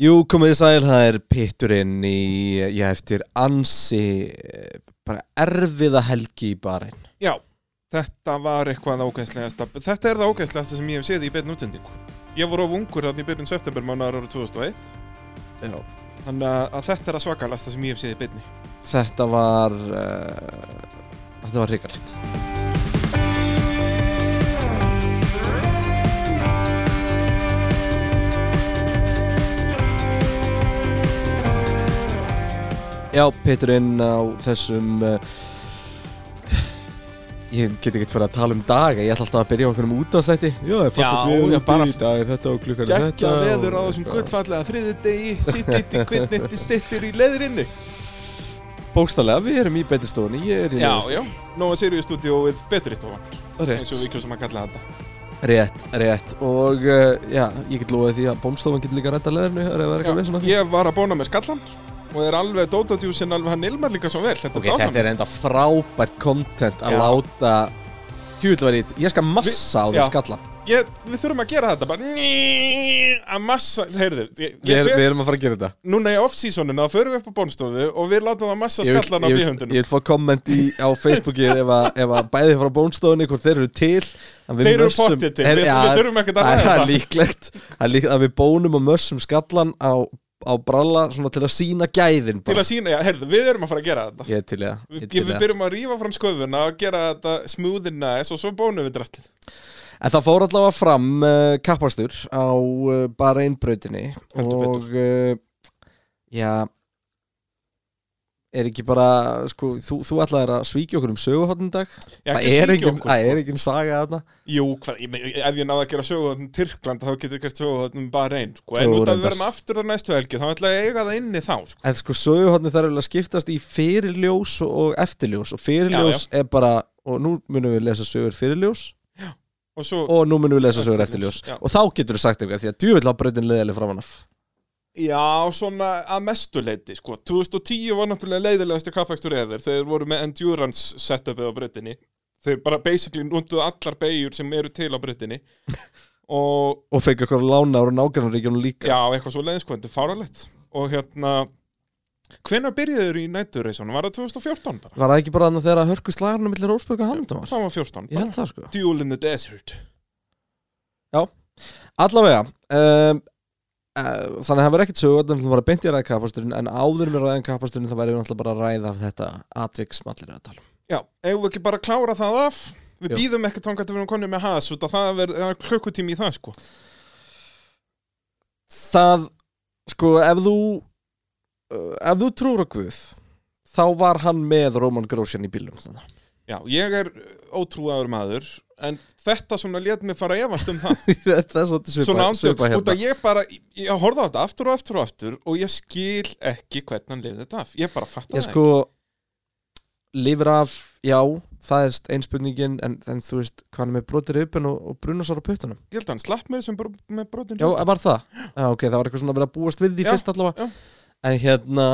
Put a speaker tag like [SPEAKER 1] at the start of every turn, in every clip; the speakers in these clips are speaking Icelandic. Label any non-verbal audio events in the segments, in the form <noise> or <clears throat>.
[SPEAKER 1] Jú, komið þið sæl, það er pitturinn í, ég eftir ansi, eh, bara erfiða helgi í barinn.
[SPEAKER 2] Já, þetta var eitthvað ágæðslegasta Þetta er það ágæðslegasta sem ég hef séð í beinu útsendingu Ég voru of ungur þarna í byrjun september mánar ára 2001
[SPEAKER 1] Já.
[SPEAKER 2] Þannig að- að þetta er að svakalasta sem ég hef séð í beinni
[SPEAKER 1] Þetta var, uh, þetta var hrigalegt. Já, pitturinn á þessum, uh, ég get ekki fyrir að tala um daga, ég ætla alltaf að byrja á einhverjum útastætti. Já, það er
[SPEAKER 2] Já,
[SPEAKER 1] fallegt
[SPEAKER 2] já,
[SPEAKER 1] veður
[SPEAKER 2] bara-
[SPEAKER 1] úti í dag, er þetta og klukkan er
[SPEAKER 2] Gekja
[SPEAKER 1] þetta. og-
[SPEAKER 2] veður á þessum guttfallega þriðudegi Sittit í
[SPEAKER 1] <laughs>
[SPEAKER 2] kvittnetti, sittir í leðrinni
[SPEAKER 1] Bókstallega, við erum í beturstofunni, ég er í
[SPEAKER 2] Já,
[SPEAKER 1] neðurstofunni.
[SPEAKER 2] já, Nóa Sirius stúdíóið betri stofan
[SPEAKER 1] Rétt.
[SPEAKER 2] eins og við kjósum að kalla þetta
[SPEAKER 1] Rétt, rétt og uh, já, ég get lofaði því að bómstofan getur líka að redda leðinu eða það er eitthvað með
[SPEAKER 2] Já,
[SPEAKER 1] svona
[SPEAKER 2] Ég var að bóna með skallan og er alveg Dótatjúsin alveg hann ilmar líka svo vel Þetta
[SPEAKER 1] Ok,
[SPEAKER 2] er
[SPEAKER 1] þetta
[SPEAKER 2] dásamlegt.
[SPEAKER 1] er enda frábært kontent að
[SPEAKER 2] Já.
[SPEAKER 1] láta tjúðlverið, ég skal massa á
[SPEAKER 2] já.
[SPEAKER 1] því skallan
[SPEAKER 2] ég, Við þurfum að gera þetta bara að massa, heyrðu ég, ég,
[SPEAKER 1] við,
[SPEAKER 2] fer-
[SPEAKER 1] við erum að fara að gera þetta
[SPEAKER 2] núna í off-seasoninu þá förum við upp á bónstofu og við látum það massa
[SPEAKER 1] vil-
[SPEAKER 2] skallan á
[SPEAKER 1] vil-
[SPEAKER 2] bíhundinu
[SPEAKER 1] ég vil fá komment í, á
[SPEAKER 2] <laughs>
[SPEAKER 1] Facebooki ef að, ef að bæði frá bónstofunni hvort þeir eru til að við
[SPEAKER 2] Þeir eru
[SPEAKER 1] mössum-
[SPEAKER 2] pottið til,
[SPEAKER 1] Her-
[SPEAKER 2] við-
[SPEAKER 1] já,
[SPEAKER 2] við þurfum ekkert að
[SPEAKER 1] það-
[SPEAKER 2] ræða
[SPEAKER 1] Það er
[SPEAKER 2] það.
[SPEAKER 1] líklegt það er líklegt að við bónum og mössum skallan á, á bralla svona til að sína gæðin
[SPEAKER 2] til
[SPEAKER 1] bara.
[SPEAKER 2] að sína, já, heyrðu, við erum að fara að gera þetta
[SPEAKER 1] Ég er til í það, ég
[SPEAKER 2] Við,
[SPEAKER 1] er til í
[SPEAKER 2] ég, við
[SPEAKER 1] það.
[SPEAKER 2] byrjum að rífa fram sköfuna og gera þetta smooth and nice og svo bónum við drastið
[SPEAKER 1] En það fór allavega fram uh, kappakstur á uh, bara einbrautinni
[SPEAKER 2] Heldur
[SPEAKER 1] og uh, já er ekki bara sko, þú, þú ætlaðir að svíkja okkur um söguhóttin dag
[SPEAKER 2] Já,
[SPEAKER 1] það er
[SPEAKER 2] ekki svíkja
[SPEAKER 1] engin,
[SPEAKER 2] okkur,
[SPEAKER 1] það
[SPEAKER 2] sko.
[SPEAKER 1] er engin saga þarna
[SPEAKER 2] Jú, hvað, ég, meina, ef ég náða að gera sögum um Tyrkland þá getur ég gert sögum um bara einn sko. en
[SPEAKER 1] Jú,
[SPEAKER 2] út að við
[SPEAKER 1] reyndar.
[SPEAKER 2] verðum aftur þar næstu helgi þá ætla ég að eiga það inni þá sko.
[SPEAKER 1] en sko söguhóttin þarf vel að skiptast í fyrirljós og- og eftirljós og fyrirljós er bara og nú munum við lesa sögur fyrirljós
[SPEAKER 2] og svo,
[SPEAKER 1] og nú munum við lesa sögur
[SPEAKER 2] Eftirljós,
[SPEAKER 1] eftirljós
[SPEAKER 2] já.
[SPEAKER 1] og þá getur þú sagt eitthvað því að djúvill á brautin leðileg framan af
[SPEAKER 2] já, svona að mestu leiti sko. 2010 var náttúrulega leiðilegasti kappakstur eður þeir voru með endurance setupið á breytinni þeir bara basically unduðu allar beigjur sem eru til á breytinni og
[SPEAKER 1] og fengi okkur lána úr nágrannaríkjunum líka
[SPEAKER 2] já, eitthvað svo leiðis hvað þetta er fáralegt og hérna hvenær byrjuðu þeir í nætturreisunum? Var það 2014 bara?
[SPEAKER 1] Var það ekki bara þannig þegar að hörku slagarnum millir Rósberg og Hamilton var?
[SPEAKER 2] Það var 14
[SPEAKER 1] Ég
[SPEAKER 2] bara.
[SPEAKER 1] held það sko
[SPEAKER 2] Duel in the Desert
[SPEAKER 1] Allavega um, uh, Þannig að það verður ekkert sögur Þannig að það var að beint í að ræða kapasturinn En áður með ræðan kapasturinn Það væri við náttúrulega bara að ræða af þetta Atvik sem allir er að tala um.
[SPEAKER 2] Já, eigum við ekki bara að klára það af Við
[SPEAKER 1] Jú.
[SPEAKER 2] býðum ekkert þangar til við erum konið með has út að það verður klukkutími í það sko
[SPEAKER 1] Það Sko ef þú uh, Ef þú trúur á Guð Þá var hann með Roman Grosjan í bílum <laughs> þannig.
[SPEAKER 2] Já, ég er ótrúaður maður en þetta svona lét mig fara að efast um það
[SPEAKER 1] Þetta er svolítið <laughs>
[SPEAKER 2] svona
[SPEAKER 1] svipa,
[SPEAKER 2] andjók,
[SPEAKER 1] svipa
[SPEAKER 2] út
[SPEAKER 1] hérna
[SPEAKER 2] að ég bara ég horfði á þetta aftur og aftur og aftur og ég skil ekki hvernig hann lifði þetta af ég bara fatta
[SPEAKER 1] Ég
[SPEAKER 2] það
[SPEAKER 1] sko Lifir af, já Það er einspurningin En, en þú veist hvað hann er með brotir upp En og, og brunasar á puttunum
[SPEAKER 2] ekki ég held að hann slapp með þessum bro- með brotin
[SPEAKER 1] Já, var það? Já, ok, það var eitthvað svona að vera að búast við því
[SPEAKER 2] Já,
[SPEAKER 1] fyrst allavega
[SPEAKER 2] já.
[SPEAKER 1] En hérna,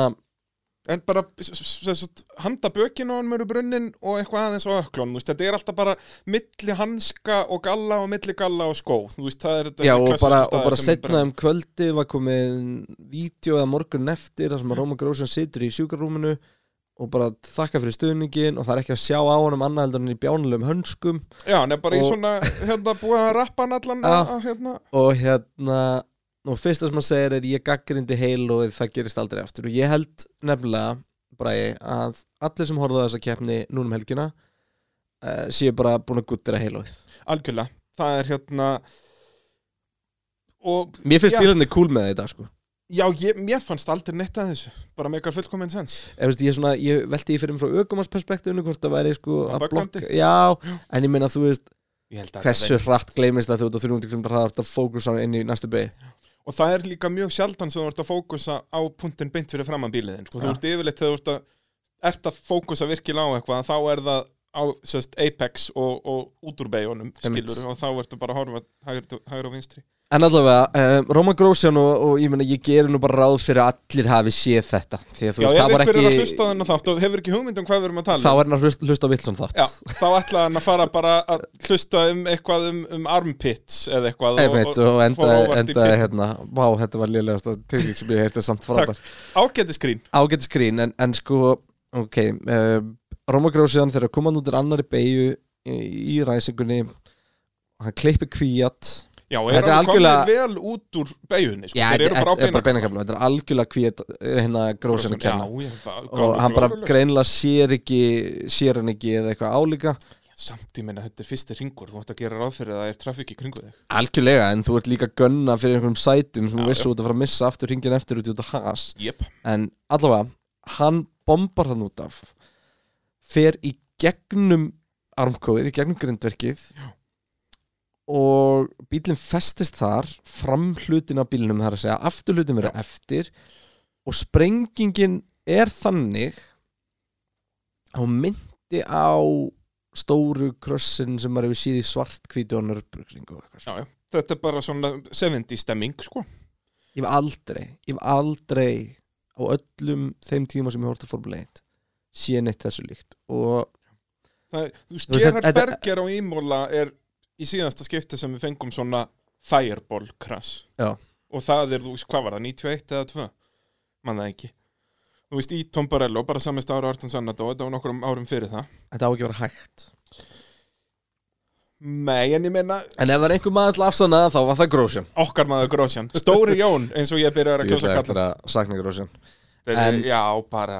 [SPEAKER 2] en bara s- s- s- s- handa bökin á hann mörg brunnin og eitthvað aðeins á öklun veist, þetta er alltaf bara milli hanska og galla og milli galla og skó Þú veist, það er þetta
[SPEAKER 1] já,
[SPEAKER 2] þessi
[SPEAKER 1] og
[SPEAKER 2] klassísku
[SPEAKER 1] bara, og
[SPEAKER 2] staður
[SPEAKER 1] bara
[SPEAKER 2] sem er
[SPEAKER 1] setna um kvöldi var komið vídeo eða morgun eftir þar sem
[SPEAKER 2] Mhm.
[SPEAKER 1] að Róma Grósjan situr í sjúkarrúminu og bara þakka fyrir stuðningin og það er ekki að sjá á honum annað heldur en í bjánulegum hönskum
[SPEAKER 2] Já, hann er bara í
[SPEAKER 1] Og-
[SPEAKER 2] svona, hérna, búið að rappa hann allan
[SPEAKER 1] Já.
[SPEAKER 2] að, að, hérna.
[SPEAKER 1] og hérna og fyrsta sem hann segir er ég gaggrindi heil og það gerist aldrei aftur og ég held nefnilega bræði að allir sem horfðu á þessa keppni núna um helgina uh, séu bara búin að guttira heilóið
[SPEAKER 2] Algjörlega, það er hérna Og,
[SPEAKER 1] Mér finnst
[SPEAKER 2] Já.
[SPEAKER 1] bílarnir cool með þetta sko
[SPEAKER 2] já, ég, mér fannst aldrei neitt að þessu Bara með eitthvað fullkominn sens
[SPEAKER 1] Ef veist, ég, er svona, ég velti ég fyrir mér frá ökumannsperspektífinu hvort það væri sko
[SPEAKER 2] Var
[SPEAKER 1] að
[SPEAKER 2] böggandi?
[SPEAKER 1] blokka Já, en ég meina þú veist
[SPEAKER 2] Ég held að
[SPEAKER 1] hversu
[SPEAKER 2] það
[SPEAKER 1] hratt gleymist það þú ert á 300 km hraðar þetta fókus á inn í næstu beig
[SPEAKER 2] veit- Og það er líka mjög sjaldan sem þú ert að fókusa á punktinn beint fyrir framan bíliðin sko. Þú
[SPEAKER 1] Já.
[SPEAKER 2] ert yfirleitt þegar þú ert að, ert að fókusa virkilega á eitthvað Þá er það á sest, Apex og, og út úr beigunum
[SPEAKER 1] Einmitt.
[SPEAKER 2] skilur og þá ertu bara að horfa hægri, hægri og vinstri
[SPEAKER 1] En allavega, um, Roman Grósjan og, og ég meina, ég gerir nú bara ráð fyrir að allir hafi séð þetta Því að þú
[SPEAKER 2] Já,
[SPEAKER 1] veist,
[SPEAKER 2] ef
[SPEAKER 1] það var
[SPEAKER 2] einhver er að
[SPEAKER 1] ekki,
[SPEAKER 2] hlusta á þennan þátt og hefur ekki hugmynd um hvað við erum að
[SPEAKER 1] þá
[SPEAKER 2] tala um,
[SPEAKER 1] er hann að hlust- hlusta á Wilson þátt
[SPEAKER 2] Já, þá ætlaði hann að fara bara að hlusta um eitthvað um, um armpits eða eitthvað og-
[SPEAKER 1] Einmitt, og,
[SPEAKER 2] og
[SPEAKER 1] enda,
[SPEAKER 2] fór óvart í
[SPEAKER 1] enda
[SPEAKER 2] pit.
[SPEAKER 1] hérna, vá, þetta var lélegast að tilvík sem ég heyrti samt frábær
[SPEAKER 2] Ágæti skrín
[SPEAKER 1] Ágætt skrín, en, en sko, ok, um, Roma Grósiðan þegar kom hann út úr annari beigju í, í ræsingunni hann klippi kvíat
[SPEAKER 2] Já,
[SPEAKER 1] Þetta
[SPEAKER 2] er
[SPEAKER 1] er
[SPEAKER 2] hann
[SPEAKER 1] algjörlega-
[SPEAKER 2] komið vel út úr beigunni sko.
[SPEAKER 1] Já,
[SPEAKER 2] Þeir
[SPEAKER 1] þetta
[SPEAKER 2] eru bara á
[SPEAKER 1] þetta er bara
[SPEAKER 2] beinakafla.
[SPEAKER 1] beinakafla, þetta er algjörlega kvíat hérna Grósiðan að kenna
[SPEAKER 2] Já, ég er bara
[SPEAKER 1] og hann bara
[SPEAKER 2] glórulaust.
[SPEAKER 1] greinlega sér ekki sér hann ekki eða eitthvað álíka
[SPEAKER 2] Samt ég meina þetta er fyrsti ringur, þú ætti að gera ráð fyrir að það er trafík í kringu þig
[SPEAKER 1] algjörlega en þú ert líka gönna fyrir einhverjum sætum sem
[SPEAKER 2] Já,
[SPEAKER 1] þú vissu út að fara að missa aftur hringin eftir út út á has
[SPEAKER 2] Jep
[SPEAKER 1] en allavega, hann bombar hann út af fer í gegnum armkóið, í gegnum grindverkið Já. og bílinn festist þar fram hlutin af bílnum þar að segja aftur hlutin verið eftir og sprengingin er þannig að hún myndi á stóru krossin sem maður hefur síði svartkvítu á nörbruksringu og eitthvað svona.
[SPEAKER 2] Já, já, þetta er bara svona 70 stemming, sko
[SPEAKER 1] Ég hef aldrei, ég hef aldrei á öllum þeim tíma sem ég horfði að Formule 1 sé neitt þessu líkt og
[SPEAKER 2] það, er- Þú veist,
[SPEAKER 1] Þú veist,
[SPEAKER 2] Gerhard
[SPEAKER 1] þetta-
[SPEAKER 2] Berger á Ímóla er í síðasta skipti sem við fengum svona fireball crash
[SPEAKER 1] Já.
[SPEAKER 2] Og það er, þú veist, hvað var það, 91 eða 2? Man það ekki Þú veist, í Tom Barello, bara samist ára Arton Sannadó, þetta var nokkrum árum fyrir það
[SPEAKER 1] þetta á ekki að vera hægt
[SPEAKER 2] Nei, en ég meina,
[SPEAKER 1] En ef það er einhver maður til afsanna þá var það Grósjan
[SPEAKER 2] okkar maður Grósjan
[SPEAKER 1] <laughs>
[SPEAKER 2] Stóri Jón, eins og ég byrjar að
[SPEAKER 1] Ég
[SPEAKER 2] kjósa
[SPEAKER 1] ætla
[SPEAKER 2] að kalla
[SPEAKER 1] eftir að sakna Grósjan
[SPEAKER 2] Þeir-
[SPEAKER 1] en-
[SPEAKER 2] Já, bara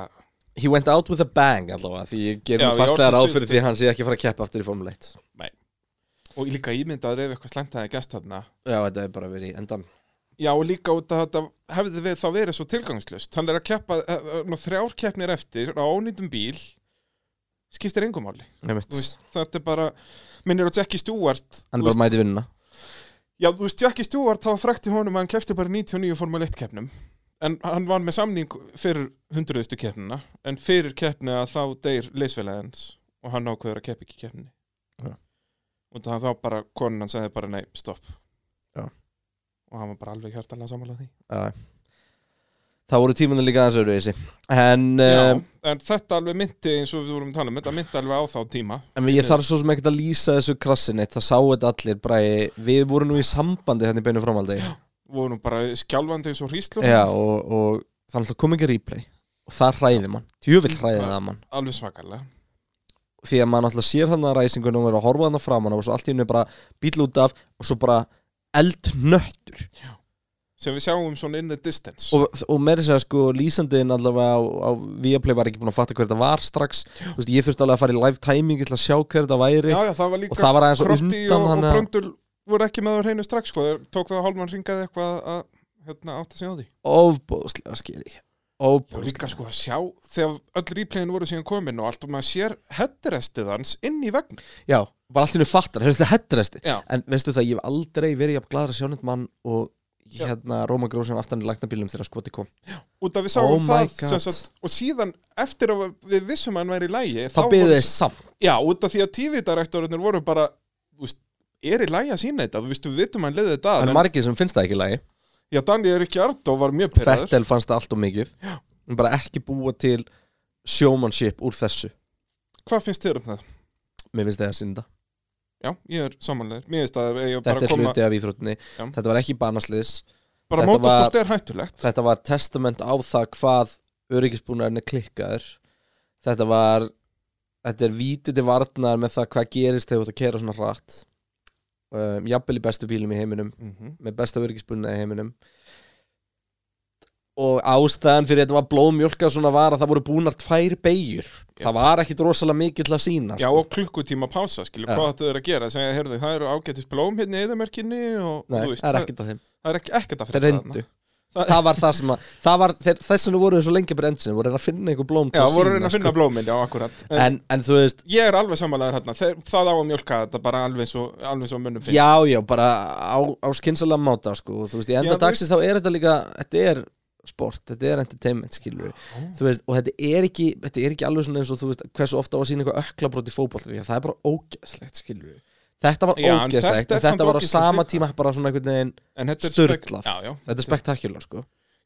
[SPEAKER 1] He went out with a bang allavega því ég ger
[SPEAKER 2] Já,
[SPEAKER 1] mér
[SPEAKER 2] í
[SPEAKER 1] fastlega
[SPEAKER 2] orðsins
[SPEAKER 1] ráð fyrir því að hann sé ekki að fara að keppa aftur í Formule 1
[SPEAKER 2] Og líka ímyndaður ef eitthvað slæmt aðeins gæst þarna
[SPEAKER 1] Já, þetta er bara verið í endan
[SPEAKER 2] Já, og líka út að þetta hefði við þá verið svo tilgangslust Hann er að keppa eh, eh, ná, þrjár keppnir eftir á ónýndum bíl skiptir engum máli
[SPEAKER 1] Einmitt.
[SPEAKER 2] Þú veist, Þetta er bara, minnir á Jackie Stewart
[SPEAKER 1] Hann er
[SPEAKER 2] þú
[SPEAKER 1] bara
[SPEAKER 2] veist,
[SPEAKER 1] mæti vinnuna
[SPEAKER 2] Já, þú veist, Jackie Stewart þá frækti honum að hann kefti bara 99 formule 1 keppnum En hann var með samning fyrir 100. keppnina En fyrir keppni að þá deyr leysfélagans Og hann ákveður að keppa ekki í keppni
[SPEAKER 1] Já.
[SPEAKER 2] Og það þá bara, konan hann sagði bara nei, stopp
[SPEAKER 1] Já.
[SPEAKER 2] Og hann var bara alveg hjartalega sammála því
[SPEAKER 1] Já. Það voru tímanu líka aðeins öðru þessi En,
[SPEAKER 2] Já,
[SPEAKER 1] um,
[SPEAKER 2] en þetta alveg myndi eins og við vorum að tala um, þetta myndi alveg á þá tíma
[SPEAKER 1] en ég þarf svo sem ekkert að lýsa þessu krassinitt Það sáu þetta allir bræði Við vorum nú í sambandi þannig beinu framhaldi
[SPEAKER 2] vorum bara skjálfandi eins og hríslur
[SPEAKER 1] Já, og, og það náttúrulega kom ekki replay og það hræði mann,
[SPEAKER 2] Mm,
[SPEAKER 1] djövill hræði það mann
[SPEAKER 2] alveg svakalega
[SPEAKER 1] því að maður náttúrulega sér þannig að ræsingunum og er að horfa þannig framan á og svo allt í henni bara bíl út af og svo bara eldnöttur
[SPEAKER 2] sem við sjáum svona in the distance
[SPEAKER 1] og, og meiri segja sko lýsandiðin allavega á, á Viaplay var ekki búin að fatta hver þetta var strax Þú veist, ég þurfti alveg að fara í live timing til að sjá hver þetta væri
[SPEAKER 2] já, já, það var
[SPEAKER 1] og
[SPEAKER 2] líka
[SPEAKER 1] það var aðeins á
[SPEAKER 2] Krotti
[SPEAKER 1] undan
[SPEAKER 2] og, og
[SPEAKER 1] þannig að-
[SPEAKER 2] Bröndul voru ekki með að reynu strax sko, þeir tók það að Hálman ringaði eitthvað að hérna, átta sig á því
[SPEAKER 1] ofbóðslega skili
[SPEAKER 2] og
[SPEAKER 1] ofbóðslega
[SPEAKER 2] líka sko að sjá þegar öll replayin voru síðan komin og allt og maður sér headrestið hans inn í vegna
[SPEAKER 1] Já, bara allt í henni fattar, hefur þetta hettresti
[SPEAKER 2] Já.
[SPEAKER 1] En veistu það, ég hef aldrei verið jafn gladur að sjá neitt mann og hérna Róma Grósjan aftan í lagnabílum þegar skoti kom
[SPEAKER 2] út af við
[SPEAKER 1] Oh
[SPEAKER 2] sáum
[SPEAKER 1] my
[SPEAKER 2] það
[SPEAKER 1] God.
[SPEAKER 2] sem sagt, og síðan eftir að við vissum að hann væri í lægi
[SPEAKER 1] Þá byggði þeir samt
[SPEAKER 2] Já, út af því að TV-direktorunir voru bara, þú veist, er í lagi að sína þetta, þú veist, við vitum að hann leiði þetta að,
[SPEAKER 1] Það er
[SPEAKER 2] en,
[SPEAKER 1] margir sem finnst það ekki í lagi
[SPEAKER 2] já, Daniel Ricciardo var mjög pyrraður.
[SPEAKER 1] Fettel fannst það allt og mikið Já. En bara ekki búa til sjómanship úr þessu
[SPEAKER 2] Hvað finnst þér um það?
[SPEAKER 1] Mér finnst það að synda
[SPEAKER 2] Já, ég er samanlegur, mér finnst að ég bara
[SPEAKER 1] Þetta
[SPEAKER 2] að
[SPEAKER 1] er
[SPEAKER 2] koma,
[SPEAKER 1] hluti af íþróttinni
[SPEAKER 2] Já.
[SPEAKER 1] Þetta var ekki banasliðs
[SPEAKER 2] bara
[SPEAKER 1] þetta
[SPEAKER 2] mótorsport er hættulegt.
[SPEAKER 1] Þetta var testament á það hvað öryggisbúnaðurinn er klikkaður Þetta var Þetta er vítið til varnar með það hvað gerist þegar þú ert að kera svona hratt um, Jafnvel í bestu bílum í heiminum
[SPEAKER 2] Mm -hmm.
[SPEAKER 1] með besta öryggisbúnaði í heiminum og ástæðan fyrir þetta var blóðmjólka svona var að það voru búnar tvær beigjur það var ekkit rosalega mikið til að sko. sína
[SPEAKER 2] Já, og klukkutíma pása, skilju,
[SPEAKER 1] Já.
[SPEAKER 2] hvað þetta er að gera, segja, heyrðu, það eru ágætis blóm hérna í eðamerkinni og,
[SPEAKER 1] Nei,
[SPEAKER 2] þú veist,
[SPEAKER 1] það er ekkit að þeim,
[SPEAKER 2] það er ekki, ekkert að
[SPEAKER 1] þeir
[SPEAKER 2] frétta
[SPEAKER 1] reyndu
[SPEAKER 2] þarna.
[SPEAKER 1] það, var það sem að, það var, þeir, þess vegna voru þeir svo lengi brendsin, voru að reyna að finna einhver blóm til
[SPEAKER 2] Já,
[SPEAKER 1] að sýna,
[SPEAKER 2] voru að reyna að finna blómin, já, akkurat.
[SPEAKER 1] sko. en, en þú veist,
[SPEAKER 2] ég er alveg samanlegur hérna, Þeir- það á að mjölka þetta bara alveg svo, alveg svo mönnum finnst.
[SPEAKER 1] já, já, bara á, á skynsalega máta, sko, þú veist, í
[SPEAKER 2] Já,
[SPEAKER 1] enda
[SPEAKER 2] þú
[SPEAKER 1] dagsins þá er þetta líka, þetta er sport, þetta er entertainment skilur þú veist, og þetta er ekki þetta er ekki alveg svona eins og þú veist hversu ofta á að sína eitthvað öklabrót í fótboll því að það er bara ógeðslegt skilur þetta var
[SPEAKER 2] Já, en
[SPEAKER 1] ógeðslegt,
[SPEAKER 2] þetta er
[SPEAKER 1] en þetta
[SPEAKER 2] samt
[SPEAKER 1] var á
[SPEAKER 2] ógeðslegt
[SPEAKER 1] sama
[SPEAKER 2] líka.
[SPEAKER 1] tíma bara svona einhvern veginn,
[SPEAKER 2] En þetta er
[SPEAKER 1] Sturlað.
[SPEAKER 2] spek- Já, já.
[SPEAKER 1] þetta er spektakular sko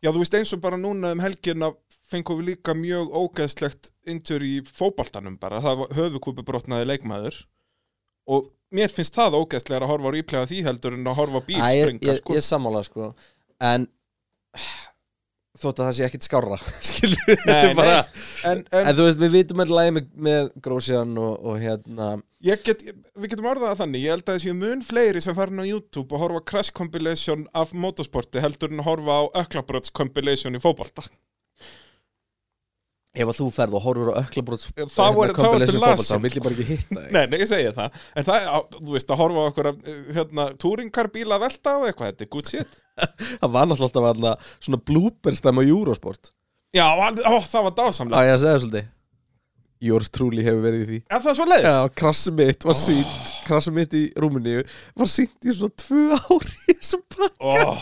[SPEAKER 2] Já, þú veist eins og bara núna um helgina fengum við líka mjög ógeðslegt injury í fótbaltanum bara, það var höfukúpi brotnaði leikmaður og mér finnst það ógeðslega að horfa á replay af því heldur en að horfa á bíl
[SPEAKER 1] Æ, ég,
[SPEAKER 2] springa
[SPEAKER 1] ég,
[SPEAKER 2] sko.
[SPEAKER 1] ég sammála sko en þótt að það sé ekkit skárra <laughs> skilur við,
[SPEAKER 2] Nei,
[SPEAKER 1] þetta er bara
[SPEAKER 2] en, en
[SPEAKER 1] en þú veist, við vitum að lægi með, með Grósian og, og hérna
[SPEAKER 2] ég get, við getum orðað það þannig, ég held að þessi mun fleiri sem farin á YouTube og horfa á crash compilation af motorsporti heldur en að horfa á öklabröts compilation í fótbalta
[SPEAKER 1] ef að þú ferð og horfur á öklabróts
[SPEAKER 2] Þá er- þá ertu lasinn,
[SPEAKER 1] þá vil ég bara ekki hitta þig
[SPEAKER 2] Nei, nei, ég segi það, en það, á, þú veist að horfa á okkur hérna, túringarbíla velta og eitthvað, þetta er good shit
[SPEAKER 1] það var náttúrulega alltaf varna svona blúberstæm á Eurosport
[SPEAKER 2] Já, al- ó, það var dásamlega
[SPEAKER 1] á ég að segja svolítið Yours truly hefur verið í því
[SPEAKER 2] Er það svo leiðis?
[SPEAKER 1] Já, krassum mitt var sínt krassum mitt í Rúmeníu var sínt í svona tvö ári í þessum pakka
[SPEAKER 2] Oh,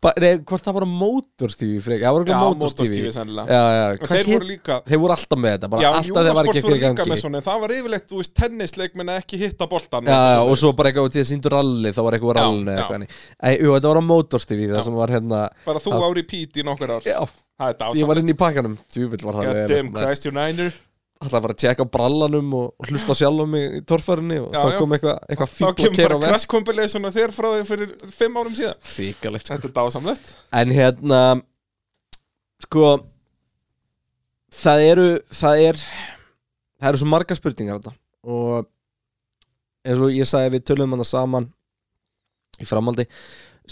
[SPEAKER 1] Ba- Nei, hvort það var á mótorstífi frekar Það var
[SPEAKER 2] já,
[SPEAKER 1] eitthvað
[SPEAKER 2] mótorstífi
[SPEAKER 1] mótorstífi
[SPEAKER 2] sennilega
[SPEAKER 1] Já, já,
[SPEAKER 2] Og
[SPEAKER 1] hvað
[SPEAKER 2] þeir
[SPEAKER 1] hét-
[SPEAKER 2] voru líka
[SPEAKER 1] Þeir voru alltaf með þetta, bara
[SPEAKER 2] Já,
[SPEAKER 1] alltaf þegar var ekki
[SPEAKER 2] Júnasport
[SPEAKER 1] eftir
[SPEAKER 2] voru
[SPEAKER 1] í
[SPEAKER 2] líka
[SPEAKER 1] gangi
[SPEAKER 2] með svona Það var yfirleitt, þú veist, tennisleikmenn að ekki hitta boltan
[SPEAKER 1] Já, já, og svo bara eitthvað út í að síndu ralli, þá var eitthvað
[SPEAKER 2] Já,
[SPEAKER 1] rallinu
[SPEAKER 2] já.
[SPEAKER 1] eða eitthvað hannig. Æ, jú, þetta var á mótorstífi,
[SPEAKER 2] Já.
[SPEAKER 1] það sem var hérna
[SPEAKER 2] Bara þú
[SPEAKER 1] Já.
[SPEAKER 2] ári pít í nokkur ár
[SPEAKER 1] Já,
[SPEAKER 2] Það er dásamlega
[SPEAKER 1] ég var inn í pakkanum, djúvill var það
[SPEAKER 2] Goddamn Christ you niner
[SPEAKER 1] Alltaf að fara að tjekka á brallanum og, og hlusta sjálf á mig í torfærinni og
[SPEAKER 2] Já, já.
[SPEAKER 1] þá kom eitthvað eitthva
[SPEAKER 2] Þá
[SPEAKER 1] fíkla að
[SPEAKER 2] kemur
[SPEAKER 1] kera á
[SPEAKER 2] bara
[SPEAKER 1] verð
[SPEAKER 2] crash compilation af þér frá því fyrir fimm árum síðan
[SPEAKER 1] Fíkalegt
[SPEAKER 2] Þetta er dásamlegt
[SPEAKER 1] En hérna, sko, það eru, það er, það eru svo margar spurningar þetta og eins og ég sagði við tölum hana saman í framhaldi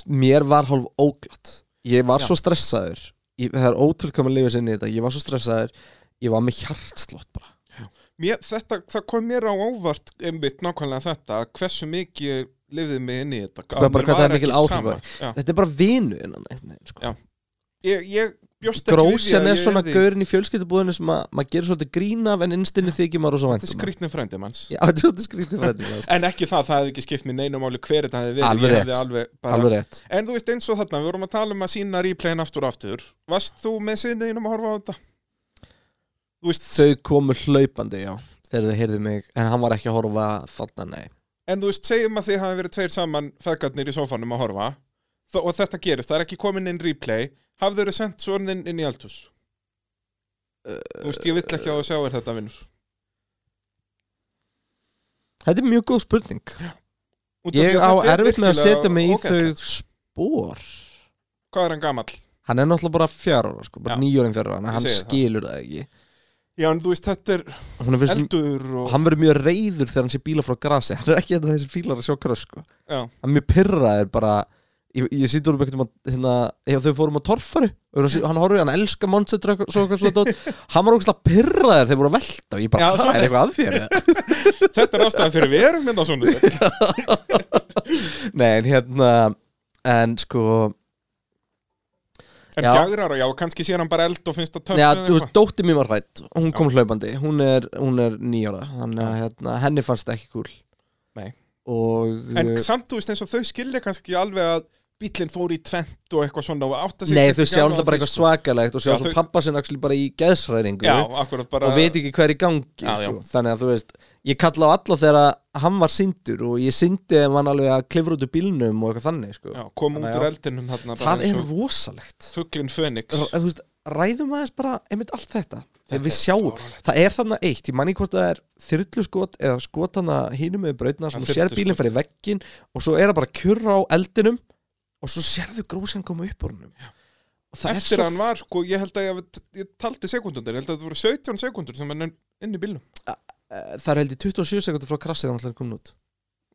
[SPEAKER 1] mér var hálf óglatt ég var
[SPEAKER 2] Já.
[SPEAKER 1] svo stressaður ég, það er ótrúkama lifið sinni þetta ég var svo stressaður, ég var með hjartslott bara
[SPEAKER 2] mér, þetta, Það kom mér á óvart einmitt nákvæmlega þetta að Hversu mikið ég lifði mig inn í þetta Að
[SPEAKER 1] Bara
[SPEAKER 2] mér
[SPEAKER 1] hvað það
[SPEAKER 2] var
[SPEAKER 1] er mikil
[SPEAKER 2] ekki
[SPEAKER 1] áhrif á
[SPEAKER 2] sama. Já.
[SPEAKER 1] þetta er bara vinu innan einhvern veginn sko.
[SPEAKER 2] Já, Ég, ég bjóst ekki við því
[SPEAKER 1] grósjan
[SPEAKER 2] að
[SPEAKER 1] er
[SPEAKER 2] ég
[SPEAKER 1] svona
[SPEAKER 2] yrði-
[SPEAKER 1] gaurinn í fjölskyldubúðinu sem að maður gerir svolítið grín af en innstinni þykir maður og svo
[SPEAKER 2] Þetta
[SPEAKER 1] væntum
[SPEAKER 2] er skrýtni frændi manns
[SPEAKER 1] Já, þetta er svolítið skrítið fyrir þetta sko.
[SPEAKER 2] En ekki það, það hefði ekki skipt mér neinu máli hver þetta hefði verið
[SPEAKER 1] Alveg
[SPEAKER 2] Ég
[SPEAKER 1] rétt.
[SPEAKER 2] hefði alveg bara...
[SPEAKER 1] alveg rétt
[SPEAKER 2] En þú veist eins og þarna, við vorum að tala um að sína replayin aftur og aftur Varst þú með sinniðinum að horfa á þetta? Þú veist,
[SPEAKER 1] þau komu hlaupandi, já þegar þau heyrðu mig, en hann var ekki að horfa þarna, nei,
[SPEAKER 2] En þú veist, segjum að þið hafi verið tveir saman feðgarnir í sófanum að horfa Þó, Og þetta gerist, það er ekki komin inn replay Hafðu verið sendt svörnin inn í eldhús? Þú veist, ég vill ekki að þú sjáir þetta vinnur
[SPEAKER 1] þetta er mjög góð spurning
[SPEAKER 2] Út af því
[SPEAKER 1] ég
[SPEAKER 2] að
[SPEAKER 1] á
[SPEAKER 2] þetta er
[SPEAKER 1] erfitt með að
[SPEAKER 2] virkilega
[SPEAKER 1] setja mig í
[SPEAKER 2] ógeðslegt.
[SPEAKER 1] þau spór
[SPEAKER 2] Hvað er hann gamall?
[SPEAKER 1] hann er náttúrulega bara fjár ára, sko, bara
[SPEAKER 2] Já.
[SPEAKER 1] nýjórin fjár ára
[SPEAKER 2] Ég
[SPEAKER 1] hann
[SPEAKER 2] segi það.
[SPEAKER 1] skilur það ekki
[SPEAKER 2] Já, en þú veist, þetta er
[SPEAKER 1] Honum finnst,
[SPEAKER 2] eldur og...
[SPEAKER 1] hann verður mjög reyður þegar hann sé bíla frá grasi hann er ekki þetta þessi bílar að sjá kröss sko.
[SPEAKER 2] Já.
[SPEAKER 1] hann er mjög pyrraður bara ég, ég sýttur um eitthvað hérna, ef þau fórum á torfari hann horfði, hann elskar monster og svo eitthvað svona dót. hann var ógæslega pyrraður þegar voru að velta og ég bara,
[SPEAKER 2] Já,
[SPEAKER 1] það
[SPEAKER 2] svona.
[SPEAKER 1] er eitthvað að þér
[SPEAKER 2] <laughs>
[SPEAKER 1] eða?"
[SPEAKER 2] Þetta er ástæðan fyrir við erum
[SPEAKER 1] <laughs>
[SPEAKER 2] hérna svona
[SPEAKER 1] nei, en hérna en sko,
[SPEAKER 2] En
[SPEAKER 1] Já.
[SPEAKER 2] fjagra ára, já, og kannski sér hann bara eld og finnst það töff
[SPEAKER 1] neða,
[SPEAKER 2] eða
[SPEAKER 1] þú veist,
[SPEAKER 2] eitthvað.
[SPEAKER 1] dótti mér var hrætt hún kom hlaupandi, hún er, hún er nýjára þannig að hérna, henni fannst það ekki kúl
[SPEAKER 2] Nei.
[SPEAKER 1] og eh,
[SPEAKER 2] En samt, þú veist, eins og þau skilja kannski alveg að bílinn fór í tvent og eitthvað svona og átta sig
[SPEAKER 1] Nei, þau
[SPEAKER 2] kannski ekki
[SPEAKER 1] sjá alltaf
[SPEAKER 2] alveg að
[SPEAKER 1] bara
[SPEAKER 2] því,
[SPEAKER 1] eitthvað svakalegt og sjá
[SPEAKER 2] Já,
[SPEAKER 1] svo
[SPEAKER 2] þau-
[SPEAKER 1] pappa sinn actually bara í geðsræringu
[SPEAKER 2] Já, akkurat bara
[SPEAKER 1] og veit ekki hvað er í gangi
[SPEAKER 2] Já, já.
[SPEAKER 1] sko. þannig að þú veist, ég kalla á alla þegar að hann var sindur og ég sindi ef hann alveg að klifra út úr bílnum og eitthvað þannig sko.
[SPEAKER 2] já, kom út
[SPEAKER 1] Þannig,
[SPEAKER 2] úr
[SPEAKER 1] já.
[SPEAKER 2] eldinum þarna
[SPEAKER 1] það er rosalegt
[SPEAKER 2] Fuglinn Fönix
[SPEAKER 1] Þú- þú veist, ræðum aðeins bara einmitt allt þetta þegar
[SPEAKER 2] Þetta
[SPEAKER 1] við
[SPEAKER 2] er
[SPEAKER 1] sjáum,
[SPEAKER 2] fáránlegt.
[SPEAKER 1] það er þarna eitt ég manni hvort það er þyrluskot eða skot hana hínum með brautna sem
[SPEAKER 2] Ja,
[SPEAKER 1] þú sér
[SPEAKER 2] þyrluskot.
[SPEAKER 1] bílinn fyrir veggin og svo er það bara kjurra á eldinum og svo sérðu grósin koma upp úr húnum og það
[SPEAKER 2] Eftir
[SPEAKER 1] er svo
[SPEAKER 2] að hann var, sko, ég held að ég, ég taldi sekundundar Ég held að þetta voru 17 sekundur sem hann er inn í bílnum
[SPEAKER 1] Eh, það er held ég 27 sekundur frá krassið þannig að hann kom út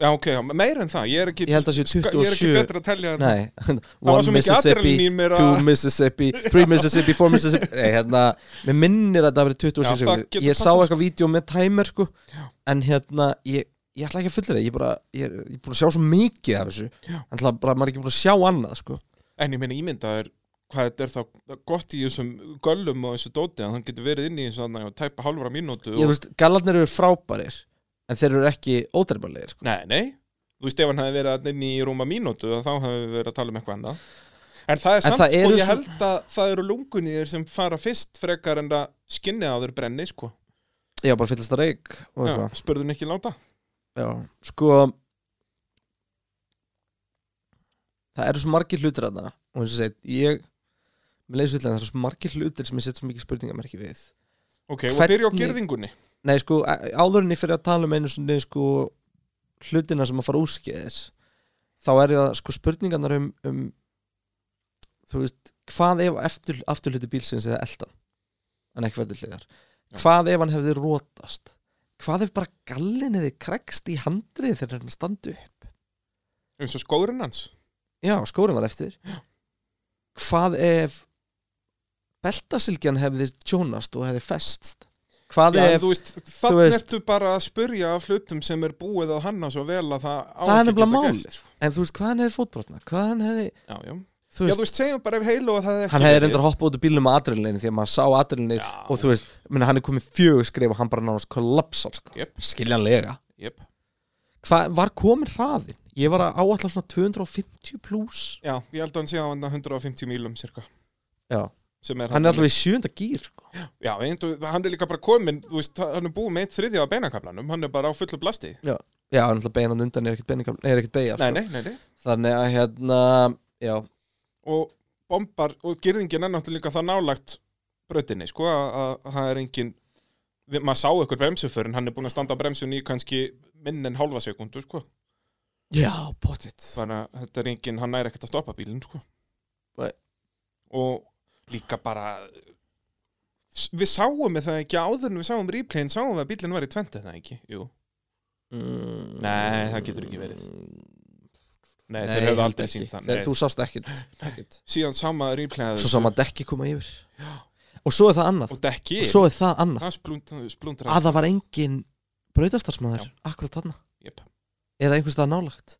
[SPEAKER 2] Já, ok, já, meira en það Ég er ekki,
[SPEAKER 1] Ég held að sé
[SPEAKER 2] ska- ég er ekki
[SPEAKER 1] 27.
[SPEAKER 2] betur að telja en
[SPEAKER 1] nei,
[SPEAKER 2] Það var
[SPEAKER 1] <laughs> one
[SPEAKER 2] svo mikið
[SPEAKER 1] Mississippi
[SPEAKER 2] adrenalín í mér
[SPEAKER 1] two
[SPEAKER 2] að
[SPEAKER 1] Mississippi,
[SPEAKER 2] <laughs>
[SPEAKER 1] three Mississippi four Mississippi, nei hérna mér minnir að þetta hafi verið 27
[SPEAKER 2] Já, það
[SPEAKER 1] sekundur
[SPEAKER 2] getur
[SPEAKER 1] ég sá
[SPEAKER 2] passað.
[SPEAKER 1] eitthvað vídeo með timer sko en hérna, ég, ég ætla ekki að fulla það ég, bara, ég, er- ég er búin að sjá svo mikið af þessu
[SPEAKER 2] Já.
[SPEAKER 1] en ætla bara, maður er ekki búin að sjá annað sko
[SPEAKER 2] En ég meina ímyndaður hvað þetta er þá gott í þessum göllum og þessu dóti að hann getur verið inn í þessu þarna og tæpa halvra mínútu
[SPEAKER 1] ég, þú
[SPEAKER 2] og...
[SPEAKER 1] veist, gallarnir eru frábærir en þeir eru ekki ódreifbarlegir sko.
[SPEAKER 2] Nei, nei, þú veist ef hann hefði verið þarna inn í rúma mínútu þá hefði við verið að tala um eitthvað annað En það er
[SPEAKER 1] En
[SPEAKER 2] samt,
[SPEAKER 1] það
[SPEAKER 2] sko,
[SPEAKER 1] eru
[SPEAKER 2] ég
[SPEAKER 1] svo-
[SPEAKER 2] held að það eru lungun í þér sem fara fyrst frekar en að skinni að þeir brenni, sko.
[SPEAKER 1] Já, bara fyllast að reik og
[SPEAKER 2] Já,
[SPEAKER 1] eitthvað
[SPEAKER 2] spurðun ekki láta.
[SPEAKER 1] Já, sko Það eru svo margir hlutir að það og eins og segið, ég mér leiðis villan, það eru svo margir hlutir sem ég set svo mikið spurningamerki við
[SPEAKER 2] Ok, og
[SPEAKER 1] Hvernig-
[SPEAKER 2] byrja á gerðingunni.
[SPEAKER 1] Nei, sko, á- áðurinni fyrir að tala um einu sinni, sko, hlutina sem að fara úrskeiðis þá er það, sko, spurningarnar um, um þú veist, hvað ef eftir, afturhluti bílsins eða eldan en ekki veðurlegar
[SPEAKER 2] Já.
[SPEAKER 1] hvað ef hann hefði rótast hvað ef bara gallin hefði krekst í handrið þegar hann standu
[SPEAKER 2] eins og skórun hans.
[SPEAKER 1] Já, skórin var eftir Hvað ef beltasilgjan hefði tjónast og hefði festst Hvað
[SPEAKER 2] Já, en
[SPEAKER 1] ef
[SPEAKER 2] þú veist, þannig
[SPEAKER 1] veist-
[SPEAKER 2] ertu bara að spurja af hlutum sem er búið að hanna svo vel að það á
[SPEAKER 1] Það er
[SPEAKER 2] ekki að
[SPEAKER 1] nefnilega
[SPEAKER 2] geta
[SPEAKER 1] málið.
[SPEAKER 2] gert. sko.
[SPEAKER 1] En þú veist, hvað hann hefði fótbrotna Hvað hann hefði
[SPEAKER 2] Já,
[SPEAKER 1] Þú
[SPEAKER 2] já. Já,
[SPEAKER 1] veist,
[SPEAKER 2] þú veist, segjum bara ef heilu að það hefði ekki
[SPEAKER 1] hann hefði
[SPEAKER 2] verið.
[SPEAKER 1] reyndar hoppað út úr bílnum með adrenalinni Því að maður sá adrenalinni
[SPEAKER 2] Já.
[SPEAKER 1] Og þú veist, minna, hann er komið fjögur skrif Og hann bara nánast kollapsar sko.
[SPEAKER 2] Jep.
[SPEAKER 1] Skiljanlega
[SPEAKER 2] Jep.
[SPEAKER 1] Hvað var komin hraðin? Ég var að áallar svona 250 plus
[SPEAKER 2] Já, ég held að hann sé að hann er 150 mílum cirka
[SPEAKER 1] Já.
[SPEAKER 2] Sem er
[SPEAKER 1] Hann er allavega í sjönda gýr sko.
[SPEAKER 2] Já, eindu, hann er líka bara kominn, þú veist, hann er búið með eitt þriðja á beinakaflanum, hann er bara á fullu blasti
[SPEAKER 1] Já, hann er allavega beinan undan Er ekkert beinigam- er ekkert beigja
[SPEAKER 2] Nei,
[SPEAKER 1] sko.
[SPEAKER 2] nei, nei, nei
[SPEAKER 1] Þannig að hérna Já,
[SPEAKER 2] Og bombar, og gyrðingin er náttúrulega líka það nálagt brautinni, sko, að að það er engin við- maður sá eitthvað bremsuför en hann er búin að standa á bremsun í kannski minn en hálfa sekundu, sko
[SPEAKER 1] já pottitt
[SPEAKER 2] þannig að þetta er engin, hann næri ekkert að stoppa bílinn sko.
[SPEAKER 1] Nei.
[SPEAKER 2] og líka bara við sáum við það ekki áður en við sáum replayin, sáum við að bílinn var í tventi það ekki, jú
[SPEAKER 1] Mm.
[SPEAKER 2] Nei, það getur ekki verið. nei,
[SPEAKER 1] Nei,
[SPEAKER 2] þeir
[SPEAKER 1] ég
[SPEAKER 2] höfðu
[SPEAKER 1] held
[SPEAKER 2] aldrei
[SPEAKER 1] ekki.
[SPEAKER 2] sínt það
[SPEAKER 1] Þegar
[SPEAKER 2] nei.
[SPEAKER 1] Þú sást ekkit, ekkit.
[SPEAKER 2] síðan sama replayin
[SPEAKER 1] Svo sama dekki koma yfir Og svo er það annað
[SPEAKER 2] og dekki,
[SPEAKER 1] Og svo er það annað
[SPEAKER 2] það splund, splundra
[SPEAKER 1] Að það var engin brautastarsmaður Akkurat þarna
[SPEAKER 2] Jep.
[SPEAKER 1] Eða einhvers það nálagt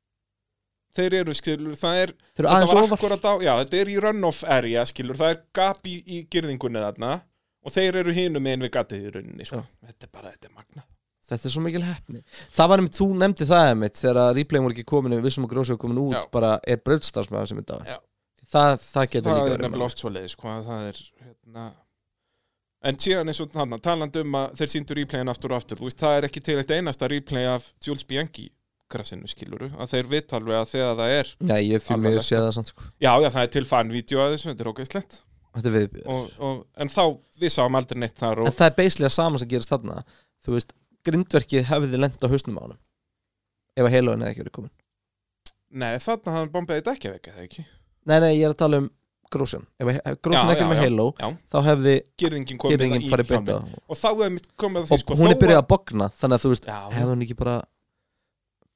[SPEAKER 2] þeir eru skilur, það er
[SPEAKER 1] Þeir eru
[SPEAKER 2] þetta
[SPEAKER 1] aðeins
[SPEAKER 2] var
[SPEAKER 1] ofar
[SPEAKER 2] akkurat á, já, þetta er í runoff area skilur, það er gap í, í girðingunni þarna og þeir eru hinum einn við gatið í rauninni, sko, þetta er bara, þetta er magna
[SPEAKER 1] Þetta er svo mikil hefni Það var einmitt, þú nefndi það einmitt Þegar að replayin voru ekki komin Við vissum að grósið var komin út
[SPEAKER 2] Já.
[SPEAKER 1] Bara er brautastarsmaður sem er dáin
[SPEAKER 2] Já.
[SPEAKER 1] Það, það getur
[SPEAKER 2] það
[SPEAKER 1] líka
[SPEAKER 2] er
[SPEAKER 1] verið
[SPEAKER 2] nefnilega oft svo leiðis hvað það er hérna. en síðan eins og þarna talandi um að þeir síndu replayin aftur og aftur þú veist, það er ekki til eitt einasta replay af Jules Bianchi krafsinu skiluru að þeir vita alveg að þegar það er
[SPEAKER 1] Nei, ég fyrir mig
[SPEAKER 2] Alvarlegt.
[SPEAKER 1] sé það samt sko.
[SPEAKER 2] já, já, það er til fanvídeó að þessu, þetta er ógæslegt
[SPEAKER 1] Þetta er viðbjör
[SPEAKER 2] og, og, en þá, við sáum aldrei neitt þar
[SPEAKER 1] En
[SPEAKER 2] og,
[SPEAKER 1] það er beislega sama sem gerist þarna Þú veist, grindverkið hefði lent á hausnum á honum Ef að heilóin hefði ekki verið komin
[SPEAKER 2] nei, þarna hafði bombaði þetta ekki vekja það ekki
[SPEAKER 1] Nei, nei, ég er að tala um grósjan Ef að grósjan
[SPEAKER 2] Já,
[SPEAKER 1] ekki
[SPEAKER 2] já,
[SPEAKER 1] verið með
[SPEAKER 2] já,
[SPEAKER 1] heiló
[SPEAKER 2] já.
[SPEAKER 1] Þá hefði
[SPEAKER 2] girðingin komið
[SPEAKER 1] gerðingin
[SPEAKER 2] í
[SPEAKER 1] farið beint á
[SPEAKER 2] hjálminn. og þá hefði mitt komið að því sko,
[SPEAKER 1] Og hún er
[SPEAKER 2] þó að-
[SPEAKER 1] byrjað að bogna Þannig að þú veist,
[SPEAKER 2] Já.
[SPEAKER 1] hefði hún ekki bara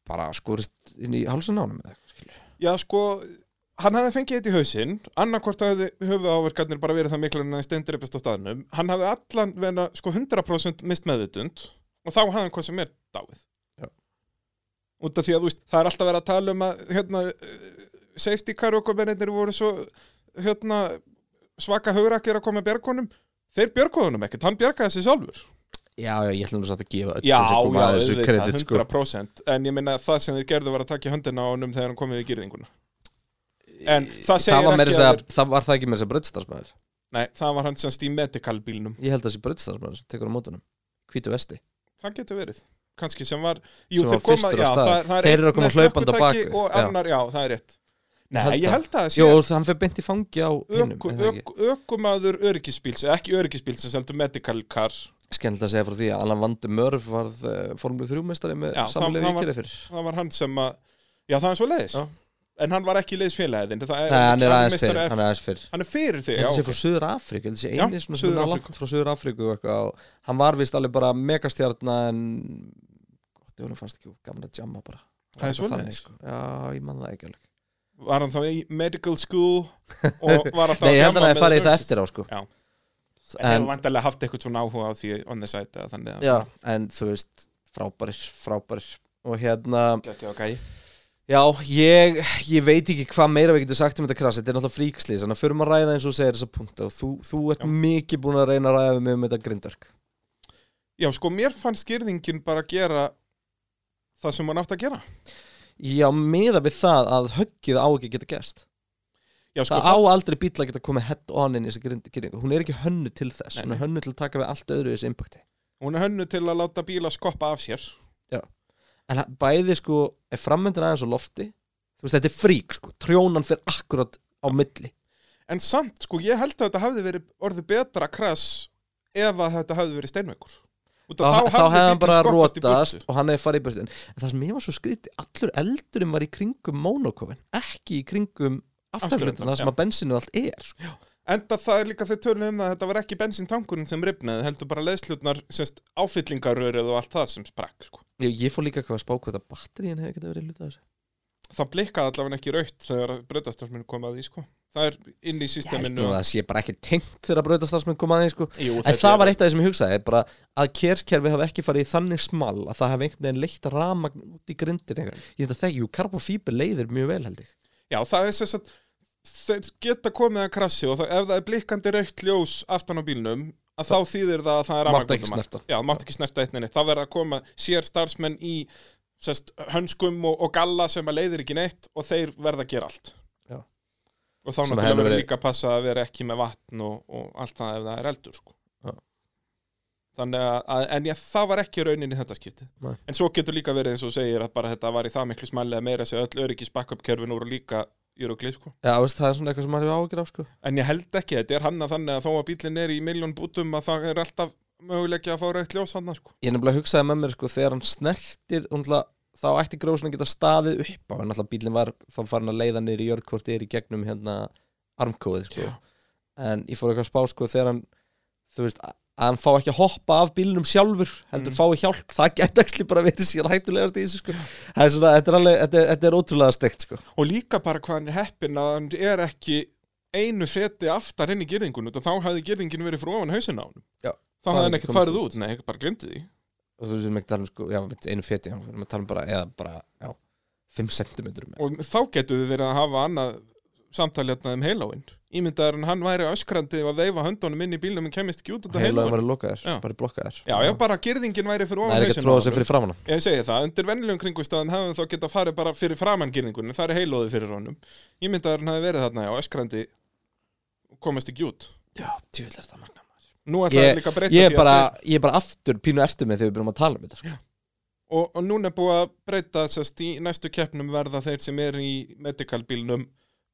[SPEAKER 1] Bara skorist inn í hálsinn á honum eða eitthvað, skilur.
[SPEAKER 2] Já, sko, hann hafði fengið þetta í hausinn, annarkvort hafði höfuð áverkarnir bara verið það miklu en að stendur uppast á staðnum. Hann hafði allan vegna, sko, 100% mist meðutund og þá hafði hann hvað sem er dáið.
[SPEAKER 1] Já.
[SPEAKER 2] Út af því að, þú veist, það er alltaf verið að tala um að, hérna, eh, safety car okkur mennir voru svo, hérna, svaka haurakir að koma með björgunum. Þeir björguðunum ekkert, hann björgaði sér sjálfur.
[SPEAKER 1] Já, já, ég ætlum þess að gefa öllum
[SPEAKER 2] Já,
[SPEAKER 1] sem koma
[SPEAKER 2] já,
[SPEAKER 1] að þessu
[SPEAKER 2] auðvitað,
[SPEAKER 1] kredit sko.
[SPEAKER 2] 100% En ég meina það sem þeir gerðu var að taka í höndina á honum þegar hann komið í gyrðinguna En það segir
[SPEAKER 1] var meira
[SPEAKER 2] ekki
[SPEAKER 1] að
[SPEAKER 2] að
[SPEAKER 1] segja- Það var það ekki meira þess að brautstarsmaður
[SPEAKER 2] Nei, það var hann semst í medical bílnum
[SPEAKER 1] Ég held að þessi brautstarsmaður sem tekur á mótunum Hvítu vesti
[SPEAKER 2] Það getur verið Kanski sem var Jú,
[SPEAKER 1] Sem
[SPEAKER 2] þeir
[SPEAKER 1] var
[SPEAKER 2] koma,
[SPEAKER 1] fyrstur á
[SPEAKER 2] já,
[SPEAKER 1] stað.
[SPEAKER 2] það, er- það er
[SPEAKER 1] Þeir eru að
[SPEAKER 2] einn
[SPEAKER 1] koma
[SPEAKER 2] með
[SPEAKER 1] hlaupandi á
[SPEAKER 2] slökkvitæki
[SPEAKER 1] bakvið,
[SPEAKER 2] Og
[SPEAKER 1] já.
[SPEAKER 2] annar, já. það er rétt Nei,
[SPEAKER 1] held
[SPEAKER 2] ég
[SPEAKER 1] það.
[SPEAKER 2] held að það
[SPEAKER 1] Jó,
[SPEAKER 2] sé
[SPEAKER 1] og hann fyrir beint í fangi á hinum
[SPEAKER 2] öku-
[SPEAKER 1] er það ekki?
[SPEAKER 2] öku- Ökumaður öryggisbíls Ekki öryggisbíls, sem heldur medical car
[SPEAKER 1] skemmtilegt að segja frá því að Alan Vandi Mörf varð uh, Formule 3 meistari með
[SPEAKER 2] Já,
[SPEAKER 1] samlega
[SPEAKER 2] það- það
[SPEAKER 1] vikið fyrir
[SPEAKER 2] Það var hann sem að Já, það er svo leiðis
[SPEAKER 1] Já.
[SPEAKER 2] En hann var ekki leiðisfélagiðin
[SPEAKER 1] Nei, hann er aðeins fyrir, hann er aðeins fyrir
[SPEAKER 2] Hann er fyrir þig,
[SPEAKER 1] Ég
[SPEAKER 2] já,
[SPEAKER 1] held að sé
[SPEAKER 2] ok.
[SPEAKER 1] frá Suður Afríku, ég held að sé
[SPEAKER 2] Já,
[SPEAKER 1] eini svona sem er
[SPEAKER 2] Suður-Afríku.
[SPEAKER 1] langt frá Suður Afríku og eitthvað og hann var vist alveg bara megastjarnar en gott, hún fannst ekki gaman að jamma bara
[SPEAKER 2] Það er
[SPEAKER 1] Eitthvað
[SPEAKER 2] svoleiðis.
[SPEAKER 1] þannig, sko. Já, ég man það ekki alveg
[SPEAKER 2] var hann þá í medical school
[SPEAKER 1] <laughs>
[SPEAKER 2] og var alltaf
[SPEAKER 1] Nei, ég held að
[SPEAKER 2] hann
[SPEAKER 1] hann hefði farið í það eftir á sko
[SPEAKER 2] Já. en
[SPEAKER 1] En,
[SPEAKER 2] hefur vantarlega haft eitthvað svona áhuga á því on the side eða þannig
[SPEAKER 1] já, en þú veist, frábærir, frábærir og hérna
[SPEAKER 2] okay, okay.
[SPEAKER 1] Já, ég, ég veit ekki hvað meira við getum sagt um þetta krasi, þetta er náttúrulega fríkslýs þannig að förum að ræða eins og þú segir þessa punkta og þú, þú ert
[SPEAKER 2] Já.
[SPEAKER 1] mikið búin að reyna að ræða við mig um þetta grindverk
[SPEAKER 2] já sko mér fannst skýrðingin bara að gera það sem hann átt að gera
[SPEAKER 1] Já, meða við það að höggið á ekki að geta gæst
[SPEAKER 2] Já, sko,
[SPEAKER 1] það á aldrei bíl að geta komið head on inn í þessa grind- girðingu hún er ekki hönnu til þess,
[SPEAKER 2] Nei,
[SPEAKER 1] hún er
[SPEAKER 2] nei.
[SPEAKER 1] hönnu til að taka við allt öðru í þessi impakti
[SPEAKER 2] hún er hönnu til að láta bíla skoppa af sér
[SPEAKER 1] en það- bæði sko, er framöndin aðeins á lofti þú veist, þetta er frík sko trjónan fyrir akkurat á milli
[SPEAKER 2] En samt, sko, ég held að þetta hafði verið orðið betra krass ef að þetta hafði verið steinveikur Út
[SPEAKER 1] þá,
[SPEAKER 2] að
[SPEAKER 1] þá hefði hann
[SPEAKER 2] bíllinn
[SPEAKER 1] bara
[SPEAKER 2] skoppast í burtu.
[SPEAKER 1] rótast og hann hefði farið í burtu en það sem ég var svo skrítið, allur eldurinn var í kringum mónokofin, ekki í kringum afturflutin,
[SPEAKER 2] Afturhlutann,
[SPEAKER 1] það sem
[SPEAKER 2] já.
[SPEAKER 1] að bensinu allt er sko.
[SPEAKER 2] Enda það er líka þau tölum um það að þetta var ekki bensintankurinn sem rifnaði, heldur bara leðslutnar, semst áfyllingaröruð og allt það sem sprakk, sko.
[SPEAKER 1] ég, ég fór líka hvað að spá hvað það batteríin hefði getað verið hluta þessu
[SPEAKER 2] Það blikkaði allavega ekki raukt þegar breytastjórnminn kom að því, sko. Það er inn
[SPEAKER 1] ég held nú
[SPEAKER 2] í systeminu.
[SPEAKER 1] að það sé bara ekki tengt þegar að brautastarsmenn koma aðeins sko.
[SPEAKER 2] Jú,
[SPEAKER 1] en það var eitt af því sem ég hugsaði bara að kerskerfi hafi ekki farið í þannig smal að það hafi einhvern veginn leitt ramagn út í grindin eitthvað. ég held að þekki, jú, karbofíber leiðir mjög vel held ég
[SPEAKER 2] Já, það er semst að þeir geta komið að krassi og það, ef það er blikkandi raukt ljós aftan á bílnum, að þá þýðir það að það er
[SPEAKER 1] Mátt
[SPEAKER 2] rafmagn út
[SPEAKER 1] ekki
[SPEAKER 2] um allt.
[SPEAKER 1] snerta.
[SPEAKER 2] Já, mátt ekki snerta eitt neini. Það verður að koma sér starfsmenn í sest, hönskum og, og galla sem að leiðir ekki neitt og þeir verða að gera allt.
[SPEAKER 1] Já.
[SPEAKER 2] Og þá
[SPEAKER 1] Sem
[SPEAKER 2] náttúrulega
[SPEAKER 1] hefur
[SPEAKER 2] verður
[SPEAKER 1] verið-
[SPEAKER 2] líka að passa að vera ekki með vatn og, og allt það ef það er eldur, sko.
[SPEAKER 1] Já.
[SPEAKER 2] Þannig að- að, en ég, það var ekki raunin í þetta skiptið.
[SPEAKER 1] Nei.
[SPEAKER 2] En svo getur líka verið eins og þú segir að bara þetta var í það miklu smæli að meira sér öll öryggis backupkerfin voru líka Euroglyf, sko.
[SPEAKER 1] Já, veist, það er svona eitthvað sem maður hefur ágjur á sko.
[SPEAKER 2] En ég held ekki, þetta er hann að þannig að þó að bílinn er í miljón bútum að það er alltaf möguleiki að fá raukt ljós hann sko.
[SPEAKER 1] ég nefnilega hugsaði með mér sko, þegar hann snertir umtla, þá ætti grósun að geta staðið upp á en alltaf bílinn var þá farin að leiða niður í jörg hvort er í gegnum hérna armkóið sko. en ég fór eitthvað að spá sko, þegar hann þú veist, að að hann fá ekki að hoppa af bílinum sjálfur heldur
[SPEAKER 2] Mm.
[SPEAKER 1] fái hjálp, það geta ekki bara verið sér hættulegast í þessu sko. Það er svona, þetta, er alveg, þetta, er- þetta er ótrúlega steikt sko.
[SPEAKER 2] Og líka bara hvað hann er heppin að hann er ekki einu þeti aftar inn í gyrðingun og þá hefði gyrðingin verið frá ofan hausin á hann.
[SPEAKER 1] Já.
[SPEAKER 2] Þá
[SPEAKER 1] Það
[SPEAKER 2] hefði
[SPEAKER 1] hefði
[SPEAKER 2] hann
[SPEAKER 1] ekki
[SPEAKER 2] ekkert
[SPEAKER 1] komist
[SPEAKER 2] farið út, nei, ég bara glemdi því.
[SPEAKER 1] og þú veist, við erum ekki að tala um sko, já, mitt einu feti já, við erum að tala um bara, eða bara, já 5 cm
[SPEAKER 2] Og þá getum við verið að hafa annað samtaljarna um heiláinn. Ímyndaður en hann væri öskrandi og að veifa höndunum inn í bílnum en kemist ekki út út af
[SPEAKER 1] heilaðum
[SPEAKER 2] heiláinn.
[SPEAKER 1] var lokaðir,
[SPEAKER 2] Já.
[SPEAKER 1] bara blokkaðir
[SPEAKER 2] Já, já, bara gyrðingin væri
[SPEAKER 1] það
[SPEAKER 2] fyrir ofan
[SPEAKER 1] er ekki að
[SPEAKER 2] hausinn á
[SPEAKER 1] tróða
[SPEAKER 2] honum.
[SPEAKER 1] sér fyrir framann
[SPEAKER 2] Ég segi það, undir vennilegum kringustæðan hefðum þá geta farið bara fyrir framangirningunni, það er heilóðið fyrir honum. Ég myndi að hann hefði verið þarna á öskrandi og komast ekki út.
[SPEAKER 1] Já, djúvill er það magna
[SPEAKER 2] Nú er það
[SPEAKER 1] Ég-
[SPEAKER 2] líka breyta
[SPEAKER 1] ég er,
[SPEAKER 2] því
[SPEAKER 1] bara,
[SPEAKER 2] að
[SPEAKER 1] ég er bara aftur pínu eftir mig þegar við byrjum að tala um þetta sko.
[SPEAKER 2] þeir, og, og núna er búið að breyta sérst í næstu keppnum verða þeir sem er í medikalbílnum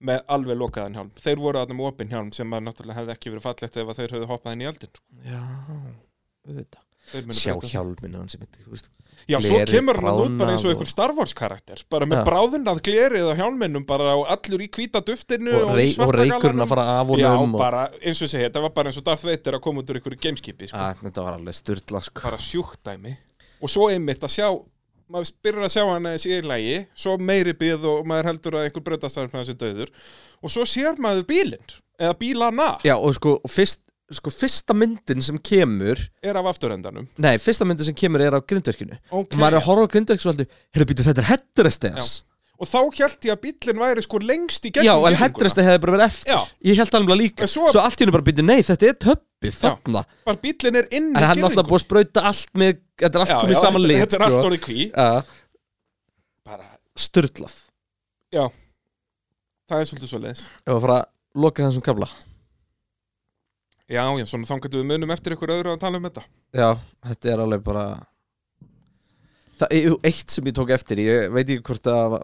[SPEAKER 2] með alveg lokaðan hjálm. Þeir voru þarna með opinn hjálm sem að náttúrulega hefði ekki verið fallegt ef að þeir höfðu hoppað inn í eldin. sko.
[SPEAKER 1] Já, auðvitað
[SPEAKER 2] Þeir munu
[SPEAKER 1] Sjá
[SPEAKER 2] breyta því.
[SPEAKER 1] hjálminu hans sem þetta, þú veist
[SPEAKER 2] Já, svo
[SPEAKER 1] glerið
[SPEAKER 2] kemur hann út bara
[SPEAKER 1] bráðnað
[SPEAKER 2] eins og
[SPEAKER 1] og-
[SPEAKER 2] einhver Star Wars karakter, bara með
[SPEAKER 1] Já.
[SPEAKER 2] bráðunnað glerið á hjálminum, bara og allur í hvíta duftinu
[SPEAKER 1] og,
[SPEAKER 2] og,
[SPEAKER 1] rey,
[SPEAKER 2] í
[SPEAKER 1] og
[SPEAKER 2] svarta
[SPEAKER 1] reykurinn
[SPEAKER 2] galanum.
[SPEAKER 1] að fara af og
[SPEAKER 2] Já,
[SPEAKER 1] um og,
[SPEAKER 2] bara, eins og ég segi, þetta var bara eins og Darth Vader að koma út úr einhverju gameskipi, sko.
[SPEAKER 1] að, Þetta var alveg styrla sko.
[SPEAKER 2] Bara sjúkt dæmi. Og svo einmitt að sjá, maður byrjar að sjá hann aðeins í einn lagi, svo meiri byð og maður heldur að einhver breytastarf með þessi döður. Og svo sér maður bílinn, eða bílana,
[SPEAKER 1] Já, og sko, og fyrst, sko fyrsta myndin sem kemur
[SPEAKER 2] er af afturrendanum.
[SPEAKER 1] Nei, fyrsta myndin sem kemur er á grindverkinu
[SPEAKER 2] Ok.
[SPEAKER 1] og maður er að horfa á grindverk svo heldur Heyrðu býtu, þetta er heddresti hans
[SPEAKER 2] Og þá held ég að bílinn væri sko lengst í
[SPEAKER 1] Já,
[SPEAKER 2] gegnum
[SPEAKER 1] en
[SPEAKER 2] girðinguna.
[SPEAKER 1] heddresti hefði bara verið eftir
[SPEAKER 2] Já.
[SPEAKER 1] Ég held alveg líka
[SPEAKER 2] En
[SPEAKER 1] Svo,
[SPEAKER 2] svo-
[SPEAKER 1] allt í hennu bara býtu, nei, þetta er töppið
[SPEAKER 2] Já.
[SPEAKER 1] þarna
[SPEAKER 2] Bara bílinn er inn í
[SPEAKER 1] En hann er alltaf
[SPEAKER 2] girðingunni.
[SPEAKER 1] búið að sprauta allt með Þetta er allt
[SPEAKER 2] Já,
[SPEAKER 1] komið
[SPEAKER 2] já,
[SPEAKER 1] í saman
[SPEAKER 2] þetta-
[SPEAKER 1] lit
[SPEAKER 2] Þetta er allt
[SPEAKER 1] sko.
[SPEAKER 2] orðið kví.
[SPEAKER 1] Já.
[SPEAKER 2] Bara,
[SPEAKER 1] styrlað
[SPEAKER 2] það er svolítið svo leiðis.
[SPEAKER 1] ef að fara að loka þessum kabla
[SPEAKER 2] Já, já, svona þá getum við munum eftir ykkur öðru að tala um þetta.
[SPEAKER 1] já, þetta er alveg bara það er jú, eitt sem ég tók eftir ég veit ekki hvort að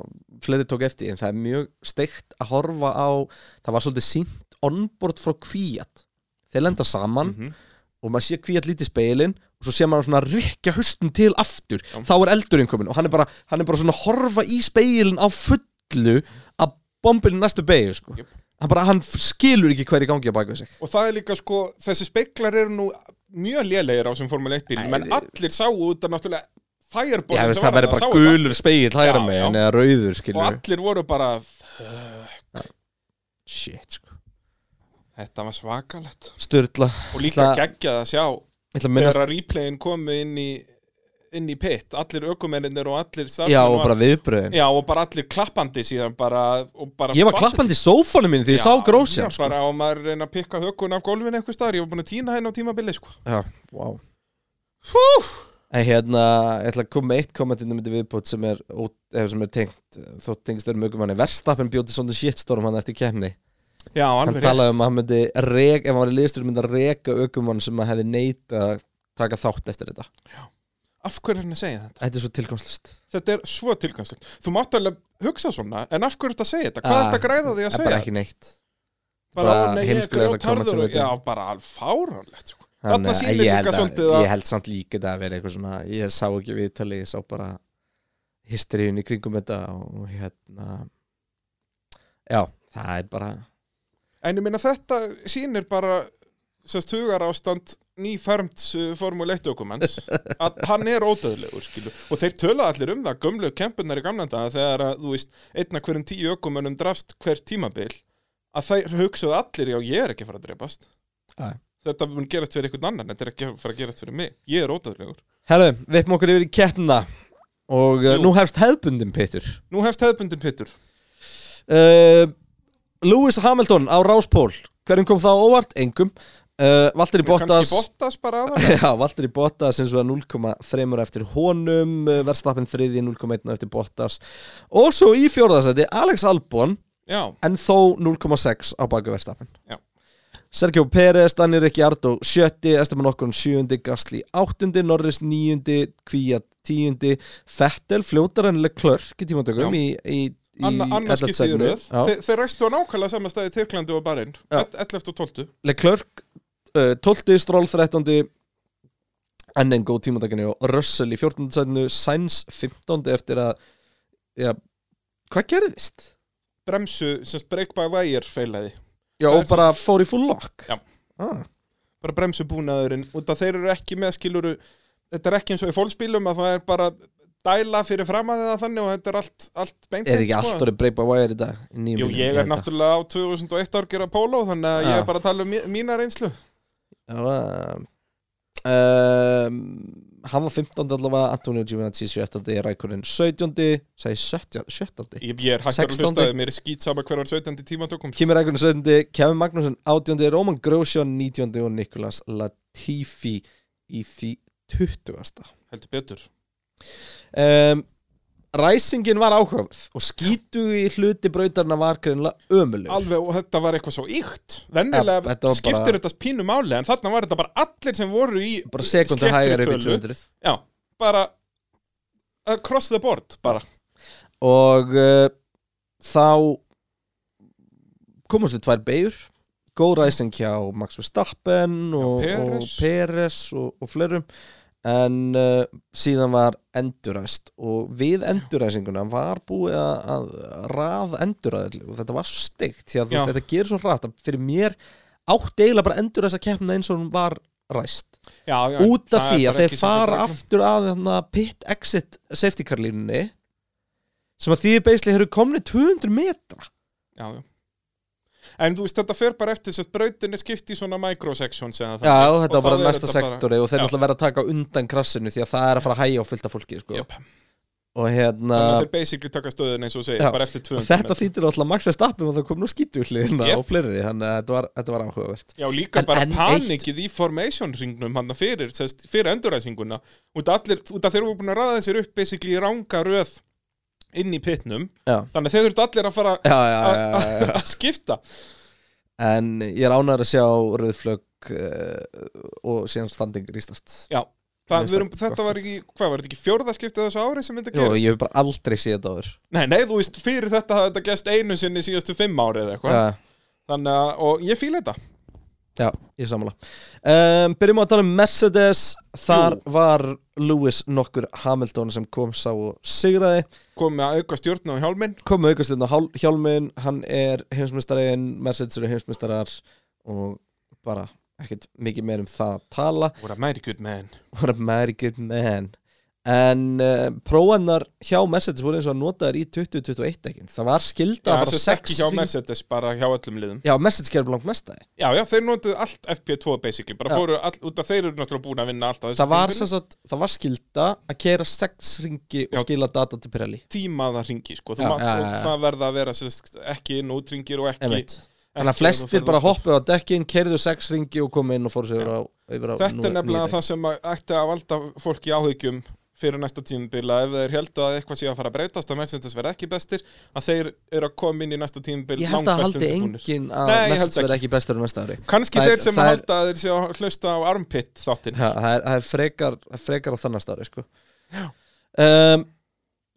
[SPEAKER 1] fleiri tók eftir en það er mjög steikt að horfa á það var svolítið sínt onboard frá kvíat þeir lenda saman
[SPEAKER 2] Mhm.
[SPEAKER 1] og maður sé kvíat lítið speilin og svo sé maður svona rikja hustin til aftur
[SPEAKER 2] Já.
[SPEAKER 1] þá er eldurinn komin og hann er bara, hann er bara svona að horfa í speilin á fullu að bombilin næstu beigju sko.
[SPEAKER 2] Jöp.
[SPEAKER 1] hann, bara, hann skilur ekki hver í gangi að baka sig
[SPEAKER 2] Og það er líka sko, þessi speiklar eru nú mjög lélegir á sem Formule 1 bílum,
[SPEAKER 1] Nei,
[SPEAKER 2] en
[SPEAKER 1] þið-
[SPEAKER 2] allir sáu út að náttúrulega fireball
[SPEAKER 1] Já,
[SPEAKER 2] sem
[SPEAKER 1] veist,
[SPEAKER 2] var
[SPEAKER 1] það verður
[SPEAKER 2] þarna,
[SPEAKER 1] bara
[SPEAKER 2] sáu
[SPEAKER 1] gulur spegill hægra
[SPEAKER 2] Já, já.
[SPEAKER 1] megin eða rauður,
[SPEAKER 2] Og
[SPEAKER 1] skilur við.
[SPEAKER 2] allir voru bara, "Fuck,
[SPEAKER 1] Shit, sko.
[SPEAKER 2] þetta var svakalett.
[SPEAKER 1] Sturla,
[SPEAKER 2] Og
[SPEAKER 1] Það-
[SPEAKER 2] líka geggjað að sjá
[SPEAKER 1] ég ætla að minnast
[SPEAKER 2] þegar að replayin komu inn í, inn í pit, allir ökumennir og allir starfsmenn
[SPEAKER 1] Já, og
[SPEAKER 2] og
[SPEAKER 1] bara viðbröðin
[SPEAKER 2] Já, og bara allir klappandi síðan bara, og bara
[SPEAKER 1] Ég var
[SPEAKER 2] fattaði-
[SPEAKER 1] klappandi í sófónu mínu því ég sá
[SPEAKER 2] Já,
[SPEAKER 1] grósja
[SPEAKER 2] ég
[SPEAKER 1] sko.
[SPEAKER 2] bara og maður reyna að pikka hökun af gólfinu eitthvað staðar, ég var búin að týna henni á tímabili sko.
[SPEAKER 1] Já, wow En hérna, ég ætla að koma með eitt kommentinu myndi viðbútt sem er, út- eh, sem er tengt þótt tengist örum ögum hann er verstappin bjóti svona shitstorm hann eftir kemni
[SPEAKER 2] Já,
[SPEAKER 1] hann
[SPEAKER 2] alveg rétt
[SPEAKER 1] talaði um að hann myndi rek, ef hann var í liðstur myndi að reka aukumann sem að hefði neita að taka þátt eftir þetta
[SPEAKER 2] Af hverju er hann að segja þetta?
[SPEAKER 1] Þetta er svo tilkomstlust
[SPEAKER 2] Þetta er svo tilgangslega Þú mátt alveg hugsa svona En af hverju er þetta að segja þetta? Hvað
[SPEAKER 1] Ah,
[SPEAKER 2] er þetta að græða því að
[SPEAKER 1] Það er
[SPEAKER 2] segja?
[SPEAKER 1] bara ekki neitt
[SPEAKER 2] bara,
[SPEAKER 1] bara
[SPEAKER 2] ó, nei, ég er
[SPEAKER 1] heimskulegasta comment sem
[SPEAKER 2] grjótarður
[SPEAKER 1] við
[SPEAKER 2] og- Já, bara alveg fáránlegt sko. Þarna
[SPEAKER 1] að-
[SPEAKER 2] sýnir
[SPEAKER 1] ég, held
[SPEAKER 2] líka
[SPEAKER 1] að,
[SPEAKER 2] svolítið að-
[SPEAKER 1] ég held samt líka þetta að vera eitthvað svona Ég sá ekki viðtali, ég sá bara Histeríun í kringum þetta Og hérna Já, það er bara
[SPEAKER 2] En ég meina þetta sýnir bara sérst hugar ástand nýfermts formule 1 dokuments
[SPEAKER 1] <laughs>
[SPEAKER 2] að hann er ódöðlegur skilu og þeir töla allir um það, gömlu kempunar í gamlanda þegar að, þú veist, einna hverjum tíu ökumönnum drafst hver tímabil að þeir hugsaðu allir, já, ég er ekki að fara að drefast
[SPEAKER 1] Nei.
[SPEAKER 2] Þetta mun gerast fyrir einhvern annan, þetta er ekki að fara að gerast fyrir mig Ég er ódöðlegur
[SPEAKER 1] Herru, vippum okkur yfir í keppna Og uh,
[SPEAKER 2] Jú.
[SPEAKER 1] nú hefst hefbundin Petur
[SPEAKER 2] Nú hefst hefðbundin pittur
[SPEAKER 1] uh, Lewis Hamilton á Ráspól Hverjum kom það á óvart? Engum uh, Valtteri Bottas
[SPEAKER 2] Kannski Bottas bara aðalega
[SPEAKER 1] Já, Valtteri Bottas eins og 0,3 eftir honum uh, Verstappen þriði 0,1 eftir Bottas Og svo í fjórðasæti Alex Albon
[SPEAKER 2] <laughs> Já,
[SPEAKER 1] En þó 0,6 á baka Verstappen
[SPEAKER 2] Já.
[SPEAKER 1] Sergio Pérez, Daniel Ricciardo sjötti, Esteban Okkon sjöundi, Gasly áttundi, Norris níundi, Kvíat tíundi, Fettel fljótar ennileg klörk í tímantökum í, í, í
[SPEAKER 2] Anna,
[SPEAKER 1] 11.
[SPEAKER 2] annars skiptið í
[SPEAKER 1] sætinu.
[SPEAKER 2] röð
[SPEAKER 1] Já.
[SPEAKER 2] Þe, Þeir ræstu á nákvæmlega sama staði Tyrklandi og Barinn
[SPEAKER 1] Já.
[SPEAKER 2] 11 og 12
[SPEAKER 1] Leclerc uh, 12. Stroll 13. enn einn góð tímatakinu og Russell í 14. sætinu Sainz 15. eftir að já, hvað gerðist?
[SPEAKER 2] Bremsu, sem sagt, break by wire feilaði
[SPEAKER 1] Já,
[SPEAKER 2] Það er
[SPEAKER 1] og bara fór í full lock
[SPEAKER 2] Já.
[SPEAKER 1] ah,
[SPEAKER 2] bara bremsubúnaðurinn út að þeir eru ekki með skiluru þetta er ekki eins og í fólksbílum að það er bara dæla fyrir fram að það þannig og þetta er allt, allt beint
[SPEAKER 1] Er
[SPEAKER 2] út,
[SPEAKER 1] ekki
[SPEAKER 2] sko.
[SPEAKER 1] allt orðið break by wire í dag? í nýjum
[SPEAKER 2] Jú,
[SPEAKER 1] bílum?
[SPEAKER 2] ég
[SPEAKER 1] held
[SPEAKER 2] er
[SPEAKER 1] að.
[SPEAKER 2] náttúrulega á 2001 árgjur að póló þannig að ég
[SPEAKER 1] Já.
[SPEAKER 2] er bara að tala um mí- mína reynslu
[SPEAKER 1] Já, um, um, Hann var 15. allavega Antonio Giovinazzi 17. Rækunin 17. Sæði 17. 17.
[SPEAKER 2] Ég, ég er hættur að
[SPEAKER 1] 16.
[SPEAKER 2] hlusta að mér er skýt sama hver var 17. tíma tökum
[SPEAKER 1] Kimi Rækunin 17. Kevin Magnússon 18. Róman Grósjón 19. og Nikolas Latifi í því 20.
[SPEAKER 2] heldur betur
[SPEAKER 1] Um, ræsingin var áhugaverð og skýtu í hluti brautarna var greinlega ömulegur
[SPEAKER 2] Alveg, og þetta var eitthvað svo ykt
[SPEAKER 1] Ja,
[SPEAKER 2] Vennilega
[SPEAKER 1] þetta var
[SPEAKER 2] skiptir
[SPEAKER 1] bara-
[SPEAKER 2] þetta pínu máli En þarna var þetta bara allir sem voru í
[SPEAKER 1] bara sekundu
[SPEAKER 2] sléttri
[SPEAKER 1] hægar yfir
[SPEAKER 2] tölu.
[SPEAKER 1] 200
[SPEAKER 2] Já, bara Across the board, bara
[SPEAKER 1] og uh, þá komast við tvær beigur góð ræsing hjá Max Verstappen og
[SPEAKER 2] Já, Perez.
[SPEAKER 1] og, Peres og, og flerum en uh, síðan var enduræst og við enduræsinguna var búið að, að raða enduræðli og þetta var svo steikt því að þú
[SPEAKER 2] Já.
[SPEAKER 1] veist, þetta gerir svo rætt að fyrir mér átt eiginlega bara enduræsa keppna eins og hún var ræst
[SPEAKER 2] já, já,
[SPEAKER 1] út af
[SPEAKER 2] það
[SPEAKER 1] því
[SPEAKER 2] er
[SPEAKER 1] að
[SPEAKER 2] bara
[SPEAKER 1] þeir
[SPEAKER 2] ekki samkvæmt
[SPEAKER 1] fara
[SPEAKER 2] reglum.
[SPEAKER 1] aftur að þarna pit exit safety car línunni sem að því beisli þeir eru komni 200 metra
[SPEAKER 2] Já, já En þú veist, þetta fer bara eftir þess að brautin er skipt í svona microsections eða
[SPEAKER 1] já
[SPEAKER 2] þannig.
[SPEAKER 1] og þetta var
[SPEAKER 2] Og
[SPEAKER 1] bara
[SPEAKER 2] þá er
[SPEAKER 1] næsta
[SPEAKER 2] þetta bara-
[SPEAKER 1] sektori og þeir
[SPEAKER 2] Já.
[SPEAKER 1] náttúrulega verða að taka undan krassinu því að það er að fara að hægja á fullta fólki sko.
[SPEAKER 2] Jöp.
[SPEAKER 1] og hérna
[SPEAKER 2] Þannig að þeir basically taka stöðun eins og segir,
[SPEAKER 1] Já,
[SPEAKER 2] bara eftir 200
[SPEAKER 1] og þetta
[SPEAKER 2] metra.
[SPEAKER 1] þýttir alltaf Max Verstappen og það kom nú skýtu hliðina
[SPEAKER 2] Yep.
[SPEAKER 1] og fleiri þannig að þetta var, þetta var áhugavert
[SPEAKER 2] Já, líka
[SPEAKER 1] En-
[SPEAKER 2] bara
[SPEAKER 1] en
[SPEAKER 2] panikið í formation ringnum hann fyrir, sest, fyrir enduræsinguna út af allir, út af þeir eru búin að raða þessir upp basically í ranga röð inn í pitnum,
[SPEAKER 1] já,
[SPEAKER 2] þannig að þeir þurft allir að fara
[SPEAKER 1] já, já,
[SPEAKER 2] að-
[SPEAKER 1] já, já, já. <laughs>
[SPEAKER 2] að að skipta
[SPEAKER 1] en ég er ánæður að sjá rauðflögg uh, og síðan standing restart
[SPEAKER 2] Já, það,
[SPEAKER 1] Mér
[SPEAKER 2] við erum,
[SPEAKER 1] finnst það
[SPEAKER 2] þetta var ekki, hvað var þetta ekki fjórðarskiptið þessu ári sem þetta
[SPEAKER 1] Jó,
[SPEAKER 2] gerist?
[SPEAKER 1] ég hef bara aldrei séð þetta áður
[SPEAKER 2] Nei, nei, þú veist, fyrir þetta hafði þetta gerst einu sinni síðastu fimm ári eða eitthvað
[SPEAKER 1] Já.
[SPEAKER 2] Þannig að, og ég fíla þetta
[SPEAKER 1] Já, ég sammála um, Byrjum á að tala um Mercedes Þar var Lewis nokkur Hamilton sem kom sá og sigraði
[SPEAKER 2] komið að auka stjórn á hjálminn
[SPEAKER 1] kom með aukastund á hál- hjálminn hann er heimsmyndstariðin, Mercedes eru heimsmyndarar og bara ekkert mikið meir um það að tala <laughs>
[SPEAKER 2] What a mighty good man
[SPEAKER 1] What a very good man En uh, prófannar hjá Mercedes voru eins og notaðar í 2021 ekki. Það var skilda
[SPEAKER 2] Já,
[SPEAKER 1] að
[SPEAKER 2] það
[SPEAKER 1] fara
[SPEAKER 2] sést ekki
[SPEAKER 1] sex
[SPEAKER 2] hjá
[SPEAKER 1] hring-
[SPEAKER 2] Mercedes, bara hjá öllum liðum
[SPEAKER 1] Já, Mercedes gerði langt mestaði
[SPEAKER 2] Já, já, þeir notuðu allt FP2 basically bara
[SPEAKER 1] Já.
[SPEAKER 2] fóru all, út að þeir eru náttúrulega búin að vinna allt á þessu
[SPEAKER 1] það var,
[SPEAKER 2] tímabili.
[SPEAKER 1] sem sagt, það var skilda að keira sex ringi og
[SPEAKER 2] Já.
[SPEAKER 1] skila data til Pirelli
[SPEAKER 2] tímaða ringi, sko
[SPEAKER 1] Já,
[SPEAKER 2] já, maður,
[SPEAKER 1] já, já,
[SPEAKER 2] og
[SPEAKER 1] já.
[SPEAKER 2] það verða að vera sérst, ekki inn og útringir og ekki,
[SPEAKER 1] Einmitt. Þannig að
[SPEAKER 2] ekki þú
[SPEAKER 1] flestir
[SPEAKER 2] ferð
[SPEAKER 1] bara
[SPEAKER 2] út af-
[SPEAKER 1] hoppuðu á dekkin, keirðu sex ringi og komu inn og fóru sér
[SPEAKER 2] Já.
[SPEAKER 1] á, yfir á
[SPEAKER 2] Þetta er nefnilega það sem að ætti að valda fólki áhugjum fyrir næsta tímubila ef þeir held að eitthvað sé að fara að breytast að Mercedes verði ekki bestir að þeir eru að koma inn í næsta tímubil
[SPEAKER 1] Ég held að haldi engin að
[SPEAKER 2] Nei, ég held
[SPEAKER 1] mest
[SPEAKER 2] ekki.
[SPEAKER 1] verði ekki bestur á næsta ári
[SPEAKER 2] kannski
[SPEAKER 1] Það er-
[SPEAKER 2] þeir sem
[SPEAKER 1] það er-
[SPEAKER 2] halda að þeir sé að hlusta á armpit þáttinn
[SPEAKER 1] Ha, Það er, það er frekar, frekar á þannig staðri sko. um,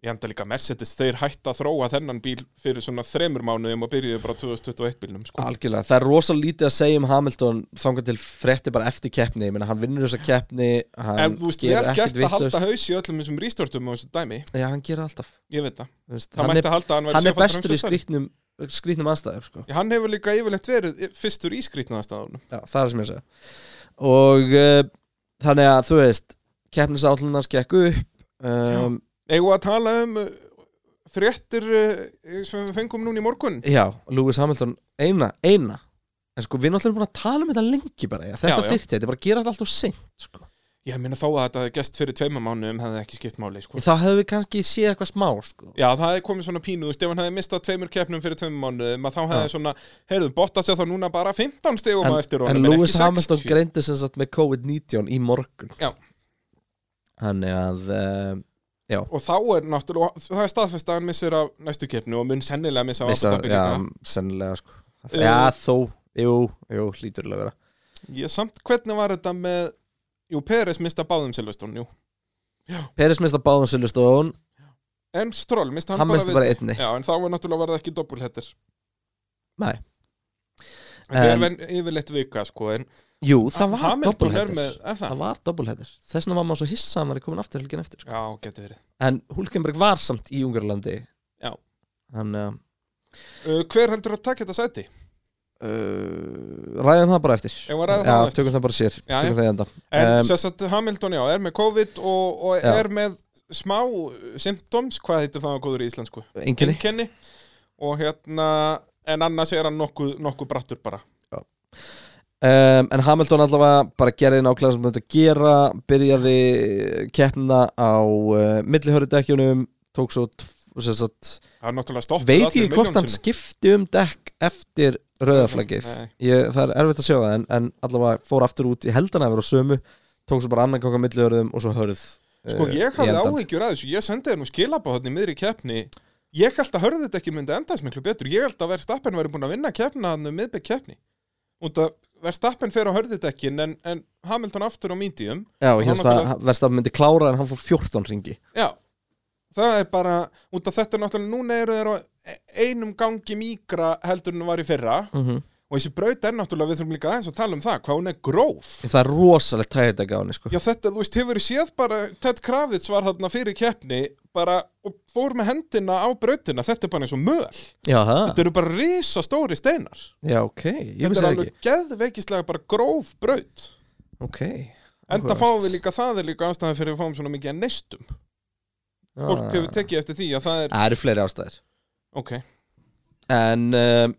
[SPEAKER 2] ég held að líka Mercedes þeir hætta að þróa þennan bíl fyrir svona þremur mánuðum og byrjuðu bara á 2021 bílnum sko.
[SPEAKER 1] Algjörlega, það er rosa lítið að segja um Hamilton þangað til frétti bara eftir keppni Ég meina, hann vinnur þessa keppni
[SPEAKER 2] en
[SPEAKER 1] hann
[SPEAKER 2] þú veist,
[SPEAKER 1] gerir
[SPEAKER 2] vel
[SPEAKER 1] ekkert
[SPEAKER 2] gert að
[SPEAKER 1] vitlaust.
[SPEAKER 2] halda haus í öllum þessum rístortum og þessu dæmi,
[SPEAKER 1] Já, hann gerir alltaf
[SPEAKER 2] ég veit það
[SPEAKER 1] Þú veist,
[SPEAKER 2] það
[SPEAKER 1] hann,
[SPEAKER 2] mætti
[SPEAKER 1] er,
[SPEAKER 2] að halda að hann væri
[SPEAKER 1] hann er
[SPEAKER 2] sjöfaldur
[SPEAKER 1] bestur í
[SPEAKER 2] heimsmeistari.
[SPEAKER 1] skrýtnum skrýtnum aðstæðum sko.
[SPEAKER 2] Já, hann hefur líka yfirleitt verið fyrstur í skrýtnaðastæðunum
[SPEAKER 1] Já, það er sem ég að segja Og uh, þannig að þú veist keppnisállunars gekk upp um,
[SPEAKER 2] eigum við að tala um uh, fréttir uh, sem við fengum núna í morgun
[SPEAKER 1] Já, Lewis Hamilton eina, eina En sko, við náttúrulega erum búin að tala um þetta lengi bara já. Þetta
[SPEAKER 2] Já, já.
[SPEAKER 1] þyrfti, þetta er bara að gera alltaf seint sko.
[SPEAKER 2] ég meina þó að þetta hefði gest fyrir tveima mánuðum hefði ekki skipt máli sko.
[SPEAKER 1] Þá hefðum við kannski séð eitthvað smá sko.
[SPEAKER 2] Já, það hefði komið svona pínu, þú veist, ef hann hefði mistað tveimur keppnum fyrir tveimur mánuðum, að þá hefði svona, heyrðu, Bottas er þá núna bara 15 stegum
[SPEAKER 1] En,
[SPEAKER 2] á eftir
[SPEAKER 1] en
[SPEAKER 2] honum,
[SPEAKER 1] Lewis
[SPEAKER 2] ekki
[SPEAKER 1] Hamilton
[SPEAKER 2] 60.
[SPEAKER 1] greindi sem sagt með COVID-19 í morgun
[SPEAKER 2] Já.
[SPEAKER 1] Þannig að uh,
[SPEAKER 2] Og þá er náttúrulega, það er staðfest að hann missir af næstu keppnu og mun sennilega missa af
[SPEAKER 1] missa,
[SPEAKER 2] Abu Dhabi
[SPEAKER 1] já,
[SPEAKER 2] líka.
[SPEAKER 1] sennilega sko.
[SPEAKER 2] Uh,
[SPEAKER 1] Já, þó, jú, jú, hlýturlega vera
[SPEAKER 2] Ég samt, hvernig var þetta með, jú, Peres mista báðum Silveston, jú.
[SPEAKER 1] Peres mista báðum Silveston
[SPEAKER 2] En Stroll, mista
[SPEAKER 1] Hann,
[SPEAKER 2] hann,
[SPEAKER 1] hann mista
[SPEAKER 2] bara við...
[SPEAKER 1] bara einni
[SPEAKER 2] Já, en þá var náttúrulega var það ekki doppulhettir.
[SPEAKER 1] Nei.
[SPEAKER 2] Þetta
[SPEAKER 1] En-
[SPEAKER 2] er ven, yfirleitt vika, sko, en
[SPEAKER 1] Jú, það var
[SPEAKER 2] Hamilton er með,
[SPEAKER 1] doppulhættir
[SPEAKER 2] er það?
[SPEAKER 1] Það var doppulhættir Þess vegna var maður svo hissa að hann var komin aftur helgin eftir sko.
[SPEAKER 2] Já, geti verið.
[SPEAKER 1] En Hulkenberg var samt í Ungarlandi
[SPEAKER 2] Já.
[SPEAKER 1] Hann, uh,
[SPEAKER 2] Uh, hver heldur að taka þetta sæti?
[SPEAKER 1] uh, ræðum það bara eftir
[SPEAKER 2] Ef við ræðum
[SPEAKER 1] Já,
[SPEAKER 2] það á eftir.
[SPEAKER 1] tökum það bara sér
[SPEAKER 2] Já,
[SPEAKER 1] Tökum það í enda
[SPEAKER 2] En
[SPEAKER 1] Um,
[SPEAKER 2] um, sess að Hamilton, já, er með COVID og, og
[SPEAKER 1] Já.
[SPEAKER 2] er með smá uh, symptoms, hvað heitir það á góður í íslensku?
[SPEAKER 1] Enginni
[SPEAKER 2] Einkenni. Og hérna, en annars er hann nokkuð, nokkuð brattur bara.
[SPEAKER 1] Um, en Hamilton allavega bara gerði nákvæmlega sem hann myndi að gera byrjaði keppna á uh, millihörðudekkjunum tók svo tv- sem sagt,
[SPEAKER 2] Það er náttúrulega stoppið
[SPEAKER 1] veit
[SPEAKER 2] allir
[SPEAKER 1] ekki hvort hann
[SPEAKER 2] milljón sinnum.
[SPEAKER 1] skipti um dekk eftir rauðaflagið
[SPEAKER 2] Nei.
[SPEAKER 1] ég, það er erfitt að sjá það en, en allavega fór aftur út í heldana að vera á sömu tók svo bara annan kóka millihörðum og svo hörð
[SPEAKER 2] Sko,
[SPEAKER 1] eh,
[SPEAKER 2] ég
[SPEAKER 1] í
[SPEAKER 2] hafði
[SPEAKER 1] endan.
[SPEAKER 2] áhyggjur að þessu, ég sendi þér nú skilabá hann í miðri keppni. Ég held að hörðu þetta ekki myndi endast miklu betur. Ég held að Verstappen væri búin að vinna keppna hann um miðbygg keppni. Út að Verstappen fer á hörðutekkin en, en Hamilton aftur á mídíum.
[SPEAKER 1] Já, og
[SPEAKER 2] hann
[SPEAKER 1] hérna
[SPEAKER 2] náttúrulega-
[SPEAKER 1] það verðst að myndi klára en hann fór 14 ringi
[SPEAKER 2] Já, það er bara út af þetta er náttúrulega, núna eru þeir á einum gangi mýgra heldur en var í fyrra og þessi braut er náttúrulega, við þurfum líka aðeins að tala um það hvað hún er gróf
[SPEAKER 1] það er rosalegt tægið að gáni sko.
[SPEAKER 2] Já, þetta, þú veist, hefur séð bara Ted Kravitz var þarna fyrir keppni bara, og fór með hendina á brautina þetta er bara eins og möl
[SPEAKER 1] Já, það,
[SPEAKER 2] þetta eru bara risastóri steinar
[SPEAKER 1] já, ok, ég vissi
[SPEAKER 2] þetta er
[SPEAKER 1] það
[SPEAKER 2] alveg
[SPEAKER 1] ekki
[SPEAKER 2] geðveikislega bara gróf braut
[SPEAKER 1] Ok,
[SPEAKER 2] enda
[SPEAKER 1] Áhugavert.
[SPEAKER 2] fáum við líka, það er líka ástæðan fyrir að fáum svona mikið að neistum fólk
[SPEAKER 1] Ah.
[SPEAKER 2] hefur tekið eftir því að það er,
[SPEAKER 1] Það eru fleiri ástæðir
[SPEAKER 2] ok,
[SPEAKER 1] En um,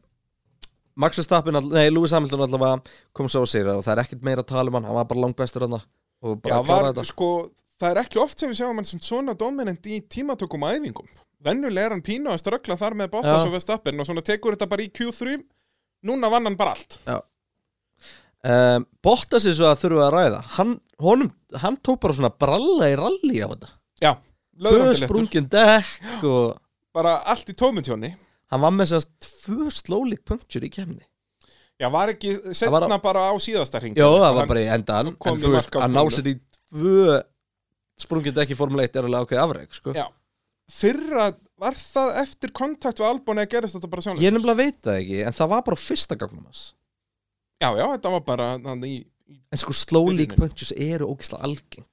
[SPEAKER 1] Max Verstappen, all- nei, Lewis Hamilton allavega kom svo að sigra og það er ekkert meira að tala um hann hann var bara langbestur hann og bara
[SPEAKER 2] Já,
[SPEAKER 1] að
[SPEAKER 2] var,
[SPEAKER 1] klára þetta
[SPEAKER 2] sko, það er ekki oft sem við sjáum hann sem svona dominant í tímatökum og æfingum. Vennulega er hann pínu að ströggla þar með Bottas
[SPEAKER 1] Já.
[SPEAKER 2] og Vestappen og svona tekur þetta bara í Q3 Núna vann hann bara allt
[SPEAKER 1] um, Bottas er svo að þurfa að ræða hann, honum, hann tók bara svona bralla í rally á þetta tvö
[SPEAKER 2] Löðrandilegtur,
[SPEAKER 1] sprungin dekk og
[SPEAKER 2] bara allt í tómutjóni
[SPEAKER 1] hann var með sérst tvö slólík punktur í kemni
[SPEAKER 2] Já, var ekki
[SPEAKER 1] var
[SPEAKER 2] setna
[SPEAKER 1] á-
[SPEAKER 2] bara á síðasta hring
[SPEAKER 1] Jó, það var bara í endan
[SPEAKER 2] kom
[SPEAKER 1] en
[SPEAKER 2] í
[SPEAKER 1] þú veist, að ná
[SPEAKER 2] markafspólu.
[SPEAKER 1] sér í tvö sprungin dekk í Formule 1 er alveg ákveð afreg sko.
[SPEAKER 2] Já. Fyrra, var það eftir kontakt við Albon eða gerist þetta bara sjálf
[SPEAKER 1] ég nefnilega veit það ekki, en það var bara á fyrsta gangnum hans
[SPEAKER 2] Já, já, þetta var bara hann í
[SPEAKER 1] En sko slow leak
[SPEAKER 2] Byrjunin.
[SPEAKER 1] punches eru ógislega algeng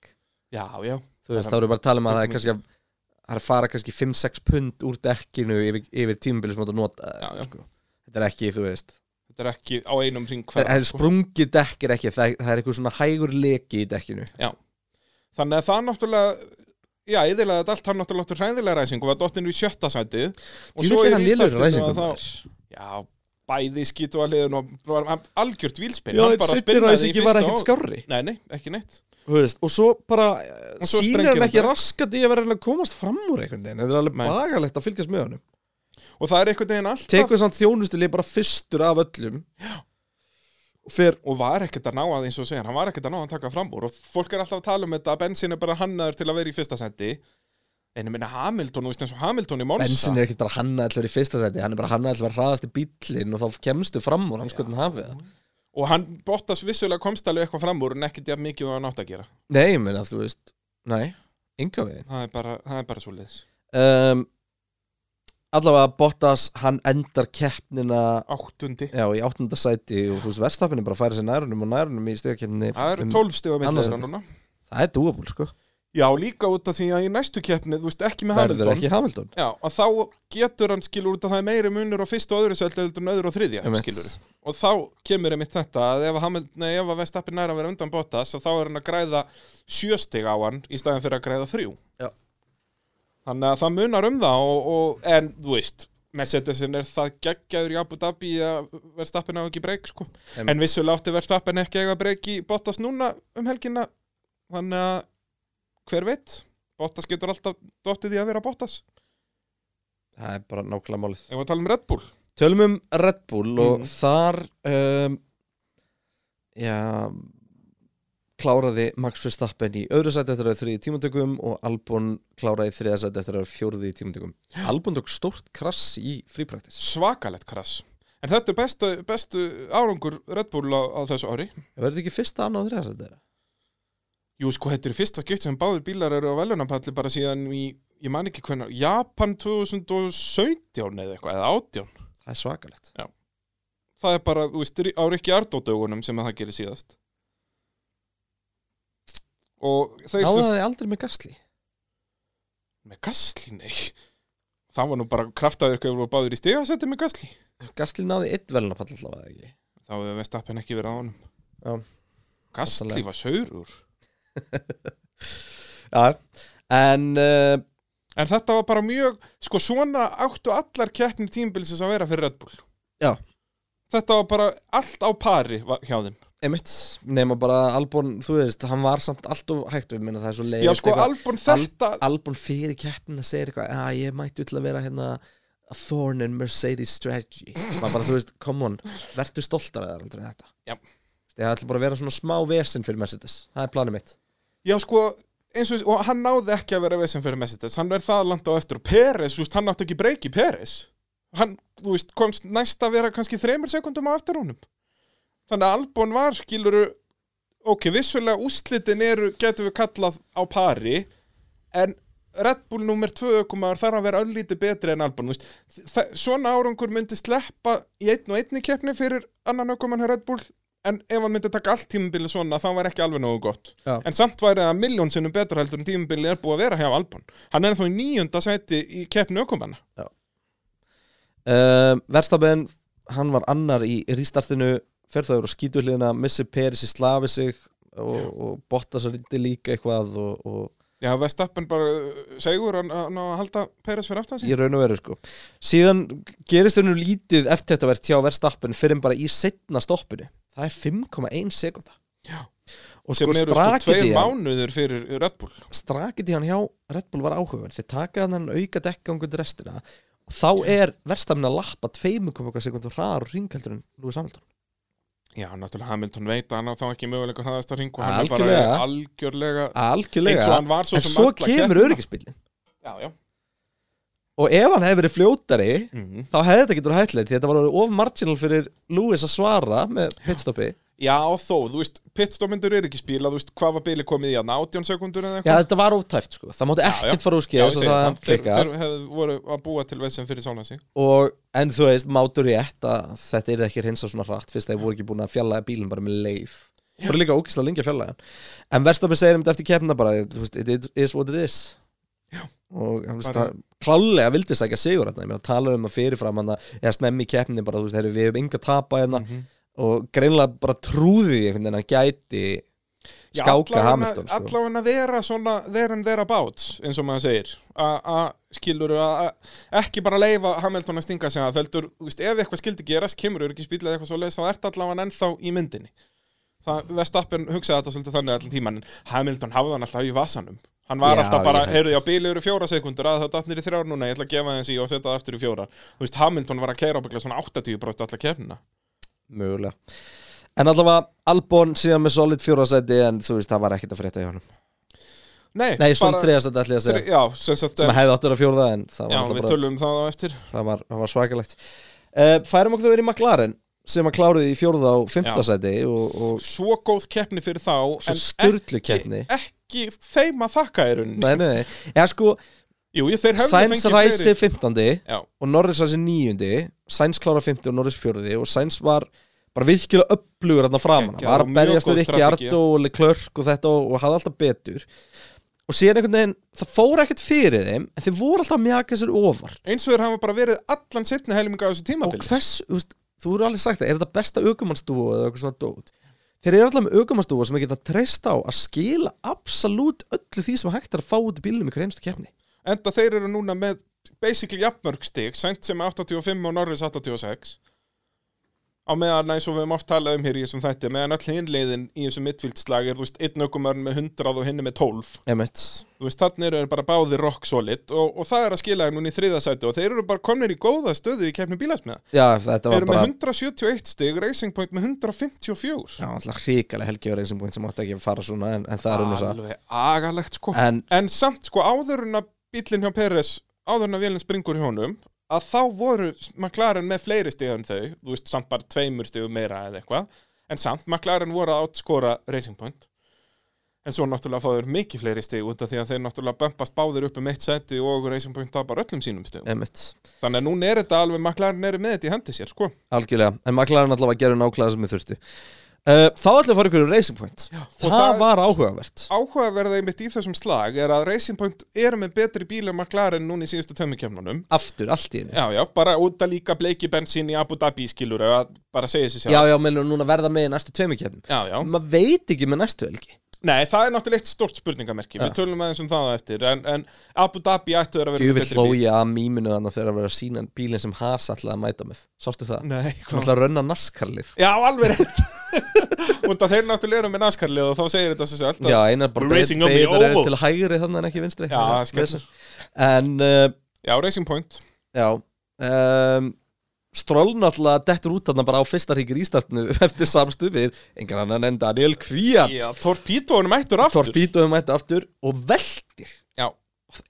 [SPEAKER 2] Já, já,
[SPEAKER 1] Þú veist,
[SPEAKER 2] Það er-
[SPEAKER 1] þá eru bara að tala um að það er
[SPEAKER 2] Tökum-
[SPEAKER 1] kannski að það er að fara kannski 5-6 pund úr dekkinu yfir, yfir tímabili sem þú átt að nota
[SPEAKER 2] Já, já.
[SPEAKER 1] Sko. Þetta er ekki, þú veist
[SPEAKER 2] þetta er sko- ekki á einum hring
[SPEAKER 1] Það
[SPEAKER 2] hver
[SPEAKER 1] er sprungið dekk er ekki, það, það er eitthvað svona hægur leki í dekkinu
[SPEAKER 2] Þannig að það náttúrulega Já, eðilega þetta allt hann náttúrulega áttur hræðilega ræsingu var dottinu í sjötta sætið og
[SPEAKER 1] Djúvill er hann
[SPEAKER 2] í
[SPEAKER 1] lélegur í
[SPEAKER 2] startinu
[SPEAKER 1] ræsingum,
[SPEAKER 2] að þá-
[SPEAKER 1] maður.
[SPEAKER 2] Já, bæði skýtu að liðun og bara algjört vílspinn
[SPEAKER 1] Já,
[SPEAKER 2] hann
[SPEAKER 1] en
[SPEAKER 2] bara
[SPEAKER 1] sittir
[SPEAKER 2] spinnaði
[SPEAKER 1] aðeins
[SPEAKER 2] í
[SPEAKER 1] ekki var
[SPEAKER 2] fyrsta
[SPEAKER 1] ekkert
[SPEAKER 2] og-
[SPEAKER 1] skárri
[SPEAKER 2] Nei, nei, ekki neitt
[SPEAKER 1] Þú veist, Og svo bara
[SPEAKER 2] Og svo
[SPEAKER 1] sýnir
[SPEAKER 2] sprengir
[SPEAKER 1] hann
[SPEAKER 2] hann
[SPEAKER 1] ekki
[SPEAKER 2] bara.
[SPEAKER 1] raskat í að vera að reyna að komast fram úr einhvern veginn Þetta er alveg
[SPEAKER 2] Nei.
[SPEAKER 1] bagalegt að fylgjast með honum
[SPEAKER 2] Og það er einhvern veginn alltaf
[SPEAKER 1] Tekur samt þjónustili bara fyrstur af öllum Já fer
[SPEAKER 2] og var ekkert að ná að eins og segja hann var ekkert að ná að taka fram úr og fólk er alltaf að tala um þetta að bensin er bara hannaður til að vera í fyrsta sendi en ég minna Hamilton, þú veist eins og Hamilton í Monsa
[SPEAKER 1] Bensin er ekkert bara hanna alltaf í fyrsta seti Hann er bara hanna alltaf að hraðast í bíllinn Og þá kemstu fram úr hans hvernig hafið það
[SPEAKER 2] og hann Bottas vissulega komst alveg eitthvað fram úr en ekkert jafn mikið og hann átt að gera
[SPEAKER 1] Nei, ég meina þú veist Nei, enga veginn
[SPEAKER 2] það er bara, það er bara svo liðs
[SPEAKER 1] um, Allavega Bottas, hann endar keppnina
[SPEAKER 2] áttundi,
[SPEAKER 1] Já, í áttunda sæti og þú veist verðstafin er bara að færa sér nærunum og nærunum í stegakefni
[SPEAKER 2] það eru 12 stiga
[SPEAKER 1] Annað
[SPEAKER 2] millir
[SPEAKER 1] sæti.
[SPEAKER 2] þeirra núna
[SPEAKER 1] Það er dúabúl sko
[SPEAKER 2] já líka út af því að í næstu keppni þú veist ekki með
[SPEAKER 1] Verður
[SPEAKER 2] Hamilton
[SPEAKER 1] ekki Hamilton
[SPEAKER 2] já, og þá getur hann skilur út að það er meiri munur á fyrstu og öðru sæti heldur en öðru og þriðja
[SPEAKER 1] Einmitt.
[SPEAKER 2] skilur og þá kemur einmitt þetta að ef að, Hamil- nei, ef að Vestappi næra verið undan Bottas að þá er hann að græða sjöstig á hann í staðin fyrir að græða þrjú
[SPEAKER 1] Já.
[SPEAKER 2] þannig að það munar um það og, og, en þú veist Mercedesin er það geggjaður í Abu Dhabi að Verstappin á ekki breyk sko.
[SPEAKER 1] Einmitt.
[SPEAKER 2] en vissulega átti Verstappin ekki að eiga breyk í Bottas núna um helgina þannig að hver veit Bottas getur alltaf dottið í að vera Bottas
[SPEAKER 1] Það er bara nákvæmlega málið
[SPEAKER 2] Ef við tala um Red Bull
[SPEAKER 1] Tölum um Red Bull og
[SPEAKER 2] Mhm.
[SPEAKER 1] þar um, já kláraði Max Verstappen í öðru sæti eftir að vera þriði tímatökum og Albon kláraði í þriða sæti eftir að vera fjórði í tímatökum Albon tók stórt krass í frípraktis
[SPEAKER 2] Svakalett krass En þetta er bestu, bestu árangur Red Bull á, á þessu ári
[SPEAKER 1] Verður þetta ekki fyrsta annað og þriða sæti þeirra?
[SPEAKER 2] Jú sko, þetta er í fyrsta skipt sem báðir bílar eru á velunapalli bara síðan í, ég man ekki hvernig Japan 2017 eða eitthvað, eða 18
[SPEAKER 1] Það er svakalegt
[SPEAKER 2] Það er bara, þú veist, á Rikki Ardótaugunum sem það gerir síðast Og þeir
[SPEAKER 1] Náðu
[SPEAKER 2] sem
[SPEAKER 1] það aldrei með gasli
[SPEAKER 2] Með gasli, nei Það var nú bara kraftaður hvað voru báðir í stiga að setja með gasli
[SPEAKER 1] Gasli náði eitt velunapall allavega eða ekki
[SPEAKER 2] Þá hefur Vestappen ekki verið á honum
[SPEAKER 1] Já.
[SPEAKER 2] Gasli
[SPEAKER 1] Náttúrulega.
[SPEAKER 2] var saurur
[SPEAKER 1] Já, en uh,
[SPEAKER 2] En þetta var bara mjög, sko svona áttu allar keppnir tímbilsins að vera fyrir Red Bull.
[SPEAKER 1] Já.
[SPEAKER 2] Þetta var bara allt á pari va- hjá þeim.
[SPEAKER 1] einmitt, nema bara Albon, þú veist, hann var samt allt of hægt við minna það er svo leið
[SPEAKER 2] Já, sko Albon þetta,
[SPEAKER 1] Albon fyrir keppnin að segja eitthvað að ég mætti til að vera hérna a thorn in Mercedes strategy maður bara, þú veist, come on, verður stoltar eða aldrei þetta
[SPEAKER 2] Já.
[SPEAKER 1] Þú veist, það ætla bara að vera svona smá vesinn fyrir Mercedes það er planið mitt
[SPEAKER 2] já sko, eins og, og hann náði ekki að vera vesen fyrir Mercedes, hann er það langt á eftir og Peres, þú veist, hann átti ekki breyki Peres. Hann, þú veist, komst næst að vera kannski þreymur sekundum á eftir honum. Þannig að Albon var, skiluru, ok, vissulega úslitin eru, getum við kallað á pari, en Red Bull nummer 2 ökumar þarf að vera öllítið betri en Albon þú veist. Þa- svona árangur myndi sleppa í einn og einni keppni fyrir annan ökumann hjá Red Bull en ef hann myndi taka allt tímabilið svona þá var ekki alveg nógu gott
[SPEAKER 1] Já.
[SPEAKER 2] en samt væri það miljón sinnum betra heldur en tímabilið er búið að vera hjá Albon hann er þá í níunda sæti í keppni ökumanna
[SPEAKER 1] um, Verstaben, hann var annar í ristartinu, fer það yfir á skítuhliðina missi Peris í slafi sig og, og Bottas að rindi líka eitthvað og, og
[SPEAKER 2] já, Vestappen bara uh, segur hann að ná að halda Peres fyrir aftan sig
[SPEAKER 1] í raun og veru sko síðan gerist þau nú lítið eftir þetta verð hjá verðstappin fyrir bara í setna stoppinu það er 5,1 sekunda
[SPEAKER 2] Já.
[SPEAKER 1] og
[SPEAKER 2] sem
[SPEAKER 1] sko
[SPEAKER 2] eru sko tveir
[SPEAKER 1] strakið
[SPEAKER 2] mánuður fyrir Red Bull
[SPEAKER 1] strakið í hann hjá Red Bull var áhugaverð þeir taka hann auka dekkangund restina og þá er verðstappin að lappa 2,1 sekundum hraðar og ringheldur en Lúi Samhaldun
[SPEAKER 2] já, náttúrulega Hamilton veit að hann á þá ekki möguleika að hraðast að ringu hann er
[SPEAKER 1] Algjörlega.
[SPEAKER 2] bara algjörlega
[SPEAKER 1] algjörlega,
[SPEAKER 2] eins og hann var svo
[SPEAKER 1] en
[SPEAKER 2] sem
[SPEAKER 1] svo
[SPEAKER 2] alla
[SPEAKER 1] kemur
[SPEAKER 2] keppnina.
[SPEAKER 1] öryggisbílin
[SPEAKER 2] Já, já.
[SPEAKER 1] og ef hann hefði verið fljótari
[SPEAKER 2] Mm.
[SPEAKER 1] þá hefði þetta getur hættilegt því þetta var orðið of marginal fyrir Lewis að svara með pitstoppi
[SPEAKER 2] Já, þó, þú veist, pitstopmyndur er ekki spíla, þú veist, hvað var bíli komið í hann, 18 sekundur
[SPEAKER 1] Já,
[SPEAKER 2] eða eitthvað?
[SPEAKER 1] þetta var ótæft sko, það mátti ekkert fara úr
[SPEAKER 2] Já,
[SPEAKER 1] skeið
[SPEAKER 2] ég
[SPEAKER 1] svo
[SPEAKER 2] segi
[SPEAKER 1] það
[SPEAKER 2] þeir,
[SPEAKER 1] klikkar
[SPEAKER 2] þeir hefðu voru að búa til vesen fyrir sána sig.
[SPEAKER 1] og, en þú veist, mátur ég eftir að þetta er ekki hinsa svona hratt fyrst að ég voru ekki búin að fjallaða bílinn bara með leif það voru líka ógæslega lengi að fjallaða hann en verðstafið segir um þetta eftir keppna bara þú veist, it is what it is og hann veist,
[SPEAKER 2] Bara-
[SPEAKER 1] það klálega vildi sækja sigur hérna, ég meina tala um að fyrirfram hann eða snemmi í keppni bara, þú veist, heyrðu, við hefum enga tapa hérna
[SPEAKER 2] Mm.
[SPEAKER 1] og greinlega bara trúði því einhvern veginn að hann gæti
[SPEAKER 2] Já,
[SPEAKER 1] skáka
[SPEAKER 2] allavega-
[SPEAKER 1] Hamilton sko.
[SPEAKER 2] Allavega vera svona there and thereabouts, eins og maður segir, A- að skilur að ekki bara leifa Hamilton að stinga sig að þeldur, þú veist, ef eitthvað skildi gerast, kemur eru ekki spíla eitthvað svo leiðis, þá ert allavega ennþá í myndinni. Það, Vestappen hugsaði þetta svolítið þannig allan tíman, en Hamilton hafði hann alltaf í vasanum. Hann var
[SPEAKER 1] Já,
[SPEAKER 2] alltaf bara,
[SPEAKER 1] ég held-
[SPEAKER 2] heyrðu, já, bíli eru fjóra sekundur að það datt niður í þrjár núna, ég ætla að gefa þessi og setja það aftur í fjórar. Þú veist, Hamilton var að keira ábygglega svona 80 alltaf keppnina.
[SPEAKER 1] mögulega En allavega Albon síðan með solid fjóra seti en þú veist, það var ekkert að frétta í honum
[SPEAKER 2] Nei,
[SPEAKER 1] Nei, solid þriða seti ætli ég að segja
[SPEAKER 2] þri- Já, sem sagt
[SPEAKER 1] sem
[SPEAKER 2] eh,
[SPEAKER 1] hefði átt að vera fjórða en það var,
[SPEAKER 2] Já,
[SPEAKER 1] náttúrulega
[SPEAKER 2] við
[SPEAKER 1] bara,
[SPEAKER 2] tölum um það á eftir
[SPEAKER 1] það var, það var svakalegt uh, Færum okkur þau verið í McLaren sem að kláruði í fjórða og
[SPEAKER 2] Já.
[SPEAKER 1] fymta seti og,
[SPEAKER 2] <laughs>
[SPEAKER 1] og
[SPEAKER 2] Svo góð keppni fyrir þá
[SPEAKER 1] svo
[SPEAKER 2] en
[SPEAKER 1] styrlu
[SPEAKER 2] ekki-
[SPEAKER 1] keppni
[SPEAKER 2] Ekki þeim að þakka í rauninni
[SPEAKER 1] Nei, nei, nei, eða sko
[SPEAKER 2] Jú, ég- þeir hefðu
[SPEAKER 1] Sainz
[SPEAKER 2] fengið
[SPEAKER 1] ræsi
[SPEAKER 2] fleiri
[SPEAKER 1] 15
[SPEAKER 2] Já,
[SPEAKER 1] og Norris ræsi 9 Sainz klára 50 og Norris 4 og Sainz var bara virkilega upplugur hann framan, hann
[SPEAKER 2] Geggjað
[SPEAKER 1] var
[SPEAKER 2] og
[SPEAKER 1] að
[SPEAKER 2] mjög
[SPEAKER 1] berjast
[SPEAKER 2] góð
[SPEAKER 1] við Rikki
[SPEAKER 2] strategía.
[SPEAKER 1] Ardó og Leclerc og þetta og, og hafði alltaf betur og síðan einhvern veginn, það fór ekkert fyrir þeim en þeir voru alltaf að mjaka sér ofar
[SPEAKER 2] eins og þeir hafa bara verið allan setni helminga á þessu
[SPEAKER 1] og
[SPEAKER 2] tímabili
[SPEAKER 1] hvers, þú veist, þú eru alveg sagt það, er þetta besta aukumannstúfa eða eitthvað svona dót þeir eru alltaf með aukumannstúfa sem er geta treyst á að skila absolút öllu því sem hægt er að fá út í bílunum í hverju einstu kefni
[SPEAKER 2] Enda þeir eru núna með basically jafnmörg stig Sent sem er 85 og Norris 86 Á meðan eins og við höfum oft talað um hér í þessum þætti Meðan öll hinleiðin í þessum midfieldslag er þú veist einn aukumörn með 100 og hinni með 12
[SPEAKER 1] Emmett,
[SPEAKER 2] Þú veist þannig eru þeir bara báðir rock solid og, og það er að skila þeim núna í þriðasæti Og þeir eru bara komnir í góða stöðu í keppni bílasmiða
[SPEAKER 1] já þetta
[SPEAKER 2] Þeir
[SPEAKER 1] var
[SPEAKER 2] eru með
[SPEAKER 1] bara
[SPEAKER 2] 171 stig, Racing Point með 154
[SPEAKER 1] Já, alltaf hrikalega helgi á Racing Point sem átti ekki að fara svona en, en það er um þess að
[SPEAKER 2] Alveg agalegt sko
[SPEAKER 1] En
[SPEAKER 2] En samt sko áður en að bílinn hjá Peres, áður en að vélinn springur hjá honum, að þá voru McLaren með fleiri stig en þau, þú veist samt bara tveimur stigum meira eða eitthvað, en samt McLaren voru að átskora Racing Point. En svo náttúrulega fá þeir mikið fleiri stig út af því að þeir náttúrulega bömpast báðir upp um eitt seti og Racing Point tapar öllum sínum stigum.
[SPEAKER 1] Einmitt,
[SPEAKER 2] Þannig að núna er þetta alveg, McLaren eru með þetta í hendi sér, sko.
[SPEAKER 1] algjörlega, en McLaren allavega gerði nákvæmlega sem við þurftu uh, Þá ætlum við að fara ykkur um Racing Point Já, það,
[SPEAKER 2] það-
[SPEAKER 1] var áhugavert
[SPEAKER 2] Áhugaverða einmitt í þessum slag er að Racing Point eru með betri bíl en McLaren núna í síðustu tömmikefnunum
[SPEAKER 1] Aftur, allt í henni Já,
[SPEAKER 2] Já, já, bara út að líka bleiki bensín í Abu Dhabi skilur að bara segja sér sjálf
[SPEAKER 1] já, já meðlum núna verða með í næstu tveimur kefnum
[SPEAKER 2] já, já.
[SPEAKER 1] Maður veit ekki með næstu helgi
[SPEAKER 2] Nei, það er náttúrulega eitt stórt spurningamerki
[SPEAKER 1] Já.
[SPEAKER 2] Við tölum aðeins um það á eftir En, en Abu Dhabi ættu þeir að vera
[SPEAKER 1] Ég vil
[SPEAKER 2] með betri bíl.
[SPEAKER 1] hlója að mýminu þannig þegar að vera að sína bílinn sem Haas ætlaði að mæta með Sástu það?
[SPEAKER 2] Nei,
[SPEAKER 1] Hún
[SPEAKER 2] hvað
[SPEAKER 1] ætlaði að rönna naskarlif
[SPEAKER 2] Já, alveg rétt <laughs> Út að þeir náttúrulega eru með naskarlið og þá segir þetta sér sjálf
[SPEAKER 1] Já, einar bara
[SPEAKER 2] We're racing on the
[SPEAKER 1] beigðar eru
[SPEAKER 2] oval.
[SPEAKER 1] til hægri þannig en ekki vinstri
[SPEAKER 2] Já, það er skemmt.
[SPEAKER 1] En uh,
[SPEAKER 2] já, Racing Point
[SPEAKER 1] Já um, Stroll náttúrulega dettur út þarna bara á fyrsta hringir í startinu <laughs> eftir samstu við engan annan en Daniel Kvíat
[SPEAKER 2] Já, Torpítónum ættur aftur
[SPEAKER 1] Torbítóum mætti aftur og veldir
[SPEAKER 2] Já.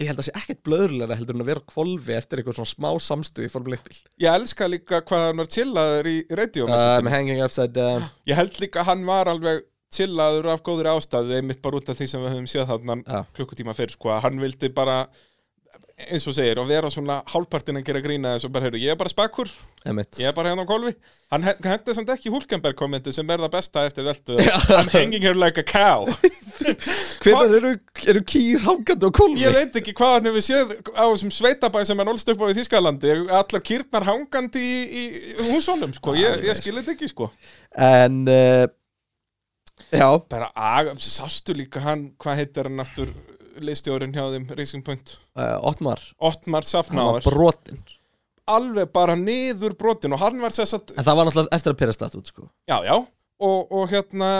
[SPEAKER 1] Ég held að sé ekkert blöðurlega heldur en að vera á kvolfi eftir eitthvað svona smá samstu í formuleikbíl
[SPEAKER 2] Ég elska líka hvað hann var chillaður í radio
[SPEAKER 1] um, Hanging upside
[SPEAKER 2] <gasps>
[SPEAKER 1] down
[SPEAKER 2] Ég held líka að hann var alveg chillaður af góður ástæðu einmitt bara út af því sem við höfum séð þarna
[SPEAKER 1] Já.
[SPEAKER 2] klukkutíma fyrr sko, að hann vildi bara eins og segir, og vera svona hálfpartin að gera grína þessu, bara heyrðu, ég er bara spekkur
[SPEAKER 1] Emmett
[SPEAKER 2] ég er bara hérna á kolvi hann he- hendi samt ekki Hulkenberg kommenti sem er það besta eftir veltu I'm hanging here like a cow
[SPEAKER 1] Hvernig eru, eru kýr hangandi á kvolfi?
[SPEAKER 2] ég veit ekki hvað hann hefur séð á þessum sveitabæ sem hann ólst upp á í Þískalandi allar kýrnar hangandi í, í í húsunum, sko, ég, ég skil þetta ekki sko.
[SPEAKER 1] En uh, Já
[SPEAKER 2] bara aga, sástu líka hann, hvað heitir hann aftur leistjórinn hjá þeim, Racing Point
[SPEAKER 1] uh, Ottmar Hann
[SPEAKER 2] Ottmar
[SPEAKER 1] var
[SPEAKER 2] Safnáður,
[SPEAKER 1] brotin
[SPEAKER 2] alveg bara niður brotin og hann var sess að,
[SPEAKER 1] En það var náttúrulega eftir að perist út sko
[SPEAKER 2] já, já og, og hérna,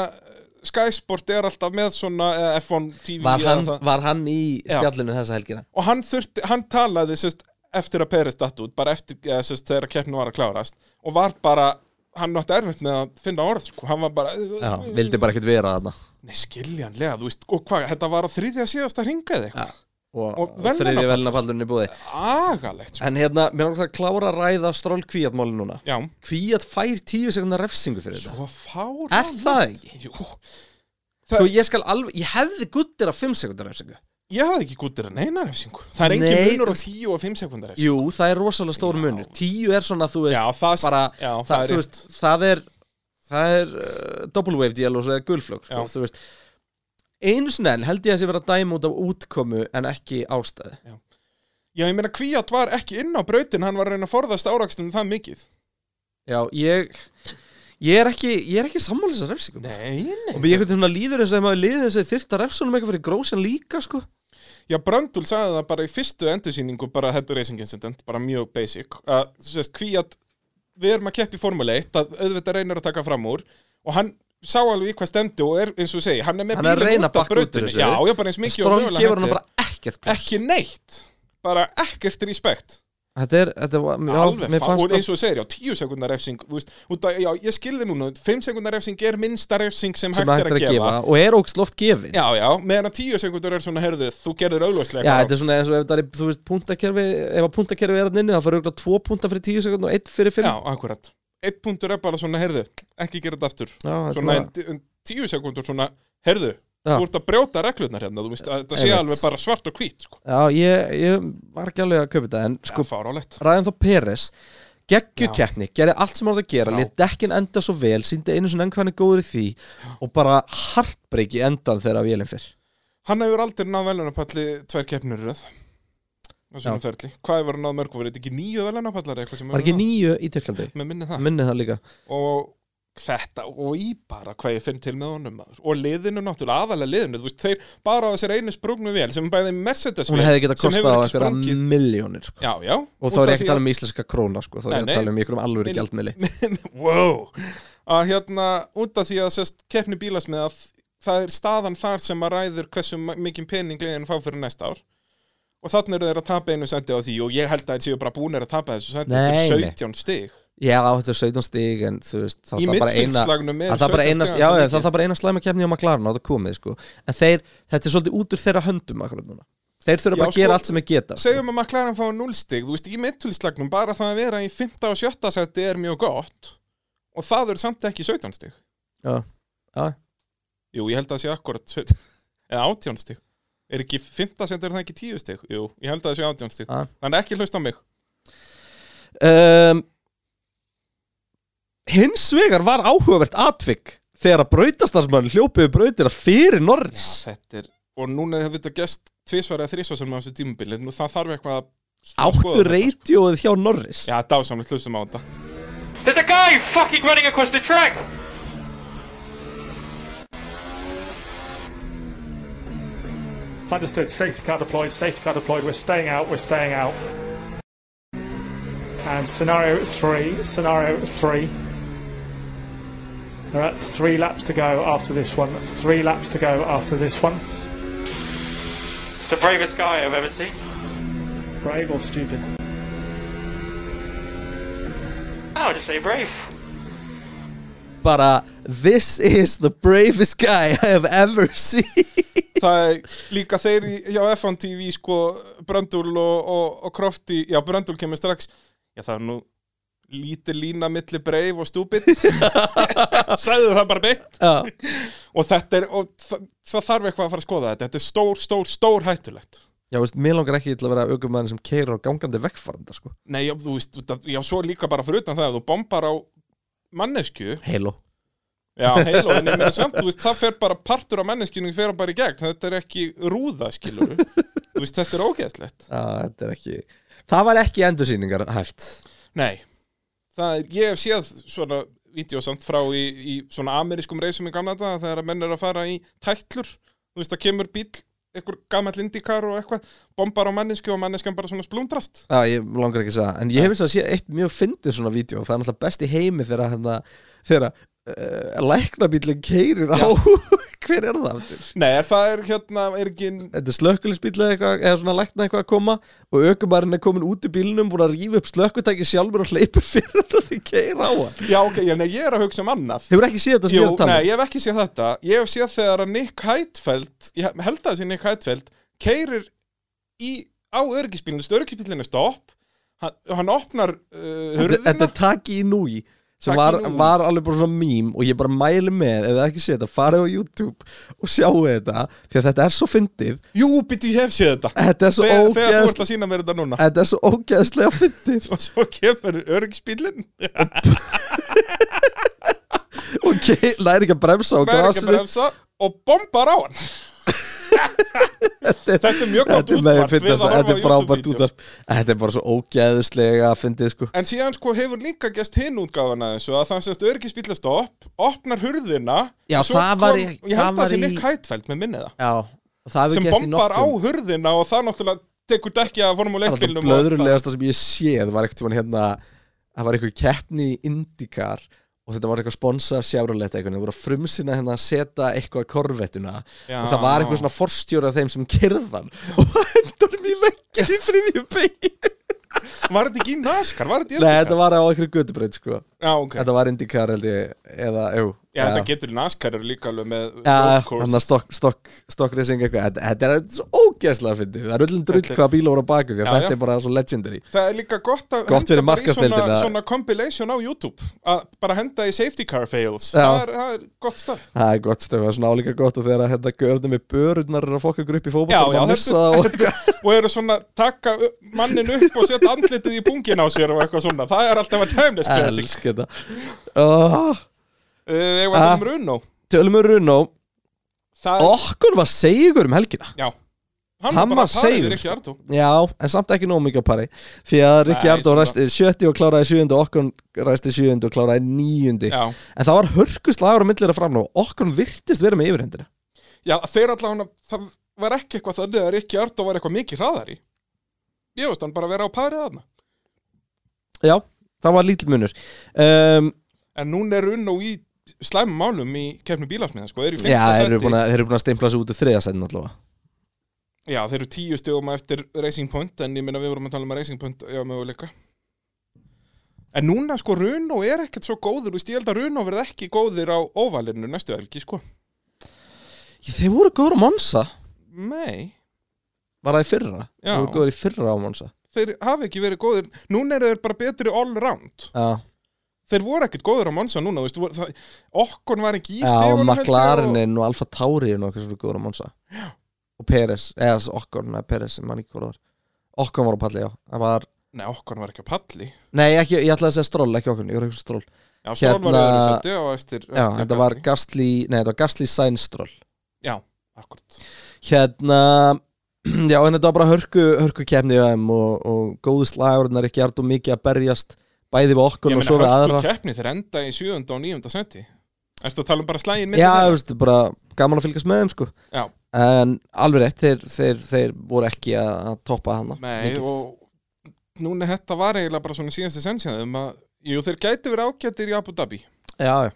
[SPEAKER 2] Sky Sport er alltaf með svona eh, F1 TV
[SPEAKER 1] Var
[SPEAKER 2] eða
[SPEAKER 1] hann,
[SPEAKER 2] það.
[SPEAKER 1] var hann í
[SPEAKER 2] Já.
[SPEAKER 1] spjallinu þessa helgina?
[SPEAKER 2] og hann þurfti, hann talaði sérst, eftir að Peres datt út, bara eftir eða, sérst, þegar keppnin var að klárast og var bara, hann átti erfitt með að finna orð, sko, hann var bara
[SPEAKER 1] Já, vildi bara ekkert vera þarna
[SPEAKER 2] Nei, skiljanlega, þú veist, og hvað, þetta var á þriðja síðasta ringaði eitthvað,
[SPEAKER 1] Já. Og,
[SPEAKER 2] Og
[SPEAKER 1] og
[SPEAKER 2] verðlaunapall.
[SPEAKER 1] þriði velnapallurinn í búði
[SPEAKER 2] agalegt sko.
[SPEAKER 1] En hérna, mér er að klára að ræða stról kvíatmáli núna
[SPEAKER 2] Já,
[SPEAKER 1] Kvíat fær tíu sekundar refsingu fyrir þetta
[SPEAKER 2] Svo fáránlegt
[SPEAKER 1] Er það ekki?
[SPEAKER 2] Jú,
[SPEAKER 1] Sko, ég skal alveg, ég hefði guttir af fimm sekundar refsingu
[SPEAKER 2] ég hafði ekki gúttir að neina refsingu Það er engin
[SPEAKER 1] Nei,
[SPEAKER 2] munur á 10 og 5 sekundar refsingu
[SPEAKER 1] Jú, það er rosalega stór
[SPEAKER 2] Já.
[SPEAKER 1] munur Tíu er svona, þú veist,
[SPEAKER 2] Já, það,
[SPEAKER 1] bara
[SPEAKER 2] já,
[SPEAKER 1] það, það,
[SPEAKER 2] er
[SPEAKER 1] þú
[SPEAKER 2] rétt.
[SPEAKER 1] veist, það er það er uh, double wave deal og svo er gulflög sko,
[SPEAKER 2] Já.
[SPEAKER 1] þú veist Einu sinni enn held ég að sé vera að dæma út af útkomu en ekki ástæðu
[SPEAKER 2] Já, ég meina Kvíat var ekki inn á brautin Hann var að reyna að forðast árakstum það mikið
[SPEAKER 1] Já, ég ég er ekki, ég er ekki sammála þessar refsingu
[SPEAKER 2] Nei, nei
[SPEAKER 1] og ég einhvern veginn svona líður eins og þegar maður liðið þessi þyrft að refsunum eitthvað fyrir grósin líka sko
[SPEAKER 2] Já, Bröndul sagði það bara í fyrstu endursýningu bara þetta er racing incident, bara mjög basic að, þú veist, Kvíat við erum að keppa í Formule 1, að auðvitað reynir að taka fram úr og hann sá alveg í hvað stendi og er, eins og segi, hann er með
[SPEAKER 1] Hann er að
[SPEAKER 2] bílinn
[SPEAKER 1] reyna
[SPEAKER 2] út af
[SPEAKER 1] að bakka út úr
[SPEAKER 2] brautinni.
[SPEAKER 1] þessu.
[SPEAKER 2] Já, já, bara eins mikið og
[SPEAKER 1] Strong
[SPEAKER 2] mögulega
[SPEAKER 1] gefur hann
[SPEAKER 2] hægt er.
[SPEAKER 1] bara ekkert pláss
[SPEAKER 2] ekki neitt bara ekkert respekt
[SPEAKER 1] Þetta er, þetta var, já,
[SPEAKER 2] alveg
[SPEAKER 1] mér
[SPEAKER 2] fá,
[SPEAKER 1] fannst
[SPEAKER 2] og
[SPEAKER 1] það
[SPEAKER 2] eins og þú segir, já, tíu sekundar refsing þú veist, út að, já, ég skilði núna, fimm sekundar refsing er minnsta refsing sem,
[SPEAKER 1] sem hægt er að gefa og er ógst loft gefin
[SPEAKER 2] já, já, meðan að tíu sekundar er svona, herðu, þú gerður augljóslega
[SPEAKER 1] Já,
[SPEAKER 2] eitthvað
[SPEAKER 1] þetta er svona eins og ef það er, þú veist, puntakerfi ef að puntakerfi er hann inni, þá fyrir auðvitað tvo punta fyrir tíu sekund og einn fyrir
[SPEAKER 2] rangt.
[SPEAKER 1] fimm
[SPEAKER 2] já, akkurat, eitt punktur er bara svona, herðu ekki gera þetta aftur,
[SPEAKER 1] Já, þetta er
[SPEAKER 2] svona
[SPEAKER 1] svona-
[SPEAKER 2] en, en tíu sekundur svona, herðu
[SPEAKER 1] Já.
[SPEAKER 2] þú ert að brjóta reglurnar hérna, þú veist, að þetta sé
[SPEAKER 1] Einmitt.
[SPEAKER 2] alveg bara svart og hvít, sko,
[SPEAKER 1] Já, ég, ég var ekki alveg að kaupa þetta en sko,
[SPEAKER 2] sko fárálegt
[SPEAKER 1] ræðan þá Peres geggju
[SPEAKER 2] Já.
[SPEAKER 1] keppni, gerði allt sem orðið að gera
[SPEAKER 2] Frábært.
[SPEAKER 1] létt dekkin enda svo vel, síndi einu svona enn hvað hann er góður í því og bara hartbreyki endan þegar vélinn fyrr
[SPEAKER 2] Hann hefur aldrei náð velunarpalli tvær keppnur í röð á svona
[SPEAKER 1] Já.
[SPEAKER 2] ferli. Hvað hefur hann náð mörg? Var þetta ekki nýju velunarpallar eitthvað sem
[SPEAKER 1] var ekki nýju í Tyrklandi,
[SPEAKER 2] Með minni það.
[SPEAKER 1] minni það líka
[SPEAKER 2] Og þetta og í bara hvað ég finn til með honum maður. og liðinu náttúrulega, aðalega liðinu þú veist, þeir bara á þessari einu sprungnu vél sem er bæði Mercedes
[SPEAKER 1] hún hefði getað
[SPEAKER 2] sem
[SPEAKER 1] kostað
[SPEAKER 2] hefur
[SPEAKER 1] á
[SPEAKER 2] ekki
[SPEAKER 1] einhverja
[SPEAKER 2] sprungið.
[SPEAKER 1] miljónir sko.
[SPEAKER 2] Já, já.
[SPEAKER 1] og þá er ég ekki að tala um íslenska króna sko. þá er
[SPEAKER 2] Nei,
[SPEAKER 1] ég
[SPEAKER 2] nei.
[SPEAKER 1] að tala um einhverjum alvöru
[SPEAKER 2] Mil-
[SPEAKER 1] gjaldmiðli
[SPEAKER 2] <laughs> wow. að hérna út af því að sérst, keppni bílasmið að það er staðan þar sem að ræður hversu ma- mikinn pening liðin fá fyrir næsta ár og þannig eru þeir að tapa einu sendi á því og ég held að þeir séu bara búnir að tapa þessu sendi
[SPEAKER 1] Nei,
[SPEAKER 2] þetta er
[SPEAKER 1] nei.
[SPEAKER 2] 17 stig
[SPEAKER 1] já, þetta er 17 stig en þú veist, það
[SPEAKER 2] í
[SPEAKER 1] það bara eina
[SPEAKER 2] mittfylgslagnum
[SPEAKER 1] að það bara eina, já, já, það það bara eina slæma kefni á McLaren á þetta komið, sko en þeir, þetta er svolítið út úr þeirra höndum akkurat núna þeir þurfa
[SPEAKER 2] Já,
[SPEAKER 1] bara að
[SPEAKER 2] sko,
[SPEAKER 1] gera allt sem þeir geta sko.
[SPEAKER 2] segjum að McLaren fá 0 stig þú veist, í mittfylgslagnum bara það að vera í 5. og 7. seti er mjög gott og það eru samt ekki 17 stig
[SPEAKER 1] Já. Já.
[SPEAKER 2] jú, ég held að það sé akkurat 17 <laughs> eða 18 stig er ekki 5. seti er það ekki 10 stig jú, ég held að það sé 18 stig
[SPEAKER 1] Já.
[SPEAKER 2] þannig ekki hlust á mig
[SPEAKER 1] um, hins vegar var áhugavert atvik þegar að brautastarsmann hljópiði brautina fyrir Norris
[SPEAKER 2] þetta er, og núna hefur þetta gest tvisvar eða þrisvar sem á þessu tímubili nú það þarf eitthvað að
[SPEAKER 1] áttu
[SPEAKER 2] skoða þetta.
[SPEAKER 1] reytjóið hjá Norris
[SPEAKER 2] já, dásamlega hlustum á þetta
[SPEAKER 3] There's a guy fucking running across the track!
[SPEAKER 4] Understood. Safety car deployed. Safety car deployed. We're staying out. We're staying out. And scenario three. Scenario three. There are three laps to go after this one. Three laps to go after this one.
[SPEAKER 3] It's the bravest guy I've ever seen.
[SPEAKER 4] Brave or stupid?
[SPEAKER 3] I would Oh, just say brave.
[SPEAKER 1] bara, this is the bravest guy I have ever
[SPEAKER 2] <laughs>
[SPEAKER 1] seen
[SPEAKER 2] það er líka þeir í- hjá F1 TV sko Bröndul og, og, og Krofti já Bröndul kemur strax já það er nú lítið lína milli breif og <laughs> stúpid sagðu það bara beint
[SPEAKER 1] Já.
[SPEAKER 2] og þetta er og það, það þarf eitthvað að fara að skoða þetta þetta er stór, stór, stór hættulegt
[SPEAKER 1] já, veist, mér langar ekki til að vera aukumæðin sem keirur á gangandi vegfarenda, sko
[SPEAKER 2] nei já þú veist út af- já svo líka bara fyrir utan það að þú bombar á mannesku
[SPEAKER 1] heilo
[SPEAKER 2] já heiló en ég meina samt þú veist það fer bara partur af manneskjunum fer bara í gegn þetta er ekki rúða skilur þú veist þetta er ógeðslegt
[SPEAKER 1] Já, þetta er ekki Það var ekki endursýningar hæft
[SPEAKER 2] Nei, það er, ég hef séð svona vídeosamt frá í, í svona amerískum reisum í gamla daga þegar að menn er að fara í tætlur þú veist það kemur bíl, einhver gamall indikar og eitthvað, bombar á mannesku og manneskjan bara svona splundrast
[SPEAKER 1] Já, ég langar ekki að segja það. En ég hef eins og að sé eitt mjög fyndið svona vídeo Það er náttúrulega best í heimi þegar að hérna, Þegar að, uh, læknabílinn keirir á <laughs> Hver er það? aftur?
[SPEAKER 2] Nei, er það er hérna, er ekki
[SPEAKER 1] Þetta er slökkulisbíl eða, eitthvað- eða svona lækna eitthvað að koma Og aukumærin er komin út í bílnum Búin að rífa upp slökkutæki sjálfur og hleypur <laughs> fyrir hann að þið keir á hann
[SPEAKER 2] <laughs> Já, ok, já, nei, ég er að hugsa um annað
[SPEAKER 1] Hefur ekki séð þetta sem
[SPEAKER 2] Jú,
[SPEAKER 1] ég er að tala
[SPEAKER 2] nei,
[SPEAKER 1] um?
[SPEAKER 2] ég hef ekki séð þetta Ég hef séð þegar að Nick Heidfeld ég held að þessi Nick Heidfeld keirir í, á örgisbílinu örgisbílinu stopp hann, hann opnar uh, hurðina
[SPEAKER 1] Þetta- Þetta er Taki í núi sem
[SPEAKER 2] Taki
[SPEAKER 1] var,
[SPEAKER 2] Inui.
[SPEAKER 1] var alveg bara svona mím og ég bara mæli með, ef það ekki sé þetta farið á YouTube og sjáu þetta því að þetta er svo fyndið
[SPEAKER 2] Jú, býttu, ég hef séð þetta
[SPEAKER 1] Þetta er svo
[SPEAKER 2] þegar, þegar þú ert
[SPEAKER 1] ógeðslega
[SPEAKER 2] að sína mér þetta núna
[SPEAKER 1] Þetta er svo ógeðslega fyndið <laughs>
[SPEAKER 2] og svo kemur örgisbílinn
[SPEAKER 1] og ke- læri ekki að bremsa á grasinu
[SPEAKER 2] bremsa og bombar á hann þetta er mjög gott
[SPEAKER 1] Þetta er með
[SPEAKER 2] útvarp við
[SPEAKER 1] fyndast,
[SPEAKER 2] að horfa
[SPEAKER 1] þetta er
[SPEAKER 2] á
[SPEAKER 1] frábært
[SPEAKER 2] YouTube-vídeó.
[SPEAKER 1] útvarp Þetta er bara svo ógeðslega fyndið sko
[SPEAKER 2] en síðan sko hefur líka gæst hinn útgáfana þessu að það semst örgisbíla stopp opnar hurðina
[SPEAKER 1] Já,
[SPEAKER 2] og svo
[SPEAKER 1] það var í-
[SPEAKER 2] ég
[SPEAKER 1] það
[SPEAKER 2] held að
[SPEAKER 1] var
[SPEAKER 2] það sé
[SPEAKER 1] í-
[SPEAKER 2] Nick Heidfeld með minni það
[SPEAKER 1] Já, og það hefur
[SPEAKER 2] sem
[SPEAKER 1] gerst í
[SPEAKER 2] bombar á
[SPEAKER 1] nokkum
[SPEAKER 2] hurðina og það náttúrulega tekur dekki að formule
[SPEAKER 1] Það er
[SPEAKER 2] 1
[SPEAKER 1] það
[SPEAKER 2] bílnum
[SPEAKER 1] blöðrulegasta sem ég séð var eitthvað hérna það var eitthvað keppni í Indikar og þetta var eitthvað sponsa sjárulegt eitthvað það voru að frumsina hérna að setja eitthvað að korvettuna
[SPEAKER 2] Já.
[SPEAKER 1] og það var <laughs> eitthvað svona forstjóra þeim sem kyrðan og hendur mér vekkir í þriðju bein
[SPEAKER 2] Var þetta ekki í NASCAR? Var þetta í
[SPEAKER 1] Nei,
[SPEAKER 2] NASCAR?
[SPEAKER 1] þetta var á einhverju gödubraut sko
[SPEAKER 2] Já, ok
[SPEAKER 1] Þetta var IndyCar held ég Eða, jú
[SPEAKER 2] Já, þetta getur í NASCAR eru líka alveg með
[SPEAKER 1] Já,
[SPEAKER 2] road courses.
[SPEAKER 1] hann að stokk, stokk, stokkressing eitthvað Þetta- Þetta er þetta er svo ógeðslega fyndið Það er öllum drull
[SPEAKER 2] Þetta er-
[SPEAKER 1] hvaða bíla voru á baku Því að
[SPEAKER 2] Já,
[SPEAKER 1] þetta
[SPEAKER 2] já.
[SPEAKER 1] er bara svo legendary
[SPEAKER 2] Það er líka gott að
[SPEAKER 1] Gott fyrir
[SPEAKER 2] henda bara í svona,
[SPEAKER 1] markaðsdeildina.
[SPEAKER 2] svona compilation á YouTube að bara henda í safety car fails
[SPEAKER 1] Já.
[SPEAKER 2] það er, það er gott stöf
[SPEAKER 1] Það er gott stöfum, það er svona álíka gott og þegar að hérna görðum með börurnar er að fokka ykkur upp í fótboll
[SPEAKER 2] Já,
[SPEAKER 1] og
[SPEAKER 2] já,
[SPEAKER 1] maður missa það og...
[SPEAKER 2] <laughs> og eru svona taka upp- mannin upp og setja andlitið í pungin á sér og eitthvað svona, það er alltaf að timeless classic
[SPEAKER 1] Elsk þetta oh,
[SPEAKER 2] uh, Ég var
[SPEAKER 1] Ah. Oh,
[SPEAKER 2] um Runo
[SPEAKER 1] Tölum við Runo
[SPEAKER 2] það,
[SPEAKER 1] Okkur var segur um helgina
[SPEAKER 2] Já, hann,
[SPEAKER 1] Hann
[SPEAKER 2] var
[SPEAKER 1] var
[SPEAKER 2] bara parið
[SPEAKER 1] seigur,
[SPEAKER 2] við Rikki Ardó
[SPEAKER 1] Já, en samt ekki nóg mikið á pari Því að Rikki
[SPEAKER 2] Nei,
[SPEAKER 1] Ardó
[SPEAKER 2] svona.
[SPEAKER 1] ræsti 70 og kláraði 7 og okkur ræsti 7 og kláraði 9
[SPEAKER 2] Já,
[SPEAKER 1] En það var hörkuslagur á milliðra framlá Okkur virtist vera með yfirhendina
[SPEAKER 2] já þeir allavega það var ekki eitthvað þannig að Rikki Ardó var eitthvað mikið hraðari Ég veist hann bara vera á parið þarna
[SPEAKER 1] Já, það var lítil munur um,
[SPEAKER 2] en núna er Runo í slæmum málum í kefni bílasmiða sko, er í
[SPEAKER 1] Já,
[SPEAKER 2] fimmta
[SPEAKER 1] þeir eru
[SPEAKER 2] sæti.
[SPEAKER 1] búin að, þeir eru búin að stimpla sig út í þriða sætin allavega
[SPEAKER 2] Já, þeir eru tíu stegum eftir Racing Point en ég minna við vorum að tala um að Racing Point já, möguleika En núna sko, Runo er ekkert svo góður Þú veist, ég held að Runo verði ekki góðir á óvalinu næstu helgi, sko
[SPEAKER 1] Ég, Þeir voru góður á Monsa
[SPEAKER 2] Nei,
[SPEAKER 1] Var það í fyrra?
[SPEAKER 2] Já.
[SPEAKER 1] Þeir voru góður í fyrra á Monsa
[SPEAKER 2] þeir hafi ekki verið góðir Núna eru þeir bara betri all round
[SPEAKER 1] Já,
[SPEAKER 2] Þeir voru ekkert góður á Monsa núna, þú veist voru, það, Okkon var ekki í
[SPEAKER 1] já og
[SPEAKER 2] stegunum
[SPEAKER 1] McLarenin og Alfa Tauri og okkur sem voru góður á Monsa Já Og Peres, eða þessi Okkon, neða Peres sem mann ekki hvað það var Okkon var á palli, já Það var,
[SPEAKER 2] Nei, Okkon var ekki á palli
[SPEAKER 1] nei, ekki, ég ætlaði að segja stról, ekki Okkon, ég voru ekki stról
[SPEAKER 2] Já, Stról var
[SPEAKER 1] Hérna-
[SPEAKER 2] öðru seti á eftir,
[SPEAKER 1] Já,
[SPEAKER 2] eftir
[SPEAKER 1] þetta var
[SPEAKER 2] Gasly.
[SPEAKER 1] Gastli, nei, þetta var Gastli Sainz stról
[SPEAKER 2] Já, akkurat
[SPEAKER 1] hérna <clears throat> já en þetta var bara hörku, hörku kemni og, og góðu slagurnar ekki art og mikið að berjast bæði við okkur
[SPEAKER 2] Ég
[SPEAKER 1] og svo
[SPEAKER 2] meina,
[SPEAKER 1] við aðra
[SPEAKER 2] hörku keppni þeir enda í 7. og 9. seti Ertu að tala um bara slægin
[SPEAKER 1] já þú veist bara gaman að fylgjast með þeim sko
[SPEAKER 2] Já.
[SPEAKER 1] en alveg rétt þeir, þeir, þeir voru ekki að að toppa hana
[SPEAKER 2] Nei,
[SPEAKER 1] mikið.
[SPEAKER 2] og núna þetta var eiginlega bara svona síðasti sensjaðum að, jú, þeir gætu verið ágættir í Abu Dhabi.
[SPEAKER 1] já já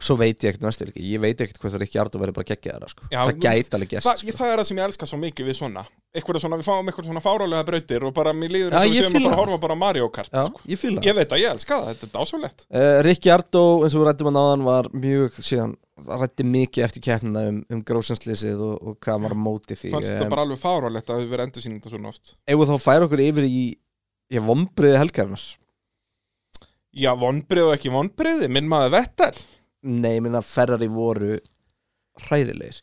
[SPEAKER 1] svo veit ég ekkert næstu ekki ég veit ekkert hvað það er ekki art og verið bara geggja þeirra sko
[SPEAKER 2] Já,
[SPEAKER 1] það gæti alveg
[SPEAKER 2] Þa,
[SPEAKER 1] gerst sko.
[SPEAKER 2] Það er það sem ég elska svo mikið við svona. Eitthvað svona, við fáum eitthvað svona fárálega brautir og bara mér líður
[SPEAKER 1] Já,
[SPEAKER 2] eins og við
[SPEAKER 1] ég
[SPEAKER 2] séum að
[SPEAKER 1] fíla
[SPEAKER 2] fara að
[SPEAKER 1] það.
[SPEAKER 2] horfa bara á Mario Kart.
[SPEAKER 1] já
[SPEAKER 2] Sko.
[SPEAKER 1] ég fýla
[SPEAKER 2] Ég veit að ég elska það, þetta er dásalett.
[SPEAKER 1] Uh, Rikki Ardó, eins og við rættum að náðan, var mjög síðan, rætti mikið eftir keppnina um, um grósinslýsið og, og hvað hann var á móti því
[SPEAKER 2] Fannst
[SPEAKER 1] Um,
[SPEAKER 2] þetta bara alveg fárálegt að við verið endur sínum þetta svona oft.
[SPEAKER 1] ef við þá færa okkur yfir í ég vombriði helgarinnar
[SPEAKER 2] Já, vonbrið og ekki vonbriði, minn maður Vettel.
[SPEAKER 1] nei, ég minna Ferrari voru hræðilegir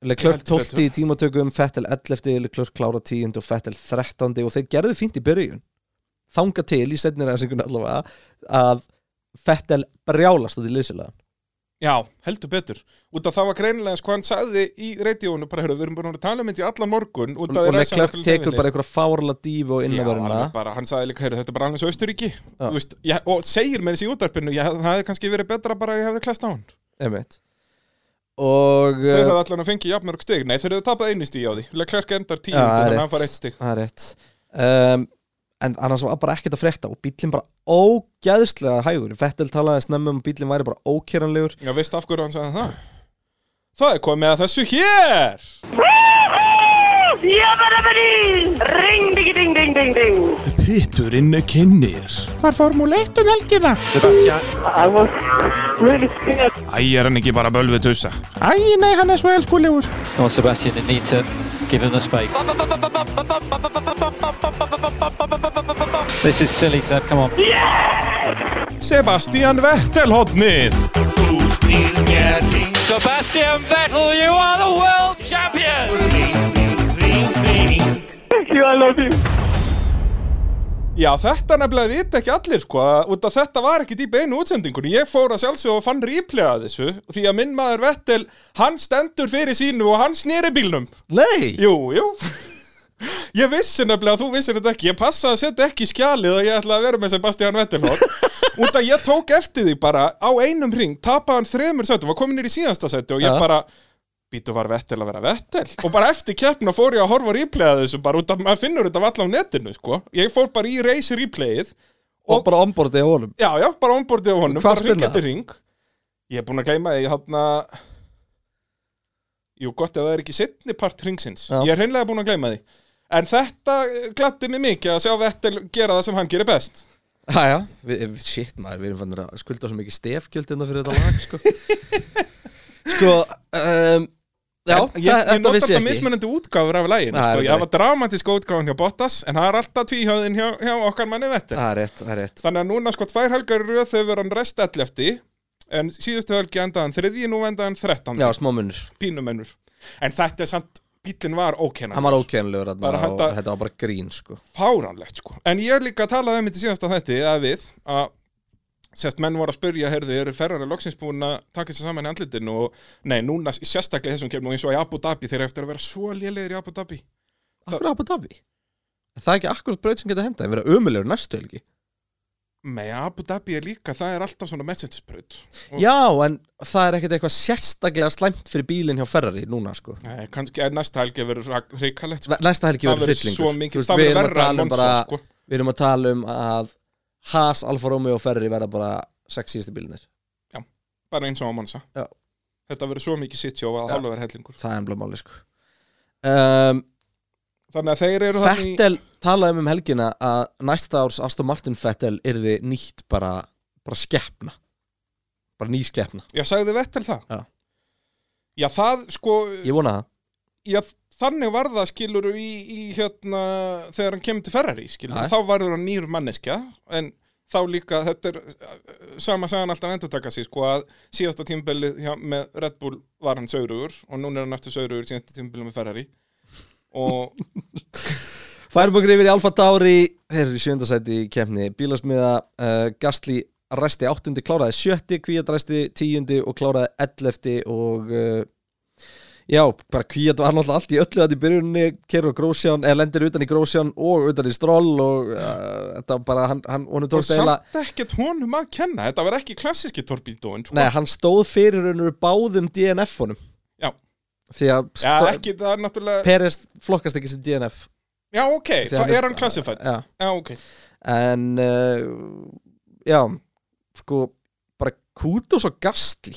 [SPEAKER 1] Leclerc
[SPEAKER 2] Heldur
[SPEAKER 1] 12 í tímatökum Fettel 11, Leclerc klára 10 og Fettel 13 og þeir gerðu fínt í byrjun þanga til í setnir reysingun allavega að Fettel brjálast út í liðsilega
[SPEAKER 2] Já, heldur betur. Út að það var greinilega sko hann sagði í reytíónu, bara hörðu, við erum búin að tala um þetta í allan morgun. út
[SPEAKER 1] og,
[SPEAKER 2] að
[SPEAKER 1] og
[SPEAKER 2] þeir ræsa
[SPEAKER 1] Leclerc
[SPEAKER 2] náttúrulega
[SPEAKER 1] tekur
[SPEAKER 2] leiðinni.
[SPEAKER 1] bara einhverja fárala dífu og
[SPEAKER 2] Já,
[SPEAKER 1] innverðina
[SPEAKER 2] alveg bara, hann sagði líka, heyrðu, þetta er bara alveg svo Austuríki Þú veist, ég, og segir með þessi í útarpinu ég, það hefði kannski verið betra bara að ég hefði klæst á hann
[SPEAKER 1] einmitt og
[SPEAKER 2] þeir
[SPEAKER 1] uh,
[SPEAKER 2] hefði allan að fengi jafnmörg stig nei, þeir hefði tapað einu stig á því Leclerc endar
[SPEAKER 1] Já,
[SPEAKER 2] tíu,
[SPEAKER 1] það er
[SPEAKER 2] þannig að
[SPEAKER 1] rétt.
[SPEAKER 2] hann fær eitt stig
[SPEAKER 1] Það er rétt um, En annars var bara ekkert að frétta og bíllinn bara ógæðslega hægur Vettel talaði snemma um að bíllinn væri bara ókjæranlegur
[SPEAKER 2] já, veist af hverju hann sagði það það er komið að þessu hér
[SPEAKER 5] Jabba-dabba-dee! Ring, diggy, ding, ding, ding, ding.
[SPEAKER 2] var Formúl 1 um helgina
[SPEAKER 5] I was really scared.
[SPEAKER 2] æ, er hann ekki bara bölvið tussa æ, nei, hann er svo elskulegur
[SPEAKER 6] Come on, Sebastian and Nita. Give him the space. This is silly, Seb. Come on.
[SPEAKER 2] Sebastian Vettel hodnið
[SPEAKER 6] Sebastian Vettel, you are the world champion!
[SPEAKER 5] Thank you, I love you.
[SPEAKER 2] Já, þetta nefnilega vita ekki allir sko, að- út af þetta var ekki dýpa einu útsendingunni. Ég fór að sjálfsög og fann ríplega að þessu, því að minn maður Vettel, hann stendur fyrir sínu og hann snýri bílnum.
[SPEAKER 1] Nei!
[SPEAKER 2] Jú, jú. Ég vissi nefnilega að þú vissir þetta ekki. Ég passaði að setja ekki í skjalið að ég ætla að vera með Sebastian Vettel hótt. Út að ég tók eftir því bara á einum ring, tapaði hann þremur sætum, var komin nýr í síðasta sæti og ég
[SPEAKER 1] Ja.
[SPEAKER 2] bara býtu var Vettel að vera Vettel og bara eftir keppna fór ég að horfa á replay að þessu bara út að maður finnur þetta valla á netinu sko. ég fór bara í race replayið
[SPEAKER 1] Og, bara ombordið á honum
[SPEAKER 2] já já, bara onboardið á honum
[SPEAKER 1] Hvar
[SPEAKER 2] bara ring
[SPEAKER 1] spilaði
[SPEAKER 2] eftir ring ég er búin að gleyma því þarna jú gott að það er ekki setni part ringsins
[SPEAKER 1] Já.
[SPEAKER 2] ég er hreinlega búin að gleyma því En þetta gladdi mig mikið að sjá Vettel gera það sem hann gerir best.
[SPEAKER 1] Jæja, við, við- shit maður, við erum fannir að skulda svo mikið stefgjöld innan fyrir þetta lag
[SPEAKER 2] <laughs>
[SPEAKER 1] sko, sko um, Já,
[SPEAKER 2] En ég,
[SPEAKER 1] það,
[SPEAKER 2] ég
[SPEAKER 1] þetta
[SPEAKER 2] nota
[SPEAKER 1] vissi
[SPEAKER 2] alltaf
[SPEAKER 1] ég ekki
[SPEAKER 2] mismunandi útgáfur af læginu
[SPEAKER 1] Það
[SPEAKER 2] sko.
[SPEAKER 1] er
[SPEAKER 2] Ég hafa
[SPEAKER 1] rétt.
[SPEAKER 2] dramatíska útgáfun hjá Bottas En það er alltaf tvíhjöðin hjá, hjá okkar manni Vettel
[SPEAKER 1] Það er rétt, það er rétt
[SPEAKER 2] Þannig að núna sko tvær helgar í röð þegar hann rest ellefti En síðustu helgi endaðan þriðji, nú endaðan þrettandi
[SPEAKER 1] Já, smámunur,
[SPEAKER 2] Pínumennur En þetta er samt, bíllinn var ókennan
[SPEAKER 1] hann var ókennlegur þarna
[SPEAKER 2] Bara
[SPEAKER 1] og
[SPEAKER 2] handa-
[SPEAKER 1] þetta var bara grín sko
[SPEAKER 2] Fáranlegt sko En ég líka talaði um þetta síðast að þetta Að við, að Sérst, menn voru að spyrja, heyrðu, eru ferrari loksins búin að taka sér saman í andlitinu og nei, núna sérstaklega í þessum kemur og eins og í Abu Dhabi þeir eru eftir að vera svo lélegir í Abu Dhabi.
[SPEAKER 1] Akkur Abu Dhabi Er Það er ekki akkurat braut sem geta henda en vera ömulegur næstu helgi
[SPEAKER 2] Nei, Abu Dhabi er líka, það er alltaf svona Mercedes-braut. Og-
[SPEAKER 1] Já, en það er ekkert eitthvað sérstaklega slæmt fyrir bílinn hjá Ferrari núna sko
[SPEAKER 2] Nei, kannski er næsta helgi verður rak- hrikalegt. sko.
[SPEAKER 1] Ve- Næsta helgi
[SPEAKER 2] Það
[SPEAKER 1] verður
[SPEAKER 2] verður
[SPEAKER 1] hryllingur
[SPEAKER 2] svo
[SPEAKER 1] Þú
[SPEAKER 2] mikið,
[SPEAKER 1] veist,
[SPEAKER 2] það
[SPEAKER 1] við
[SPEAKER 2] verður
[SPEAKER 1] erum að
[SPEAKER 2] verra
[SPEAKER 1] tala
[SPEAKER 2] en
[SPEAKER 1] um bara-
[SPEAKER 2] Monsa, sko.
[SPEAKER 1] Við erum að tala um að Haas, Alfa Romeo og Ferrari verða bara sex síðustu bílinir
[SPEAKER 2] Bara eins og á Monsa.
[SPEAKER 1] Já.
[SPEAKER 2] Þetta verður svo mikið sitt sjófa að
[SPEAKER 1] Já.
[SPEAKER 2] hálfa verður hellingur.
[SPEAKER 1] Það er ennblá máli sko um,
[SPEAKER 2] Þannig að þeir eru þarna í...
[SPEAKER 1] Fettel talaði um um helgina að næsta árs Aston Martin Fettel yrði nýtt bara, bara skeppna bara ný skeppna
[SPEAKER 2] Já, sagði Vettel það?
[SPEAKER 1] Já.
[SPEAKER 2] Já, það, sko,
[SPEAKER 1] Ég vona það
[SPEAKER 2] já, þannig var það skilur í, í hérna, þegar hann kemur til Ferrari, skilur,
[SPEAKER 1] Já.
[SPEAKER 2] þá varður hann nýr manneskja, en þá líka, þetta er uh, sama sagðan alltaf endurtaka sig, sko, að síðasta tímbelið hjá, með Red Bull var hann saurugur og núna er hann aftur saurugur síðasta tímbelið með Ferrari
[SPEAKER 1] <laughs>
[SPEAKER 2] og
[SPEAKER 1] Færum okkur yfir í Alfa Tauri Þeir eru í sjöndasæti í kemni Bílasmiða, uh, Gastli resti áttundi, kláraði sjötti, Kvíat resti tíundi og kláraði ellefti og uh, já, bara Kvíat var náttúrulega allt í öllu þetta í byrjunni, kerur grósján, eða lendir utan í grósján og utan í stról og uh, þetta var bara, hann, hann, honum
[SPEAKER 2] og
[SPEAKER 1] tókst eiginlega
[SPEAKER 2] samt ekkert honum að kenna þetta var ekki klassíski torpídóin sko.
[SPEAKER 1] Nei, hann stóð fyrir raunur báðum DNF-unum
[SPEAKER 2] Já.
[SPEAKER 1] Því að
[SPEAKER 2] já,
[SPEAKER 1] stó-
[SPEAKER 2] ekki, það er náttúrulega
[SPEAKER 1] Peres flokkast ekki sem DNF
[SPEAKER 2] já, ok,
[SPEAKER 1] Því
[SPEAKER 2] það
[SPEAKER 1] hann
[SPEAKER 2] er hann klassifætt
[SPEAKER 1] Já,
[SPEAKER 2] já, ok,
[SPEAKER 1] en uh, já, sko bara kútos og gastli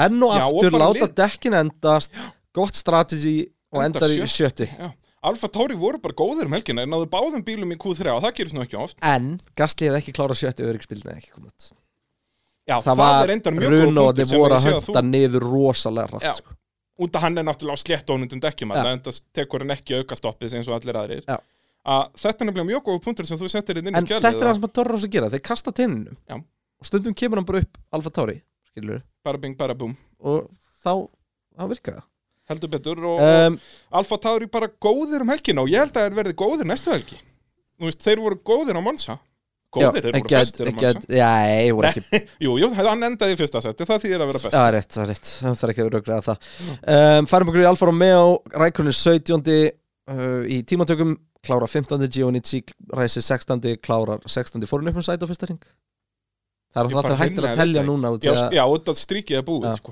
[SPEAKER 1] enn og
[SPEAKER 2] Já, og
[SPEAKER 1] aftur
[SPEAKER 2] bara
[SPEAKER 1] láta
[SPEAKER 2] lið-
[SPEAKER 1] dekkin endast gott strategy og
[SPEAKER 2] Enda
[SPEAKER 1] endar í sjötti
[SPEAKER 2] já Alfa Tauri voru bara góðir um helgina en náðu báðum bílum í Q3 og það gerist nú ekki oft
[SPEAKER 1] en gastli hefði ekki klárað sjötti öryggspilni ekki komið út
[SPEAKER 2] Já,
[SPEAKER 1] það,
[SPEAKER 2] er reyndar
[SPEAKER 1] var
[SPEAKER 2] mjög góð punktur
[SPEAKER 1] runóði
[SPEAKER 2] sem
[SPEAKER 1] voru
[SPEAKER 2] ég
[SPEAKER 1] að
[SPEAKER 2] sé að
[SPEAKER 1] hönda
[SPEAKER 2] þú
[SPEAKER 1] niður rosalega
[SPEAKER 2] Já.
[SPEAKER 1] rætt sko.
[SPEAKER 2] út að hann er náttúrulega á slétt ónundum dekkjum
[SPEAKER 1] Já.
[SPEAKER 2] ja. en það tekur hann ekki aukastoppið eins og allir aðrir
[SPEAKER 1] Já.
[SPEAKER 2] að þetta er nefnilega mjög góð punktur sem þú settir inn í
[SPEAKER 1] en
[SPEAKER 2] skjalið
[SPEAKER 1] þetta er
[SPEAKER 2] að-
[SPEAKER 1] það sem að Torra ás að gera þeir kasta tinninu
[SPEAKER 2] Já.
[SPEAKER 1] og stundum kemur hann bara upp Alfa Tauri skilur
[SPEAKER 2] bara bing bara búm
[SPEAKER 1] og þá, þá virka það
[SPEAKER 2] heldur betur og,
[SPEAKER 1] um,
[SPEAKER 2] og Alfa Tauri bara góðir um helgina og ég held að þeir verði góðir næstu helgi Þú veist, þeir voru góðir á Monsa góðir, þeir voru bestir um á Monsa
[SPEAKER 1] Já, ég voru ekki
[SPEAKER 2] Jú, jú, hann endaði í fyrsta seti, það þýðir að vera best
[SPEAKER 1] Það er rétt, það er rétt, það þarf ekki að raugraða það um, Færum okkur í Alfa Romeo, Rækunin 17. Uh, í tímatökum Klárar 15. Gionici, ræsi 16. Klárar 16. Fórum upp um sæti á fyrsta ring Það
[SPEAKER 2] Ég
[SPEAKER 1] er
[SPEAKER 2] bara
[SPEAKER 1] alltaf hættir
[SPEAKER 2] hreinlega
[SPEAKER 1] að
[SPEAKER 2] veit
[SPEAKER 1] telja
[SPEAKER 2] það
[SPEAKER 1] núna út
[SPEAKER 2] Já,
[SPEAKER 1] í að-
[SPEAKER 2] já og það strikið er búið
[SPEAKER 1] Já.
[SPEAKER 2] sko.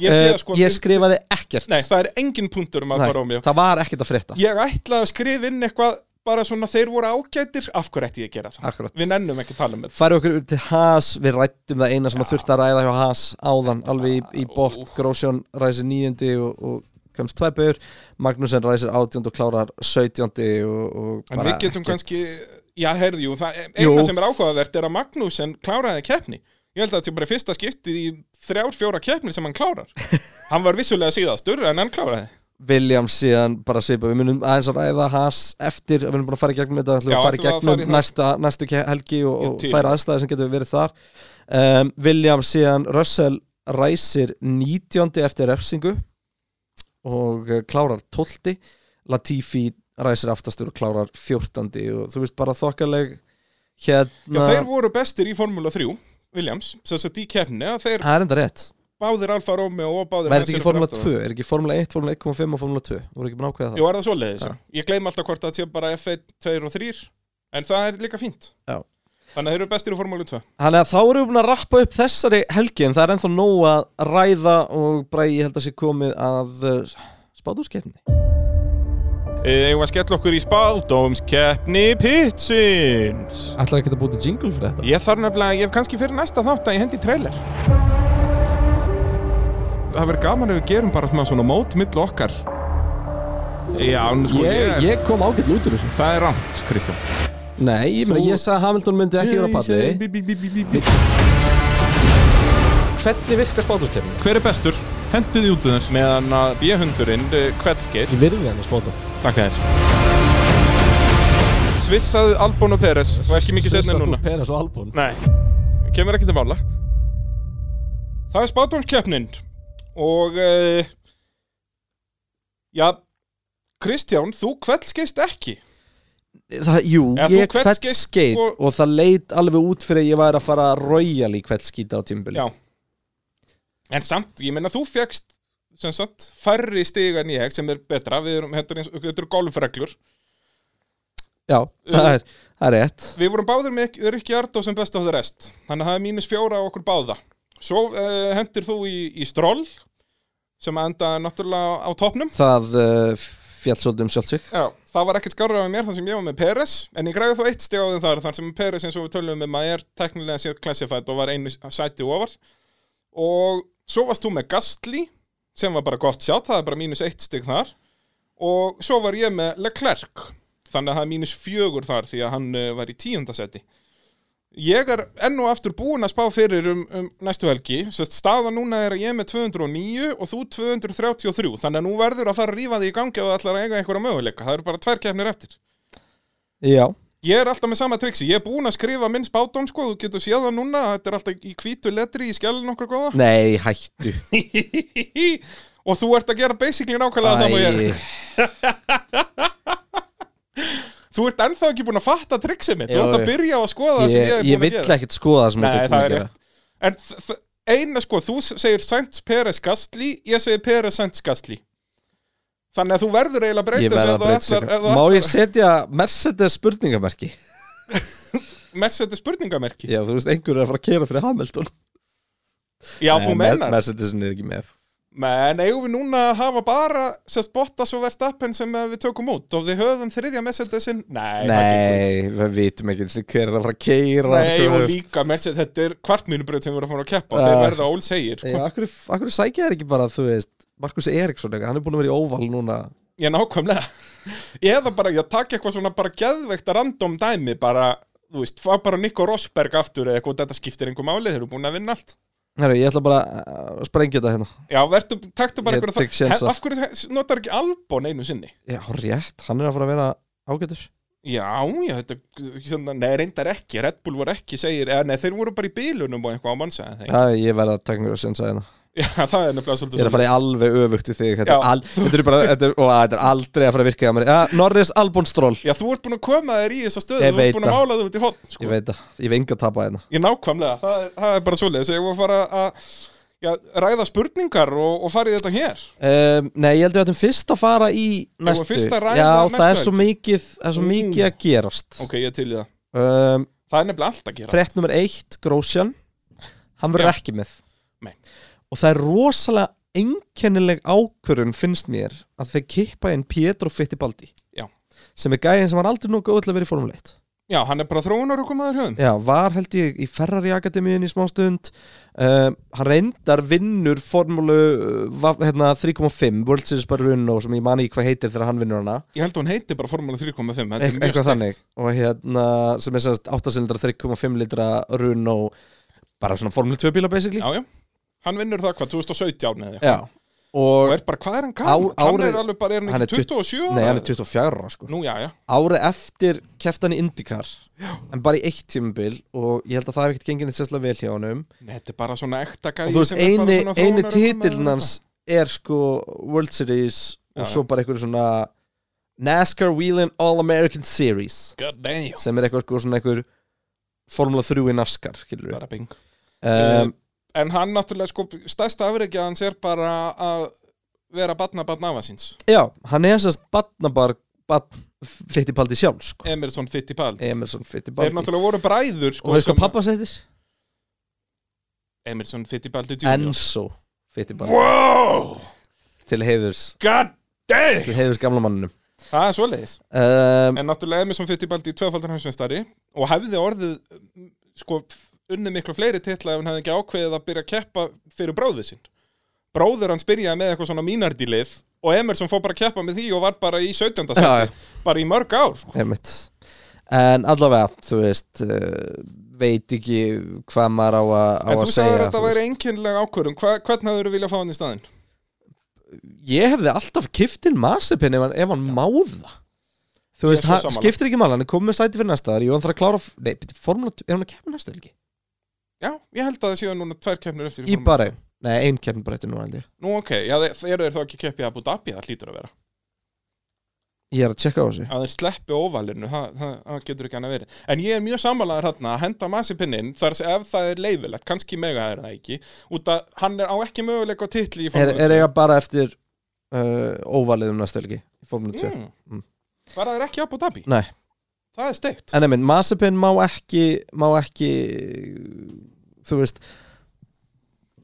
[SPEAKER 2] Ég sé
[SPEAKER 1] Eh,
[SPEAKER 2] að sko
[SPEAKER 1] ég skrifaði ekkert
[SPEAKER 2] Nei, það er engin punktur um að fara á mig
[SPEAKER 1] það var ekkert að frétta
[SPEAKER 2] ég ætlaði að skrifa inn eitthvað bara svona þeir voru ágætir, af hverju ætti ég að gera það?
[SPEAKER 1] Akkurat.
[SPEAKER 2] Við nennum ekki að tala um þetta.
[SPEAKER 1] Færu okkur upp til Haas, við rættum það eina sem að þurfti að ræða hjá Haas áðan alveg í, í bótt, Grósjón ræsir nýjöndi og, og kemst tvær bauður Magnúsen ræsir átjönd og klárar sjötjöndi og, og
[SPEAKER 2] En við getum
[SPEAKER 1] ekkert-
[SPEAKER 2] kannski, já herði, jú, það eina
[SPEAKER 1] Jú.
[SPEAKER 2] sem er áhugavert er að Magnúsen kláraði keppni. Ég held að þetta er bara fyrsta skiptið í þrjár, fjóra keppnir sem
[SPEAKER 1] <laughs>
[SPEAKER 2] hann klárar. hann var vissulega síðastur en hann kláraði.
[SPEAKER 1] Williams síðan bara svipa, við munum aðeins að ræða Haas eftir, við munum bara að fara í gegnum þetta ætlum
[SPEAKER 2] Já,
[SPEAKER 1] við að fara í
[SPEAKER 2] ætlum við að fara í
[SPEAKER 1] gegnum
[SPEAKER 2] það?
[SPEAKER 1] næsta, næstu ke- helgi og,
[SPEAKER 2] Ég
[SPEAKER 1] og
[SPEAKER 2] til.
[SPEAKER 1] þær aðstæði sem getur verið þar um, Williams síðan Russell ræsir 19. eftir refsingu og eh, klárar 12. Latifi ræsir aftastur og klárar 14. og þú veist bara þokkaleg
[SPEAKER 2] Já,
[SPEAKER 1] hérna
[SPEAKER 2] þeir voru bestir í Formula 3, Williams, sem sagt í keppni, að þeir
[SPEAKER 1] Það er enda rétt,
[SPEAKER 2] báðir Alfa Romeo og
[SPEAKER 1] væri
[SPEAKER 2] báðir
[SPEAKER 1] þetta
[SPEAKER 2] Mercedes
[SPEAKER 1] ekki Formula
[SPEAKER 2] fyrir aftan.
[SPEAKER 1] 2 er ekki Formula 1, Formula 1.5 og Formula 2 voru ekki búin að ákveða það
[SPEAKER 2] Jú, er það svoleiðis? Ég gleym alltaf hvort það sé bara F1, 2 og 3 En það er líka fínt
[SPEAKER 1] Já.
[SPEAKER 2] Þannig að þeir eru bestir í Formúlu 2
[SPEAKER 1] Þannig að þá erum við búin að rappa upp þessari helgi en það er ennþá nóg að ræða og bara ég held að sé komið að uh, spátúrskeppni.
[SPEAKER 2] Ég var að skella okkur í spáldómskeppni Pitsins
[SPEAKER 1] Ætlar ekki að búti jingle fyrir þetta?
[SPEAKER 2] Ég þarf nefnilega, ég hef kannski fyrir næsta þátt að ég hendi í trailer Það verður gaman ef við gerum bara svona, svona mót millu okkar Já, en sko,
[SPEAKER 1] Ég,
[SPEAKER 2] ég,
[SPEAKER 1] ég kom ágætt út úr þessu
[SPEAKER 2] það er rámt, Kristján
[SPEAKER 1] Nei, ég, meina, ég sagði að Hamilton myndi ekki vera á palli Hvernig virkar spátumskefni?
[SPEAKER 2] Hver er bestur? Henduði út um þér meðan að bíahundurinn kveldgeir
[SPEAKER 1] Ég virði hann að spátum
[SPEAKER 2] Takk að þér Svissaðu Albon og Peres og ekki mikið setna núna
[SPEAKER 1] Peres og Albon
[SPEAKER 2] Nei, kemur ekki til mála Það er spátumskeppnin og uh, já Kristján, þú kveldgeist ekki
[SPEAKER 1] það, Jú,
[SPEAKER 2] Eða þú
[SPEAKER 1] ég
[SPEAKER 2] kveldskeitt,
[SPEAKER 1] kveldskeit skeit
[SPEAKER 2] sko-
[SPEAKER 1] og það leit alveg út fyrir að ég væri að fara royal í kveldskeita á tímbili
[SPEAKER 2] Já En samt, ég meina þú fegst sem sagt færri stiga en ég sem er betra, við erum, þetta er eins- þetta eru golfreglur
[SPEAKER 1] það, er, það er rétt
[SPEAKER 2] Við vorum báðir með Rikki Ardó sem best of the rest Þannig að það er mínus fjóra á okkur báða Svo uh, hendir þú í, í stról sem að enda náttúrulega á topnum
[SPEAKER 1] Það uh, fjall svolítið um sjálf sig
[SPEAKER 2] Já, það var ekkert skárra með mér þar sem ég var með Peres en ég græði þó eitt stig á þeim þar þar sem Peres eins og við tölum um að er teknilega séð classified og var einu sæti ofar og svo varst þú með Gastli sem var bara gott sjátt, það er bara mínus eitt stig þar og svo var ég með Leclerc þannig að það er mínus fjögur þar því að hann uh, var í tíundasæti Ég er enn og aftur búin að spá fyrir um, um næstu helgi Sest, staða núna er að ég er með 209 og þú 233 þannig að nú verður að fara að rífa því í gangi og ætlar að eiga einhverja möguleika það eru bara tvær kefnir eftir
[SPEAKER 1] Já,
[SPEAKER 2] Ég er alltaf með sama triksi, ég er búin að skrifa minn spátón sko, þú getur séð það núna þetta er alltaf í hvítu letri í skjælun okkur
[SPEAKER 1] <laughs>
[SPEAKER 2] góða
[SPEAKER 1] nei, hættu
[SPEAKER 2] og þú ert að gera basically nákvæmlega <laughs> það saman
[SPEAKER 1] Æ,
[SPEAKER 2] ég Þú ert ennþá ekki búin að fatta triksi mitt,
[SPEAKER 1] Já,
[SPEAKER 2] þú ert
[SPEAKER 1] já.
[SPEAKER 2] að byrja á að skoða það sem ég
[SPEAKER 1] ég,
[SPEAKER 2] er
[SPEAKER 1] ég
[SPEAKER 2] búin að
[SPEAKER 1] vill
[SPEAKER 2] gera
[SPEAKER 1] ekkert skoða það sem
[SPEAKER 2] Nei,
[SPEAKER 1] þetta
[SPEAKER 2] það
[SPEAKER 1] er
[SPEAKER 2] er
[SPEAKER 1] búin að
[SPEAKER 2] rétt En þ- þ- eina sko, þú s- segir Sainz Peres Gastli, ég segir Peres Sainz Gastli Þannig að þú verður eiginlega að
[SPEAKER 1] gera Ég
[SPEAKER 2] breyta
[SPEAKER 1] verða að breyta
[SPEAKER 2] sig
[SPEAKER 1] sig Má ég setja Mercedes
[SPEAKER 2] <laughs>
[SPEAKER 1] spurningamerki?
[SPEAKER 2] Mercedes spurningamerki
[SPEAKER 1] Já, þú veist, einhver er að fara að kera fyrir <laughs> Hamilton
[SPEAKER 2] Já, þú
[SPEAKER 1] Nei, Mer-
[SPEAKER 2] menar
[SPEAKER 1] Mercedesin er ekki með
[SPEAKER 2] Men eigum við núna að hafa bara sérst Bottas og Verstappen sem eh, við tökum út og við höfum þriðja Mercedesin Nei, það gengur
[SPEAKER 1] Nei, við vitum ekki eins og hver er að sko, fara að keira
[SPEAKER 2] Nei, og líka Mercedes, þetta er kvartmínubröð sem við erum að fara að keppa og
[SPEAKER 1] Ah.
[SPEAKER 2] þeir verða ól segir
[SPEAKER 1] Já,
[SPEAKER 2] sko.
[SPEAKER 1] akkur, akkur sækja þér ekki bara, þú veist Markus Eriksson, eitthvað, hann er búin að vera í óval núna
[SPEAKER 2] Ég nákvæmlega Eða bara, ég takk eitthvað svona bara geðveikt random dæmi bara, þú veist, fá bara Nico Rosberg aftur eða eitthvað, þetta skiptir einhver máli, þeir eru búin að vinna allt
[SPEAKER 1] Herru, ég ætla bara uh, að sprengja þetta hérna
[SPEAKER 2] Já, vertu, taktu bara
[SPEAKER 1] Ég
[SPEAKER 2] einhverja
[SPEAKER 1] tek sénsa.
[SPEAKER 2] Af hverju notar ekki Albon einu sinni?
[SPEAKER 1] Já, rétt, hann er að fara að vera ágætur
[SPEAKER 2] Já, já, þetta, svona, nei, reyndar ekki, Red Bull voru ekki, segir, eða, nei, þeir voru bara í bílunum og eitthvað á mannsæði þeim.
[SPEAKER 1] Já, ég verða að taka mér að sensa hérna
[SPEAKER 2] <laughs> Já, það er nefnilega svolítið
[SPEAKER 1] Ég er að fara í alveg öfugt við þig Þetta,
[SPEAKER 2] Já.
[SPEAKER 1] er, al, þetta, er, bara, þetta, er, og, þetta er aldrei að fara að virka hjá mér ja, Norris Albon Stroll
[SPEAKER 2] Já, þú ert búin að koma þér í þessa stöðu,
[SPEAKER 1] Ég
[SPEAKER 2] þú
[SPEAKER 1] veit
[SPEAKER 2] ert búin að
[SPEAKER 1] það.
[SPEAKER 2] mála þau út í hotn, sko.
[SPEAKER 1] Ég veit það, ég hef enga að tapa hérna
[SPEAKER 2] Ég nákvæmlega, það er, það er bara svolítið, þegar ég voru að fara að já, ræða spurningar og, og fara í þetta hér.
[SPEAKER 1] um, Nei, ég held að við ættum fyrst að fara í næstu
[SPEAKER 2] fyrst að ræða
[SPEAKER 1] Já,
[SPEAKER 2] næstu
[SPEAKER 1] það er svo
[SPEAKER 2] helgi.
[SPEAKER 1] mikið, það er svo
[SPEAKER 2] Mm.
[SPEAKER 1] mikið að gerast
[SPEAKER 2] Ok, ég er til í það.
[SPEAKER 1] um,
[SPEAKER 2] Það er nefnilega allt að gera.
[SPEAKER 1] Frett nummer eitt, Grósjan Hann verður
[SPEAKER 2] Já.
[SPEAKER 1] ekki með
[SPEAKER 2] Nei.
[SPEAKER 1] Og það er rosalega einkennileg ákvörun finnst mér að þeir kippa inn Pietro Fittibaldi
[SPEAKER 2] Já.
[SPEAKER 1] sem er gæðin sem var aldrei nú góð til að vera í formuleitt
[SPEAKER 2] Já, hann er bara þróunar og komaður höfum.
[SPEAKER 1] Já, var held ég í Ferrari Akademiðin í smá stund um, Hann reyndar vinnur formúlu uh, va- hérna, 3.5 World Series bara runn og sem ég mani ekki hvað heitir þegar hann vinnur hana
[SPEAKER 2] Ég held að hún heiti bara Formule 3.5, þetta
[SPEAKER 1] Eit-
[SPEAKER 2] er mjög
[SPEAKER 1] eitthvað
[SPEAKER 2] sterkt.
[SPEAKER 1] þannig og hérna sem er sérst 8 silindra 3.5 litra runn og bara svona formúlu 2 bíla basically
[SPEAKER 2] Já, já. Hann vinnur það hvað, 2017 eða eitthvað.
[SPEAKER 1] Já.
[SPEAKER 2] Og
[SPEAKER 1] og
[SPEAKER 2] er bara, hvað er hann gammal?
[SPEAKER 1] Á-
[SPEAKER 2] Hann er
[SPEAKER 1] árið-
[SPEAKER 2] alveg bara, er
[SPEAKER 1] hann
[SPEAKER 2] hann
[SPEAKER 1] er
[SPEAKER 2] ekki
[SPEAKER 1] tutt-
[SPEAKER 2] 27
[SPEAKER 1] nei, hann
[SPEAKER 2] eða?
[SPEAKER 1] er 24 ára sko
[SPEAKER 2] Nú, já, já.
[SPEAKER 1] árið eftir keftan í IndyCar en bara í eitt tímabil og ég held að það hef ekkert gengið neitt sérslega vel hjá honum
[SPEAKER 2] Nei, Þetta er bara svona ekta gæði
[SPEAKER 1] og þú veist, eini, eini titilin hans er sko World Series og
[SPEAKER 2] Já,
[SPEAKER 1] svo bara eitthvað svona NASCAR Wheeling All-American Series
[SPEAKER 2] God damn
[SPEAKER 1] sem er eitthvað sko svona eitthvað Formula 3 í NASCAR, skilur við
[SPEAKER 2] Bara bing
[SPEAKER 1] um,
[SPEAKER 2] En hann náttúrulega, sko, stærsta afreikja hans er bara að vera batna batna afa síns
[SPEAKER 1] Já, hann er sérst batnabar bat, Fittipaldi sjálf, sko
[SPEAKER 2] Emerson Fittipaldi
[SPEAKER 1] Emerson
[SPEAKER 2] Þeir
[SPEAKER 1] Fittipaldi
[SPEAKER 2] náttúrulega voru bræður,
[SPEAKER 1] og
[SPEAKER 2] sko
[SPEAKER 1] veist
[SPEAKER 2] sem-
[SPEAKER 1] hvað pappas heitir?
[SPEAKER 2] Emerson Fittipaldi Jr.
[SPEAKER 1] Enzo Fittipaldi
[SPEAKER 2] Wow
[SPEAKER 1] til heiðurs,
[SPEAKER 2] God damn
[SPEAKER 1] til heiðurs gamla manninum
[SPEAKER 2] Það er svoleiðis
[SPEAKER 1] um,
[SPEAKER 2] En náttúrulega Emerson Fittipaldi tvöfaldur hansmestari og hefði orðið mm, sko unnið miklu fleiri titla ef hann hefði ekki ákveðið að byrja að keppa fyrir bróðið sinn bróður hans byrjaði með eitthvað svona mínardílið og Emerson fór bara að keppa með því og var bara í 17.
[SPEAKER 1] Já, já.
[SPEAKER 2] seti, bara í mörg ár sko.
[SPEAKER 1] einmitt En allavega, þú veist eh, veit ekki hvað maður á að, á
[SPEAKER 2] en
[SPEAKER 1] að
[SPEAKER 2] þú
[SPEAKER 1] segja
[SPEAKER 2] sagðir að þetta
[SPEAKER 1] þú veist.
[SPEAKER 2] væri einkennilega ákvörðum Hva, hvern hafður þú viljað fá hann í staðinn?
[SPEAKER 1] Ég hefði alltaf kiftin Masipin ef hann, ef hann máða Þú
[SPEAKER 2] Ég er
[SPEAKER 1] veist,
[SPEAKER 2] svo
[SPEAKER 1] hann
[SPEAKER 2] sammála.
[SPEAKER 1] skiptir ekki mála, hann er komið með sæti fyrir næsta þar, jú, hann þarf að klára, nei, byrju, Formúla 2 er hann að kemna næsta helgi?
[SPEAKER 2] Já, ég held að það séu núna tvær keppnir eftir
[SPEAKER 1] Í
[SPEAKER 2] Formúlu
[SPEAKER 1] bara,
[SPEAKER 2] 2.
[SPEAKER 1] nei, ein kemna bara eftir núna held ég
[SPEAKER 2] Nú ok, já, þe- þeir eru þá ekki að keppa í Abu Dhabi, það hlýtur að vera
[SPEAKER 1] Ég er að tjekka á þessu
[SPEAKER 2] að þeir sleppi óvalinu, það, það, það getur ekki hann að verið en ég er mjög sammálaður hérna að henda masipinnin þar sem ef það er leifilegt, kannski mega er það ekki út að hann er á ekki möguleika á titli í
[SPEAKER 1] Er,
[SPEAKER 2] Formúlu
[SPEAKER 1] er
[SPEAKER 2] 2.
[SPEAKER 1] eiga bara eftir uh, óvalið um næsta helgi í Formúlu 2
[SPEAKER 2] mm.
[SPEAKER 1] Mm.
[SPEAKER 2] var það ekki í Abu Dhabi?
[SPEAKER 1] Nei,
[SPEAKER 2] Það er steikt
[SPEAKER 1] en einmitt, Masipin má ekki má ekki þú veist,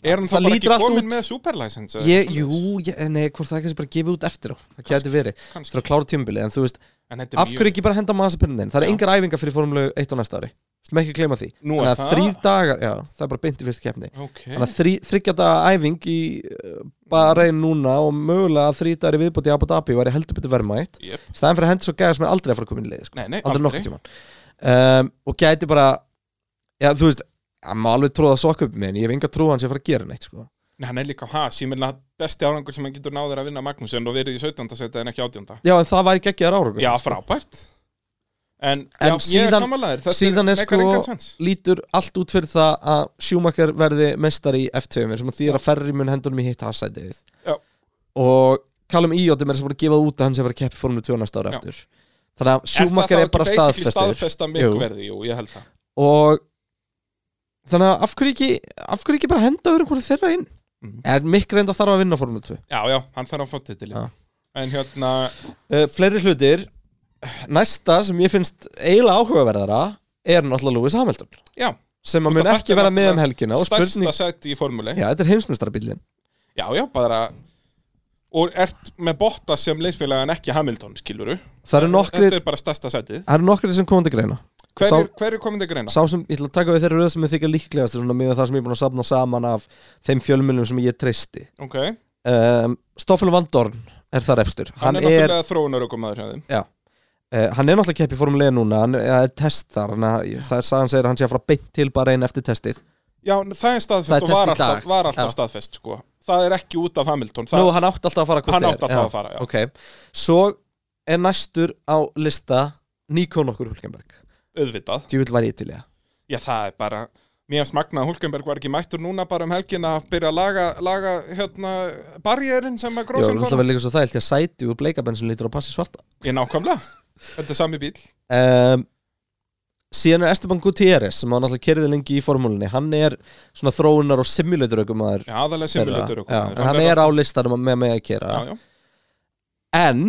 [SPEAKER 2] Er hann þá
[SPEAKER 1] það
[SPEAKER 2] bara
[SPEAKER 1] lítur
[SPEAKER 2] ekki
[SPEAKER 1] allt
[SPEAKER 2] komin
[SPEAKER 1] út-
[SPEAKER 2] með superlicense? eða
[SPEAKER 1] ég,
[SPEAKER 2] eitthvað
[SPEAKER 1] jú,
[SPEAKER 2] svoleiðis?
[SPEAKER 1] ég, eh, nei, hvort það er kannski bara gefið út eftir á, það gæti verið
[SPEAKER 2] Kannski.
[SPEAKER 1] þurfa að klára tímabilið, en þú veist,
[SPEAKER 2] En þetta er
[SPEAKER 1] af hverju
[SPEAKER 2] mjög-
[SPEAKER 1] ekki bara henda Masipin þinn, það
[SPEAKER 2] Já.
[SPEAKER 1] er engar æfingar fyrir Formúlu 1 á næsta ári, sem ekki gleyma því
[SPEAKER 2] Nú
[SPEAKER 1] þannig
[SPEAKER 2] er
[SPEAKER 1] að
[SPEAKER 2] það-
[SPEAKER 1] þrý dagar, já, það er bara beint í fyrstu keppni
[SPEAKER 2] Ok,
[SPEAKER 1] þannig að þrý, þryggja daga æfing í uh, bara einn núna og mögulega þrý dagar í viðbúti í Abu Dhabi væri heldur betur verðmætt
[SPEAKER 2] jöp
[SPEAKER 1] staðan fyrir að henda svo gæða sem er aldrei að fara að koma inn í liði sko.
[SPEAKER 2] Nei, nei,
[SPEAKER 1] aldrei nokkuð tíman um, og gæti bara já, þú veist, hann má alveg tróða sokk upp með en ég hef enga trú að hann sé að fara að gera neitt sko.
[SPEAKER 2] Nei, Hann er líka has, ég meina besti árangur sem hann getur náður að vinna Magnúsen og verið í 17. seti en ekki 18.
[SPEAKER 1] já, en það væri geggjaður sko. ára
[SPEAKER 2] Já, frábært En,
[SPEAKER 1] En
[SPEAKER 2] já, ég er
[SPEAKER 1] síðan-
[SPEAKER 2] samanlegaður Þetta
[SPEAKER 1] síðan er
[SPEAKER 2] meikar
[SPEAKER 1] sko-
[SPEAKER 2] engan sens.
[SPEAKER 1] lítur allt út fyrir það að Schumacher verði mestari í F2 sem því er að ferri mun hendunum í hitt hasætið
[SPEAKER 2] Já.
[SPEAKER 1] og Callum Íotum er sem bara að gefa það út að hann sé að fara að keppi formule 2 næsta ára
[SPEAKER 2] Já.
[SPEAKER 1] eftir þannig að
[SPEAKER 2] Er það
[SPEAKER 1] Schumacher
[SPEAKER 2] þá
[SPEAKER 1] er,
[SPEAKER 2] ekki
[SPEAKER 1] bara
[SPEAKER 2] basically
[SPEAKER 1] staðfestur
[SPEAKER 2] staðfesta
[SPEAKER 1] Jú.
[SPEAKER 2] mikverði, jú, ég held það
[SPEAKER 1] og þannig að af hverju ekki af hverju ekki bara henda öðrum hverju þeirra inn
[SPEAKER 2] Mhm.
[SPEAKER 1] en mikk reynda þarf að vinna formule 2
[SPEAKER 2] Já, já, hann þarf að fá titil
[SPEAKER 1] Já.
[SPEAKER 2] En hérna,
[SPEAKER 1] uh, fleiri hlutir næsta sem ég finnst eiginlega áhugaverðara er náttúrulega Lewis Hamilton
[SPEAKER 2] já,
[SPEAKER 1] sem að
[SPEAKER 2] Út af
[SPEAKER 1] mun
[SPEAKER 2] þetta
[SPEAKER 1] ekki
[SPEAKER 2] er
[SPEAKER 1] vera með um
[SPEAKER 2] náttúrulega
[SPEAKER 1] helgina og
[SPEAKER 2] stærsta
[SPEAKER 1] spurning,
[SPEAKER 2] seti í formúli
[SPEAKER 1] já þetta er heimsmyndstarabílin
[SPEAKER 2] Já, já, bara Og ert með botta sem leinsfélag en ekki Hamilton, skiluru
[SPEAKER 1] það eru nokkrir,
[SPEAKER 2] Þetta er bara stærsta setið
[SPEAKER 1] það eru nokkrir sem komandi greina
[SPEAKER 2] Hver
[SPEAKER 1] Sá-
[SPEAKER 2] er, hver er komin til greina?
[SPEAKER 1] sá sem, ég ætla að taka við þeirra röð sem ég þykja líklegast svona með það sem ég er búin að safna saman af þeim fjölmjölum sem ég treysti
[SPEAKER 2] Ok, hann,
[SPEAKER 1] um, Stoffel Van Dorn er þar efstur
[SPEAKER 2] er náttúrulega þróunar okkur maður hjá þeim
[SPEAKER 1] Uh, hann er náttúrulega kepp í Formule 1 núna hann ja, er test þar, hann að, það er sagan segir að hann sé að fara beint til bara einn eftir testið
[SPEAKER 2] Já, það er staðfest
[SPEAKER 1] Það er
[SPEAKER 2] og var
[SPEAKER 1] test í
[SPEAKER 2] alltaf,
[SPEAKER 1] dag.
[SPEAKER 2] var alltaf
[SPEAKER 1] Já.
[SPEAKER 2] staðfest sko. Það er ekki út af Hamilton
[SPEAKER 1] Nú,
[SPEAKER 2] það,
[SPEAKER 1] hann átti alltaf að fara hvort
[SPEAKER 2] Hann
[SPEAKER 1] eð er.
[SPEAKER 2] átti alltaf
[SPEAKER 1] Já.
[SPEAKER 2] að fara, já.
[SPEAKER 1] Ok, svo er næstur á lista Nikon okkur Hulkenberg
[SPEAKER 2] Auðvitað
[SPEAKER 1] Djúvill var ég til í það
[SPEAKER 2] Já, það er bara Mér hans magnað að Hulkenberg var ekki mættur núna bara um helgina að byrja að laga, laga hérna, barjérin sem að
[SPEAKER 1] Jó, það
[SPEAKER 2] gróðsinn
[SPEAKER 1] var alltaf líka svo þægilt því að sæti úr bleikabensin lítur á passi svarta
[SPEAKER 2] Ég nákvæmlega Þetta er sami bíl
[SPEAKER 1] um, Síðan er Esteban Gutierrez sem hann alltaf kerði lengi í formúlinni Hann er svona þróunar og simulator ökum aður
[SPEAKER 2] Já, aðalega simulator og
[SPEAKER 1] Hann, hann er á listanum með mig að kera
[SPEAKER 2] Já, já
[SPEAKER 1] En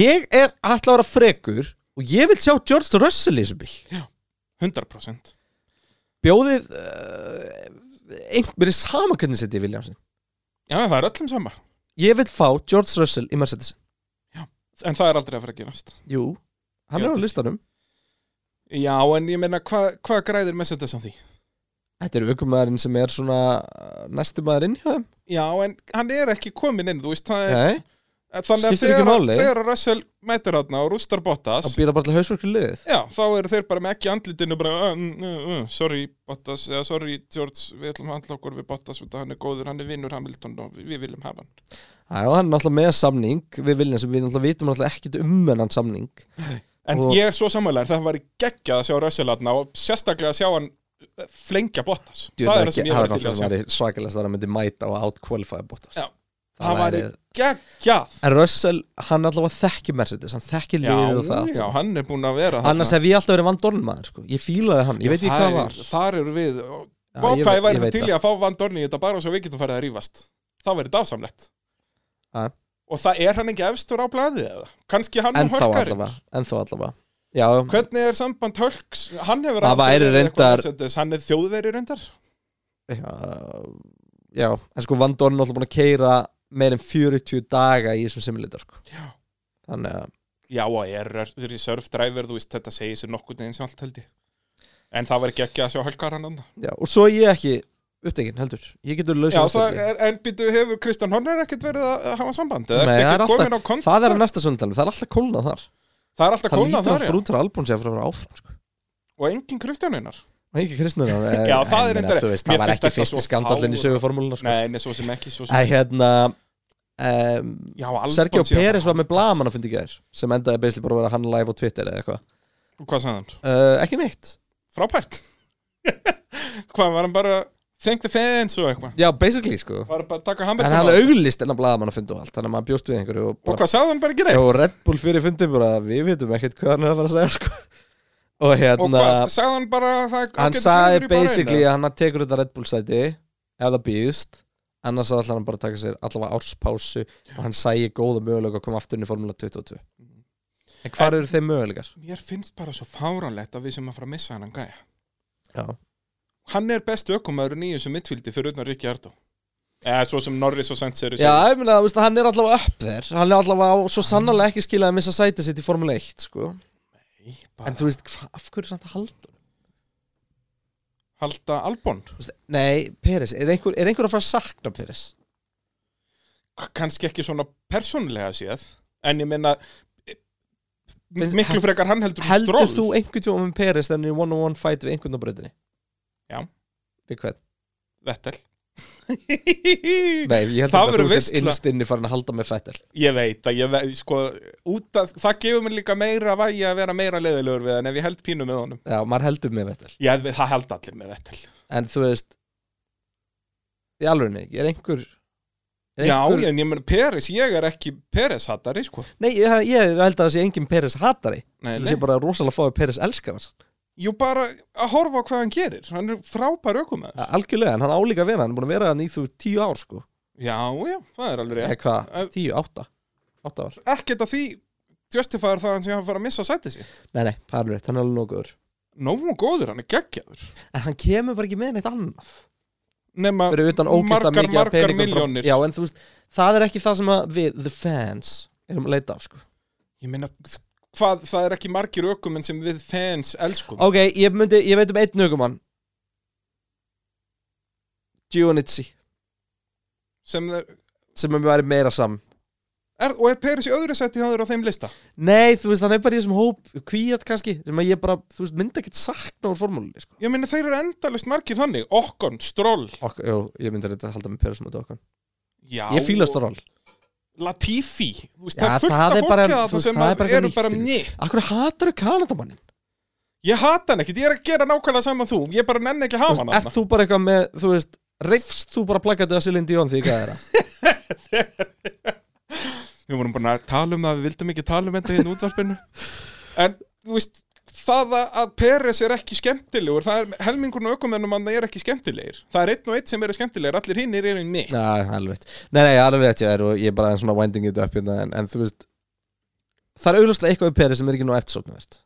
[SPEAKER 1] ég er alltaf að vera frekur og ég vil sjá George Russell í þessu bíl
[SPEAKER 2] 100%
[SPEAKER 1] Bjóðið uh, einhverjir sama hvernig setja í Williamsin
[SPEAKER 2] Já, það er öllum sama
[SPEAKER 1] Ég vil fá George Russell í Mercedes
[SPEAKER 2] En það er aldrei að fara að gerast
[SPEAKER 1] Jú, hann
[SPEAKER 2] Ég
[SPEAKER 1] er á
[SPEAKER 2] veit
[SPEAKER 1] listanum
[SPEAKER 2] Já, en ég meina, hvað hva græðir með þetta því?
[SPEAKER 1] Þetta er aukumæðurinn sem er svona uh, næstu maðurinn hjá þeim
[SPEAKER 2] Já, en hann er ekki komin inn, þú veist það er,
[SPEAKER 1] Nei,
[SPEAKER 2] Þannig að
[SPEAKER 1] skiptir ekki
[SPEAKER 2] þegar,
[SPEAKER 1] máli.
[SPEAKER 2] þegar að Russell mætir þarna og rústar Bottas
[SPEAKER 1] hann býra bara til hausverku liðið
[SPEAKER 2] Já, þá eru þeir bara með ekki andlitinu bara, uh, uh, uh, sorry Bottas eða sorry George, við ætlum að handla okkur við Bottas út að hann er góður, hann er vinnur Hamilton og við, við viljum hafa hann
[SPEAKER 1] Já, hann er náttúrulega með samning við William sem við náttúrulega vitum náttúrulega ekkert um hennan samning
[SPEAKER 2] En
[SPEAKER 1] Og-
[SPEAKER 2] ég er svo sammálaður, það var geggjað að sjá Russell aðna og sérstaklega að sjá hann uh, flengja Bottas
[SPEAKER 1] Djú,
[SPEAKER 2] Það
[SPEAKER 1] það
[SPEAKER 2] er það sem ég
[SPEAKER 1] var
[SPEAKER 2] var til í að sjá
[SPEAKER 1] náttúrulega svakalegast að hann myndi mæta og outqualify Bottas
[SPEAKER 2] Já.
[SPEAKER 1] Það
[SPEAKER 2] Það var
[SPEAKER 1] væri-
[SPEAKER 2] geggjað
[SPEAKER 1] En Russell, hann allavega þekkir Mercedes, hann þekkir liðið og það
[SPEAKER 2] Já,
[SPEAKER 1] allt
[SPEAKER 2] já,
[SPEAKER 1] saman.
[SPEAKER 2] hann er búin að vera
[SPEAKER 1] Annars hef ég alltaf verið Van Dorn maður, sko Ég fílaði hann, ég veit ekki hvað var
[SPEAKER 2] Þar eru við, og
[SPEAKER 1] Já,
[SPEAKER 2] og
[SPEAKER 1] ég veit-
[SPEAKER 2] hvað ég
[SPEAKER 1] ég
[SPEAKER 2] væri það
[SPEAKER 1] veit
[SPEAKER 2] til í að fá Van Dorni í þetta bara svo við getum farið að rífast Það verið dásamlegt
[SPEAKER 1] Já.
[SPEAKER 2] Og það er hann ekki efstur á blaðið eða? Kannski hann
[SPEAKER 1] En
[SPEAKER 2] og
[SPEAKER 1] þá
[SPEAKER 2] hörkarinn
[SPEAKER 1] allavega, en þá allavega Já,
[SPEAKER 2] Hvernig er samband Hölks? Hann hefur
[SPEAKER 1] Það
[SPEAKER 2] aldrei
[SPEAKER 1] væri
[SPEAKER 2] verið
[SPEAKER 1] reyndar-
[SPEAKER 2] eitthvað Mercedes, Hann er þjóðveri reyndar
[SPEAKER 1] já, já En sko Van Dorn er alltaf búin að keira meir en 40 daga í þessum simulator, sko
[SPEAKER 2] Já.
[SPEAKER 1] Þannig að,
[SPEAKER 2] Já, og er verið surfdriver, þú veist, þetta segir sér nokkuð neginn sjálft held ég En það var ekki ekki að sjá Hölkar hann andan
[SPEAKER 1] já, og svo er ég ekki upptekinn heldur Ég getur laus
[SPEAKER 2] Já,
[SPEAKER 1] á
[SPEAKER 2] það
[SPEAKER 1] vatnsfalli.
[SPEAKER 2] er, en býtu hefur Kristján Horner ekkert verið að að hafa samband Eða
[SPEAKER 1] Nei,
[SPEAKER 2] ertu
[SPEAKER 1] það er
[SPEAKER 2] ekki komin á
[SPEAKER 1] alltaf,
[SPEAKER 2] kont
[SPEAKER 1] það er á næsta söndalum, það er alltaf kólnað þar
[SPEAKER 2] Það er alltaf
[SPEAKER 1] Það
[SPEAKER 2] kólna
[SPEAKER 1] lítur
[SPEAKER 2] þar,
[SPEAKER 1] alltaf
[SPEAKER 2] já
[SPEAKER 1] bara út frá albúns eftir að vera áfram sko.
[SPEAKER 2] Og engin Kristján einar
[SPEAKER 1] Og Ekki kristnur það eh,
[SPEAKER 2] Já, það er reyndar-
[SPEAKER 1] veist, Það
[SPEAKER 2] mér
[SPEAKER 1] var
[SPEAKER 2] finnst
[SPEAKER 1] ekki
[SPEAKER 2] þetta
[SPEAKER 1] fyrsti
[SPEAKER 2] svo
[SPEAKER 1] skandallin í
[SPEAKER 2] fáránlegt.
[SPEAKER 1] söguformúluna sko.
[SPEAKER 2] Nei, nei, svo sem ekki, svo sem
[SPEAKER 1] Æ, hérna um,
[SPEAKER 2] Já, Albon
[SPEAKER 1] Sergio
[SPEAKER 2] síðan
[SPEAKER 1] Pérez
[SPEAKER 2] frá-
[SPEAKER 1] var með blaman á fundi í gær sem endaði beisli bara að vera hann live á Twitter eða eitthvað
[SPEAKER 2] Og Hvað sagði hann?
[SPEAKER 1] uh, Ekki neitt
[SPEAKER 2] Frábært <laughs> Hvað, var hann bara Thank the fans og eitthvað
[SPEAKER 1] Já, basically sko
[SPEAKER 2] Var bara að taka
[SPEAKER 1] En
[SPEAKER 2] hamburgum
[SPEAKER 1] hann er auglist enn að blaman á fundi og allt Þannig að maður bjóst við einhverju og,
[SPEAKER 2] Og
[SPEAKER 1] bara,
[SPEAKER 2] hvað sagði hann bara
[SPEAKER 1] Já,
[SPEAKER 2] ekki reynd?
[SPEAKER 1] og Red Bull fyrir fundi bara Við vitum ekkert hvað hann er að fara að segja sko. Og
[SPEAKER 2] Og
[SPEAKER 1] hérna
[SPEAKER 2] hvað, sagði hann bara að það
[SPEAKER 1] Hann
[SPEAKER 2] ágætis
[SPEAKER 1] sagði
[SPEAKER 2] sigur í Bahrein,
[SPEAKER 1] basically
[SPEAKER 2] eða?
[SPEAKER 1] að hann tekur þetta Red Bull sæti Ef það býðst Annars ætlar hann bara að taka sér allavega árspásu Og hann sægi góða möguleika að koma aftur inn í Formula 22 En hvar eru þeim möguleikar?
[SPEAKER 2] Mér finnst bara svo fáránlegt að við sem að fara að missa hann gæja
[SPEAKER 1] Já.
[SPEAKER 2] Hann er bestu ökumæður nýjum sem mittfyldi fyrir utan Ríkki Ardó Eða svo sem Norris og Sainz eru
[SPEAKER 1] Já, ég meina, þú veist, hann er allavega upp þér Hann er allavega á, svo sannarlega ekki skilað að missa sætið sitt í Formule 1, sko
[SPEAKER 2] Nei,
[SPEAKER 1] En
[SPEAKER 2] bara
[SPEAKER 1] þú veist, hva, af hverju er hann að halda?
[SPEAKER 2] Halda Albon
[SPEAKER 1] Þú Veist, nei, Peres, er einhver, er einhver að fara að sakna Peres?
[SPEAKER 2] Kannski ekki svona persónulega séð En ég meina eh,
[SPEAKER 1] Finnst-
[SPEAKER 2] Miklu frekar hann heldur um
[SPEAKER 1] Heldur
[SPEAKER 2] stról
[SPEAKER 1] þú einhvern tíma með Peres Þannig í one-on-one fight við einhvern á breytinni?
[SPEAKER 2] Já.
[SPEAKER 1] Við hvern?
[SPEAKER 2] Vettel
[SPEAKER 1] Nei, ég heldur
[SPEAKER 2] Það
[SPEAKER 1] bara að
[SPEAKER 2] verður
[SPEAKER 1] þú sett
[SPEAKER 2] veisla.
[SPEAKER 1] innstinni farin að halda með Fettel
[SPEAKER 2] Ég veit að ég veit sko, út að, Það gefur mér líka meira vægi að vera meira leiðilegur við hann Ef ég held pínu með honum
[SPEAKER 1] Já, maður heldur með Fettel
[SPEAKER 2] Já, það held allir með Vettel
[SPEAKER 1] En þú veist Í alveg ekki, er einhver er
[SPEAKER 2] Já,
[SPEAKER 1] einhver,
[SPEAKER 2] en ég meina Peres, ég er ekki Peres hattari, sko
[SPEAKER 1] Nei, ég, ég held að það sé engin Peres hatari
[SPEAKER 2] nei,
[SPEAKER 1] Það sé bara rosalega fáið Peres elskar hans
[SPEAKER 2] Jú, bara að horfa á hvað hann gerir Hann er frábær ökumæður
[SPEAKER 1] Ja, Algjörlega, en hann álíka að vera, hann er búin að vera hann í þú tíu ár sko
[SPEAKER 2] Já, já, það er alveg
[SPEAKER 1] Eða
[SPEAKER 2] rétt
[SPEAKER 1] hvað,
[SPEAKER 2] Eh,
[SPEAKER 1] tíu, átta Átta ár
[SPEAKER 2] Ekkert að því justifæður það hann sem hann fara að missa sætið sér
[SPEAKER 1] Nei, nei, það er alveg rétt, hann er alveg nokkuður
[SPEAKER 2] Nógu góður, hann er geggjaður
[SPEAKER 1] En hann kemur bara ekki með neitt annað
[SPEAKER 2] Nefna,
[SPEAKER 1] Fyrir utan ógeðslega
[SPEAKER 2] margar,
[SPEAKER 1] mikið af
[SPEAKER 2] margar
[SPEAKER 1] peningum frá-
[SPEAKER 2] miljónir
[SPEAKER 1] Já, en þú veist, það er ekki það sem að við, the fans, erum að leita af sko
[SPEAKER 2] Ég meina, hvað, það er ekki margir ökumenn sem við fans elskum
[SPEAKER 1] Ok, ég, myndi, ég veit um einn aukumann Giovannizzi
[SPEAKER 2] sem er,
[SPEAKER 1] Sem er verið meira saman
[SPEAKER 2] er, Og er Peres í öðru sæti hann er á þeim lista
[SPEAKER 1] Nei, þú veist, hann er bara í þessum hóp Kvíat kannski, sem að ég bara, þú veist, myndi ekkert sakna úr formúlunni sko
[SPEAKER 2] Ég meina, þeir eru endalist margir þannig Okkon, Stroll
[SPEAKER 1] Ok, jú, ég myndi þetta halda með Peres mútið okkur
[SPEAKER 2] já,
[SPEAKER 1] Ég fíla stról
[SPEAKER 2] Latifi Þú veist,
[SPEAKER 1] Já,
[SPEAKER 2] það er fullt
[SPEAKER 1] það
[SPEAKER 2] af
[SPEAKER 1] er bara-
[SPEAKER 2] fólki að
[SPEAKER 1] þú
[SPEAKER 2] það
[SPEAKER 1] veist,
[SPEAKER 2] sem
[SPEAKER 1] það er
[SPEAKER 2] að
[SPEAKER 1] bara eitthvað
[SPEAKER 2] eru
[SPEAKER 1] nýtt,
[SPEAKER 2] bara
[SPEAKER 1] skilur.
[SPEAKER 2] nýtt
[SPEAKER 1] Akkur hatar þú Kanadamannin?
[SPEAKER 2] Ég hata hann ekkert, ég er að gera nákvæmlega saman þú Ég bara nenni ekki að hafa hann
[SPEAKER 1] Er þú bara eitthvað með, þú veist Reifst þú bara plakkaðið að Silin Dion því hvað er það?
[SPEAKER 2] Við vorum búin að tala um það, við vildum ekki tala um þetta hérna í útvarpinu En, þú veist, það að- að Peres er ekki skemmtilegur Það er helmingurinn og ökumennum hann er ekki skemmtilegir Það er einn og einn sem eru skemmtilegir, allir hinn er einu nýtt
[SPEAKER 1] Já, alveg rétt Nei, nei, alveg rétt ég er og ég er bara svona winding it up hérna en, en þú veist Það er auðvitað eitthvað við Peres sem er ekki nú eftirsóknvert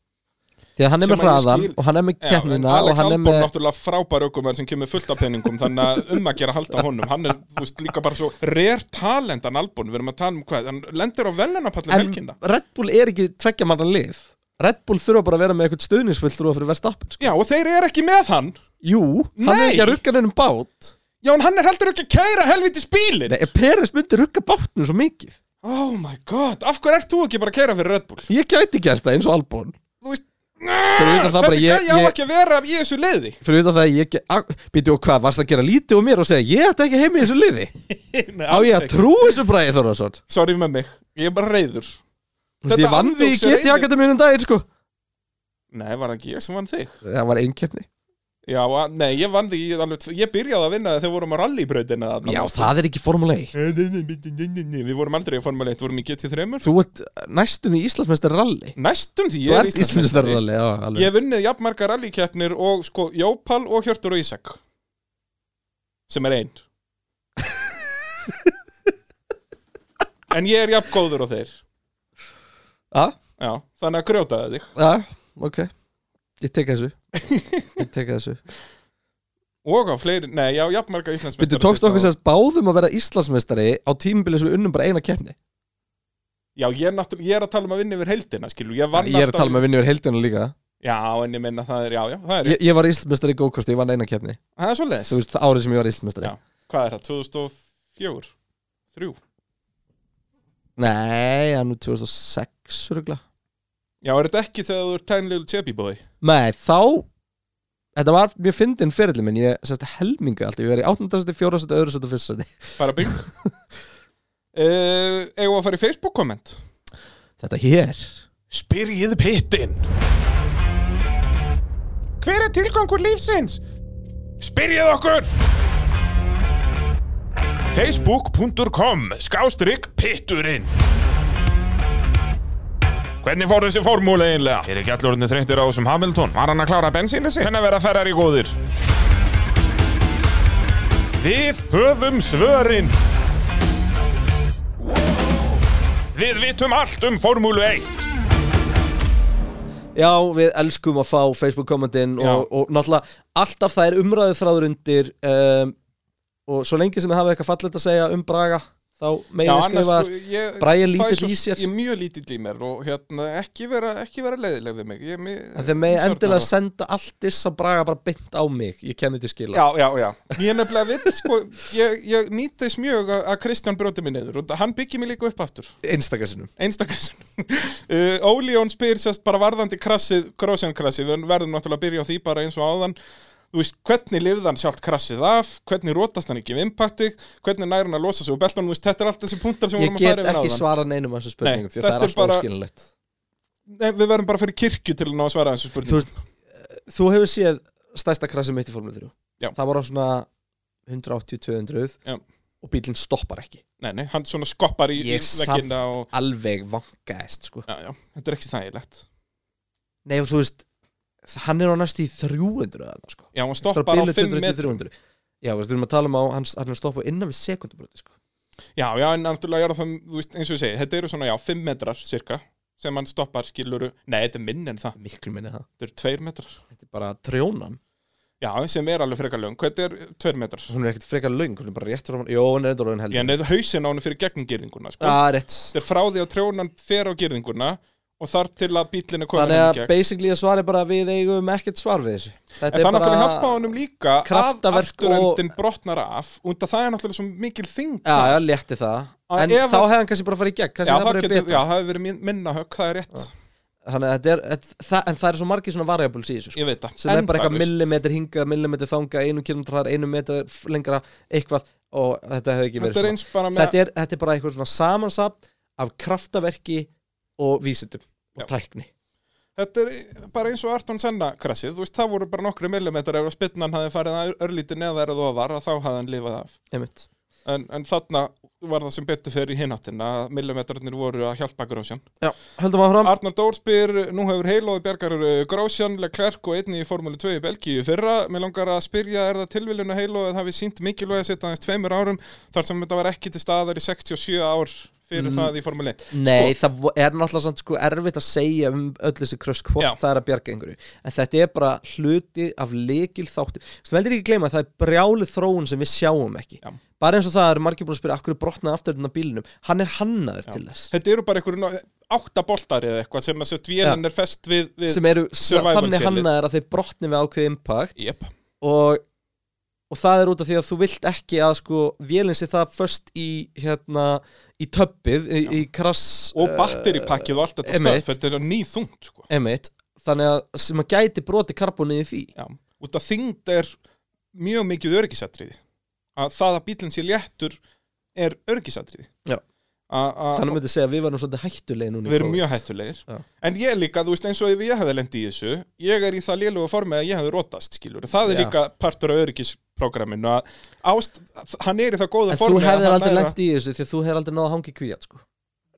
[SPEAKER 1] Því að hann er
[SPEAKER 2] Sem
[SPEAKER 1] með
[SPEAKER 2] að ég
[SPEAKER 1] hraðan
[SPEAKER 2] skil-
[SPEAKER 1] og hann er með keppnina og
[SPEAKER 2] Alex
[SPEAKER 1] hann er
[SPEAKER 2] Albon
[SPEAKER 1] með
[SPEAKER 2] náttúrulega frábær ökumenn sem kemur fullt af peningum Þannig að um að gera hald á honum Hann er, þú veist, líka bara svo rare talent hann Albon Við erum að tala um hvað, hann lendir á velunapallu
[SPEAKER 1] En
[SPEAKER 2] helgina
[SPEAKER 1] Red Bull er ekki tveggja manna lif Red Bull þurfa bara að vera með eitthvað stuðningsfulltrú fyrir verðstappin sko.
[SPEAKER 2] Já, og þeir eru ekki með hann
[SPEAKER 1] Jú, hann er
[SPEAKER 2] Nei.
[SPEAKER 1] ekki að rugga nefnum bát
[SPEAKER 2] Já, en hann er heldur ekki að kæra helvitis bílin
[SPEAKER 1] Nei, Peres myndi rugga bátnum svo mikið
[SPEAKER 2] Oh my god, af hverju ert þú ekki bara að kæra fyrir Red Bull?
[SPEAKER 1] Ég gæti gert það eins og Albon
[SPEAKER 2] Þú veist, "Ah,
[SPEAKER 1] Fyrir utan það bara
[SPEAKER 2] þessi
[SPEAKER 1] ég-
[SPEAKER 2] gæja á
[SPEAKER 1] ég-
[SPEAKER 2] ekki að vera í þessu
[SPEAKER 1] <laughs>
[SPEAKER 2] liði
[SPEAKER 1] fyrir utan það að ég ekki býtu og hvað, varst að gera lítið og mér og segja ég ætti ekki heim í þessu liði
[SPEAKER 2] Nei,
[SPEAKER 1] á ég að trú þessu bræði Þorvarsson
[SPEAKER 2] Sorry með mig, ég er bara reyður Þetta
[SPEAKER 1] ég vann því í
[SPEAKER 2] andófs er
[SPEAKER 1] GT
[SPEAKER 2] einnig-
[SPEAKER 1] Akademíun um daginn sko
[SPEAKER 2] Nei, var það ekki ég sem vann þig
[SPEAKER 1] það var einkeppni
[SPEAKER 2] Já, að- nei, ég vann því ég alveg, tv- Ég byrjaði að vinna þegar við vorum á rallybrautina þarna.
[SPEAKER 1] já það er ekki Formule 1
[SPEAKER 2] Við vorum aldrei í Formule 1, vorum í GT3
[SPEAKER 1] þú ert uh, næstum því Íslandsmeistar rally
[SPEAKER 2] Næstum því,
[SPEAKER 1] þú
[SPEAKER 2] ég er
[SPEAKER 1] ert Íslandsmeistar
[SPEAKER 2] Íslandsmeistari.
[SPEAKER 1] rally já,
[SPEAKER 2] Ég
[SPEAKER 1] alveg.
[SPEAKER 2] hef vunnið jafnmarga rallykeppnir og sko Jópal og Hjörtur og Ísak sem er
[SPEAKER 1] <laughs>
[SPEAKER 2] einn En ég er jafn góður á þeir
[SPEAKER 1] já,
[SPEAKER 2] Já, þannig að grjótaði þig
[SPEAKER 1] já, Ah, ok ég tek
[SPEAKER 2] <laughs>
[SPEAKER 1] þessu ég tek þessu
[SPEAKER 2] Og á fleiri, nei, já, jafnmarga Íslandsmeistari
[SPEAKER 1] býtu tókst okkur sérst báðum að vera Íslandsmeistari á tímubili sem við unnum bara eina keppni
[SPEAKER 2] Já, ég er, náttúrulega- ég er að tala um að vinna yfir heildina, skilur Ég vann
[SPEAKER 1] ég er að tala með vinni verið heldina líka
[SPEAKER 2] Já, en ég minna það er, já, já, það er
[SPEAKER 1] Ég, ég var íslmestari í go-karti, ég vann eina keppni
[SPEAKER 2] Það er svo leiðis
[SPEAKER 1] Þú veist, það árið sem ég var íslmestari
[SPEAKER 2] Já. Hvað er það, 2004? 3?
[SPEAKER 1] Nei, hann er 2006 rugla.
[SPEAKER 2] Já, er þetta ekki þegar þú er Tiny Little Chubby Boy?
[SPEAKER 1] Nei, þá Þetta var mjög fyndin fyrirli minn Ég sérst helminga alltaf, ég verið í 8. seti, 4. seti, 2. seti, 1. seti
[SPEAKER 2] Bara <laughs> bygg uh, Eða að fara í Facebook komment
[SPEAKER 1] Þetta hér
[SPEAKER 2] Spyrjið pittin Hver er tilgangur lífsins? Spyrjið okkur Facebook.com Skástrygg pitturinn Hvernig fór þessi formúli einlega? Er ekki allur orðinni þreyttir á þessum Hamilton? Var hann að klára bensínu sig? Hvernig verða ferrar í góðir? Við höfum svörin Við vitum allt um formúlu 1
[SPEAKER 1] Já, við elskum að fá Facebook kommentin
[SPEAKER 2] Já.
[SPEAKER 1] og, og náttúrulega alltaf það er umræðu þráður undir um, og svo lengi sem við hafa eitthvað fallegt að segja um Braga þá
[SPEAKER 2] Já,
[SPEAKER 1] megin
[SPEAKER 2] annars, sko,
[SPEAKER 1] skrifa
[SPEAKER 2] ég,
[SPEAKER 1] Bragi er
[SPEAKER 2] það
[SPEAKER 1] lítill
[SPEAKER 2] svo-
[SPEAKER 1] í sér.
[SPEAKER 2] Ég er mjög lítill í mér og hérna, ekki vera, ekki vera leiðileg við mig ég, mig
[SPEAKER 1] þegar megin
[SPEAKER 2] stjórnar
[SPEAKER 1] endilega
[SPEAKER 2] það.
[SPEAKER 1] senda allt þess að Braga bara beint á mig ég kenni til skila
[SPEAKER 2] Já, já, já Ég er nefnilega vill, sko Ég, ég nýtt þess mjög að að Kristján bróti mig niður og hann byggir mig líka upp aftur
[SPEAKER 1] einstakarsinnum
[SPEAKER 2] Einstakassan uh, Óli Jón spyr sérst bara varðandi krassið Krosjan krassið, við verðum náttúrulega að byrja á því bara eins og áðan Þú veist, hvernig lifði hann sjálft krassið af, hvernig rótast hann ekki við impakti, hvernig nær hann að losa sig úr beltanum, þú veist, þetta er allt þessi punktar sem við
[SPEAKER 1] ég
[SPEAKER 2] vorum að
[SPEAKER 1] get
[SPEAKER 2] fara yfir
[SPEAKER 1] ekki
[SPEAKER 2] áðan.
[SPEAKER 1] svara neinum af þessu spurningum
[SPEAKER 2] Nei,
[SPEAKER 1] því að það
[SPEAKER 2] þetta
[SPEAKER 1] er
[SPEAKER 2] er
[SPEAKER 1] alltaf
[SPEAKER 2] bara-
[SPEAKER 1] óskiljanlegt
[SPEAKER 2] Nei, við verðum bara fyrir kirkju til að ná að svara þessu
[SPEAKER 1] þú
[SPEAKER 2] spurningu
[SPEAKER 1] veist, þú hefur séð stærsta krasið mitt í Formule 3
[SPEAKER 2] Já.
[SPEAKER 1] það var á svona 180-200
[SPEAKER 2] Já.
[SPEAKER 1] og bílinn stoppar ekki
[SPEAKER 2] Nei, nei, hann svona skoppar í, í
[SPEAKER 1] Ég samt-
[SPEAKER 2] veggina og
[SPEAKER 1] alveg vangaðist sko.
[SPEAKER 2] já, já, þetta er ekki þægilegt
[SPEAKER 1] nei og þú veist hann er á næstu í 300 eða, sko.
[SPEAKER 2] Já, hann
[SPEAKER 1] Hann
[SPEAKER 2] stoppar á
[SPEAKER 1] bilið
[SPEAKER 2] 5
[SPEAKER 1] 200 til
[SPEAKER 2] metrum
[SPEAKER 1] 300. já þú veist, við erum að tala um á hann, hann er stoppað innan við sekundubröti sko.
[SPEAKER 2] Já, já, en náttúrulega er það, þú veist, eins og ég segi Þetta eru svona, já, 5 metrar, cirka sem hann stoppar, skiluru, nei, þetta er minn en það
[SPEAKER 1] miklu minni það,
[SPEAKER 2] Þetta eru 2 metrar
[SPEAKER 1] þetta er bara trjónan
[SPEAKER 2] Já, sem er alveg frekar löng, þetta er 2 metrar
[SPEAKER 1] hún er ekkert frekar löng, hún er bara rétt frá hann jó, hún er eitthvað lögn
[SPEAKER 2] Já,
[SPEAKER 1] heldur
[SPEAKER 2] en eða hausinn á hann fyrir gegnum girðinguna, sko
[SPEAKER 1] ah, rétt.
[SPEAKER 2] Þetta er frá því að trjónan fer á girðinguna og þar til að bílinn er komin
[SPEAKER 1] þannig
[SPEAKER 2] hann í
[SPEAKER 1] að
[SPEAKER 2] gegn
[SPEAKER 1] basically að svari bara að við eigum ekkert svar við þessu þetta
[SPEAKER 2] En það náttúrulega hjálpa honum líka að
[SPEAKER 1] kraftaverk
[SPEAKER 2] afturöndin brotnar af und að það er náttúrulega svo mikil þing
[SPEAKER 1] Já, já, létti það
[SPEAKER 2] Að
[SPEAKER 1] En
[SPEAKER 2] ef
[SPEAKER 1] þá
[SPEAKER 2] að-
[SPEAKER 1] hefði hann kannski bara farið í gegn
[SPEAKER 2] Já,
[SPEAKER 1] Kannski það
[SPEAKER 2] það,
[SPEAKER 1] bara er
[SPEAKER 2] getur,
[SPEAKER 1] betra
[SPEAKER 2] já, það hefur verið min- minna högg, það er rétt
[SPEAKER 1] Þannig að þetta er þetta- það- En það er svo margir svona variables í þessu sko.
[SPEAKER 2] Ég veit það
[SPEAKER 1] Sem er bara eitthvað
[SPEAKER 2] Endalaust.
[SPEAKER 1] millimetr hingað, millimetr þangað Einu kilometrar, einu metr lengra Eitthvað og þetta hefði ekki verið
[SPEAKER 2] Þetta er
[SPEAKER 1] svona.
[SPEAKER 2] eins bara með
[SPEAKER 1] þetta, er, þetta er bara eitthvað svona samansapt Af kraftaverki og vísindum Og
[SPEAKER 2] Já.
[SPEAKER 1] tækni
[SPEAKER 2] Þetta er bara eins og Arton Senna krassið Þú veist, það voru bara nokkru millimetrar Ef að spinnan hafi farið að örlíti neðar eða ofar að Þá hafði hann lifað af
[SPEAKER 1] Einmitt.
[SPEAKER 2] En, en þarna var það sem betur fyrir hináttina Millimetrarnir voru að hjálpa grósjan
[SPEAKER 1] Já, höldum áfram
[SPEAKER 2] Arnar Dór spyr, nú hefur heilóði bjargar uh, Grósjan, Leclerc og einni í Formúlu 2 í Belgíu í fyrra. Mér langar að spyrja, er það tilviljun að heilóðið hafi sínt mikilvæg að setja aðeins tveimur árum þar sem þetta var ekki til staðar í 67 ár fyrir
[SPEAKER 1] Mhm.
[SPEAKER 2] það í Formúlu 1?
[SPEAKER 1] Nei, það vo- er náttúrulega samt sko erfitt að segja um öll þessi krösk hvort
[SPEAKER 2] Já.
[SPEAKER 1] það er að bjarga einhverju en þetta er bara hluti af lekil þáttu sem heldur ekki gleyma að það er brjálu þróun sem við sjáum ekki
[SPEAKER 2] Já.
[SPEAKER 1] bara eins og það er margir búin að spyrja akkur brotnaði afturinn af bílinum hann er hannaður til þess
[SPEAKER 2] Þetta eru bara einhverju ná- átta boltar eða eitthvað sem að sérst vélinn er fest við... við
[SPEAKER 1] sem eru s-
[SPEAKER 2] survival
[SPEAKER 1] þannig
[SPEAKER 2] series.
[SPEAKER 1] hannaður að þeir brotni við ákveð impact
[SPEAKER 2] Jep.
[SPEAKER 1] og, og það er út af því að þú vilt ekki að sko vélinn sé það först í hérna í töppið, í, í krass
[SPEAKER 2] Og
[SPEAKER 1] eh,
[SPEAKER 2] batteripakkið og allt þetta
[SPEAKER 1] einmitt.
[SPEAKER 2] stöf, þetta er nýþungt, sko.
[SPEAKER 1] einmitt, þannig að sem að gæti broti karbonið í því
[SPEAKER 2] Já. Út að þyngd er mjög mikið örgisatriði. Að það að bílinn sé léttur er örgisatriði.
[SPEAKER 1] Já.
[SPEAKER 2] Að- að-
[SPEAKER 1] Þannig myndi segja að við varum svolítið hættulegir núna í
[SPEAKER 2] Við erum
[SPEAKER 1] COVID.
[SPEAKER 2] mjög hættulegir
[SPEAKER 1] Já.
[SPEAKER 2] En ég líka, þú veist, eins og ef ég hefði lendi í þessu Ég er í það léluga formi að ég hefði rótast, skilur Það er
[SPEAKER 1] Já.
[SPEAKER 2] líka partur af öryggisprogramminu að ást, Hann er í það góða
[SPEAKER 1] En þú
[SPEAKER 2] formi að
[SPEAKER 1] hefðir
[SPEAKER 2] hann
[SPEAKER 1] aldrei
[SPEAKER 2] er að-
[SPEAKER 1] lent í þessu því að þú hefðir aldrei náða að hangi kvíat sko.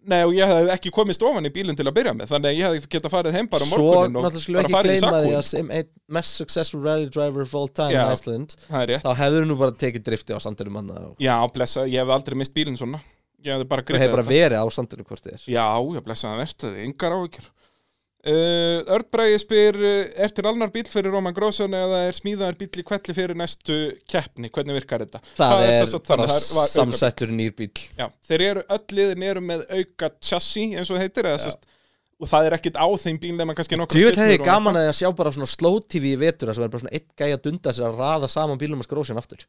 [SPEAKER 2] Nei, og ég hefði ekki komist ofan í bílinn til að byrja með Þannig að ég hefði geta farið heim bara á
[SPEAKER 1] Svo
[SPEAKER 2] morgunin og
[SPEAKER 1] náttúrulega skulum við ekki
[SPEAKER 2] bara farið
[SPEAKER 1] gleyma
[SPEAKER 2] í
[SPEAKER 1] því
[SPEAKER 2] sakkúinn.
[SPEAKER 1] að sem einn mest successful rally driver of all time
[SPEAKER 2] Já.
[SPEAKER 1] í Iceland
[SPEAKER 2] Það er rétt
[SPEAKER 1] þá hefðir nú bara tekið drifti á sandinu manna og
[SPEAKER 2] Já, blessa, ég hefði aldrei mist bílinn svona Ég hefði bara
[SPEAKER 1] þú
[SPEAKER 2] gripið
[SPEAKER 1] hefur bara
[SPEAKER 2] þetta.
[SPEAKER 1] verið á sandinu hvort þið er
[SPEAKER 2] Já, já, blessaðan verður, engar áhyggjur uh, Örnbræði spyr uh, Er til annar bíl fyrir Róman Grósson eða er smíðaður bíl í kvelli fyrir næstu keppni, hvernig virkar þetta?
[SPEAKER 1] Það er
[SPEAKER 2] sem sagt
[SPEAKER 1] bara
[SPEAKER 2] þannig, það var auka-
[SPEAKER 1] samsettur nýr bíl
[SPEAKER 2] Já, þeir eru öll liðin eru með auka chassis eins og það heitir eða sérst og það er ekkit á þeim bíl nema kannski nokkur
[SPEAKER 1] Djúvill hefði gaman að því að sjá bara svona slow tv í vetur þar sem er bara svona einn gæja að dunda sér að raða saman bílum og skrósjan aftur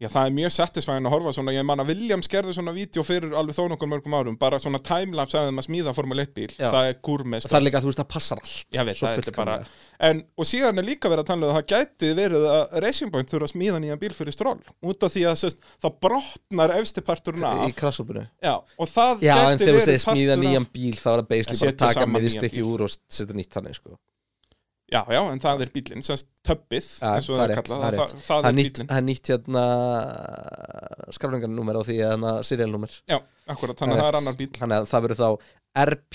[SPEAKER 2] Já, það er mjög satisfæðin að horfa svona, ég man að Williams gerði svona vídeo fyrir alveg þó nokkur mörgum árum, bara svona timelapse að þeim að smíða Formule 1 bíl,
[SPEAKER 1] Já.
[SPEAKER 2] það er gúrmest
[SPEAKER 1] Það er líka að þú veist það passar allt
[SPEAKER 2] Ég veit,
[SPEAKER 1] Svo
[SPEAKER 2] það er
[SPEAKER 1] fullkomlega.
[SPEAKER 2] bara en, Og síðan er líka verið að tala um að það gæti verið að Racing Point þurfa að smíða nýjan bíl fyrir stról út af því að sest, það brotnar efstiparturinn
[SPEAKER 1] Í
[SPEAKER 2] af
[SPEAKER 1] krassopinu
[SPEAKER 2] Já, og það
[SPEAKER 1] Já, en þegar
[SPEAKER 2] gæti
[SPEAKER 1] þú
[SPEAKER 2] verið
[SPEAKER 1] segir smíða
[SPEAKER 2] partur
[SPEAKER 1] nýjan
[SPEAKER 2] af,
[SPEAKER 1] bíl þá er það
[SPEAKER 2] Að
[SPEAKER 1] basically bara að
[SPEAKER 2] setja
[SPEAKER 1] taka
[SPEAKER 2] saman nýjan
[SPEAKER 1] miðstykki
[SPEAKER 2] bíl.
[SPEAKER 1] úr og setja nýtt þannig sko.
[SPEAKER 2] Já, já, en það er bílinn, sest, többið
[SPEAKER 1] Já,
[SPEAKER 2] eins og
[SPEAKER 1] það
[SPEAKER 2] það
[SPEAKER 1] er
[SPEAKER 2] er
[SPEAKER 1] rétt,
[SPEAKER 2] kallað,
[SPEAKER 1] það er
[SPEAKER 2] það,
[SPEAKER 1] rétt.
[SPEAKER 2] það
[SPEAKER 1] Það er
[SPEAKER 2] er
[SPEAKER 1] nýtt,
[SPEAKER 2] bílinn
[SPEAKER 1] það er nýtt hérna skrafningarnúmer á því að hérna serialnúmer
[SPEAKER 2] Já, akkurat, þannig að það er annar bíl
[SPEAKER 1] Þannig að það verður þá RP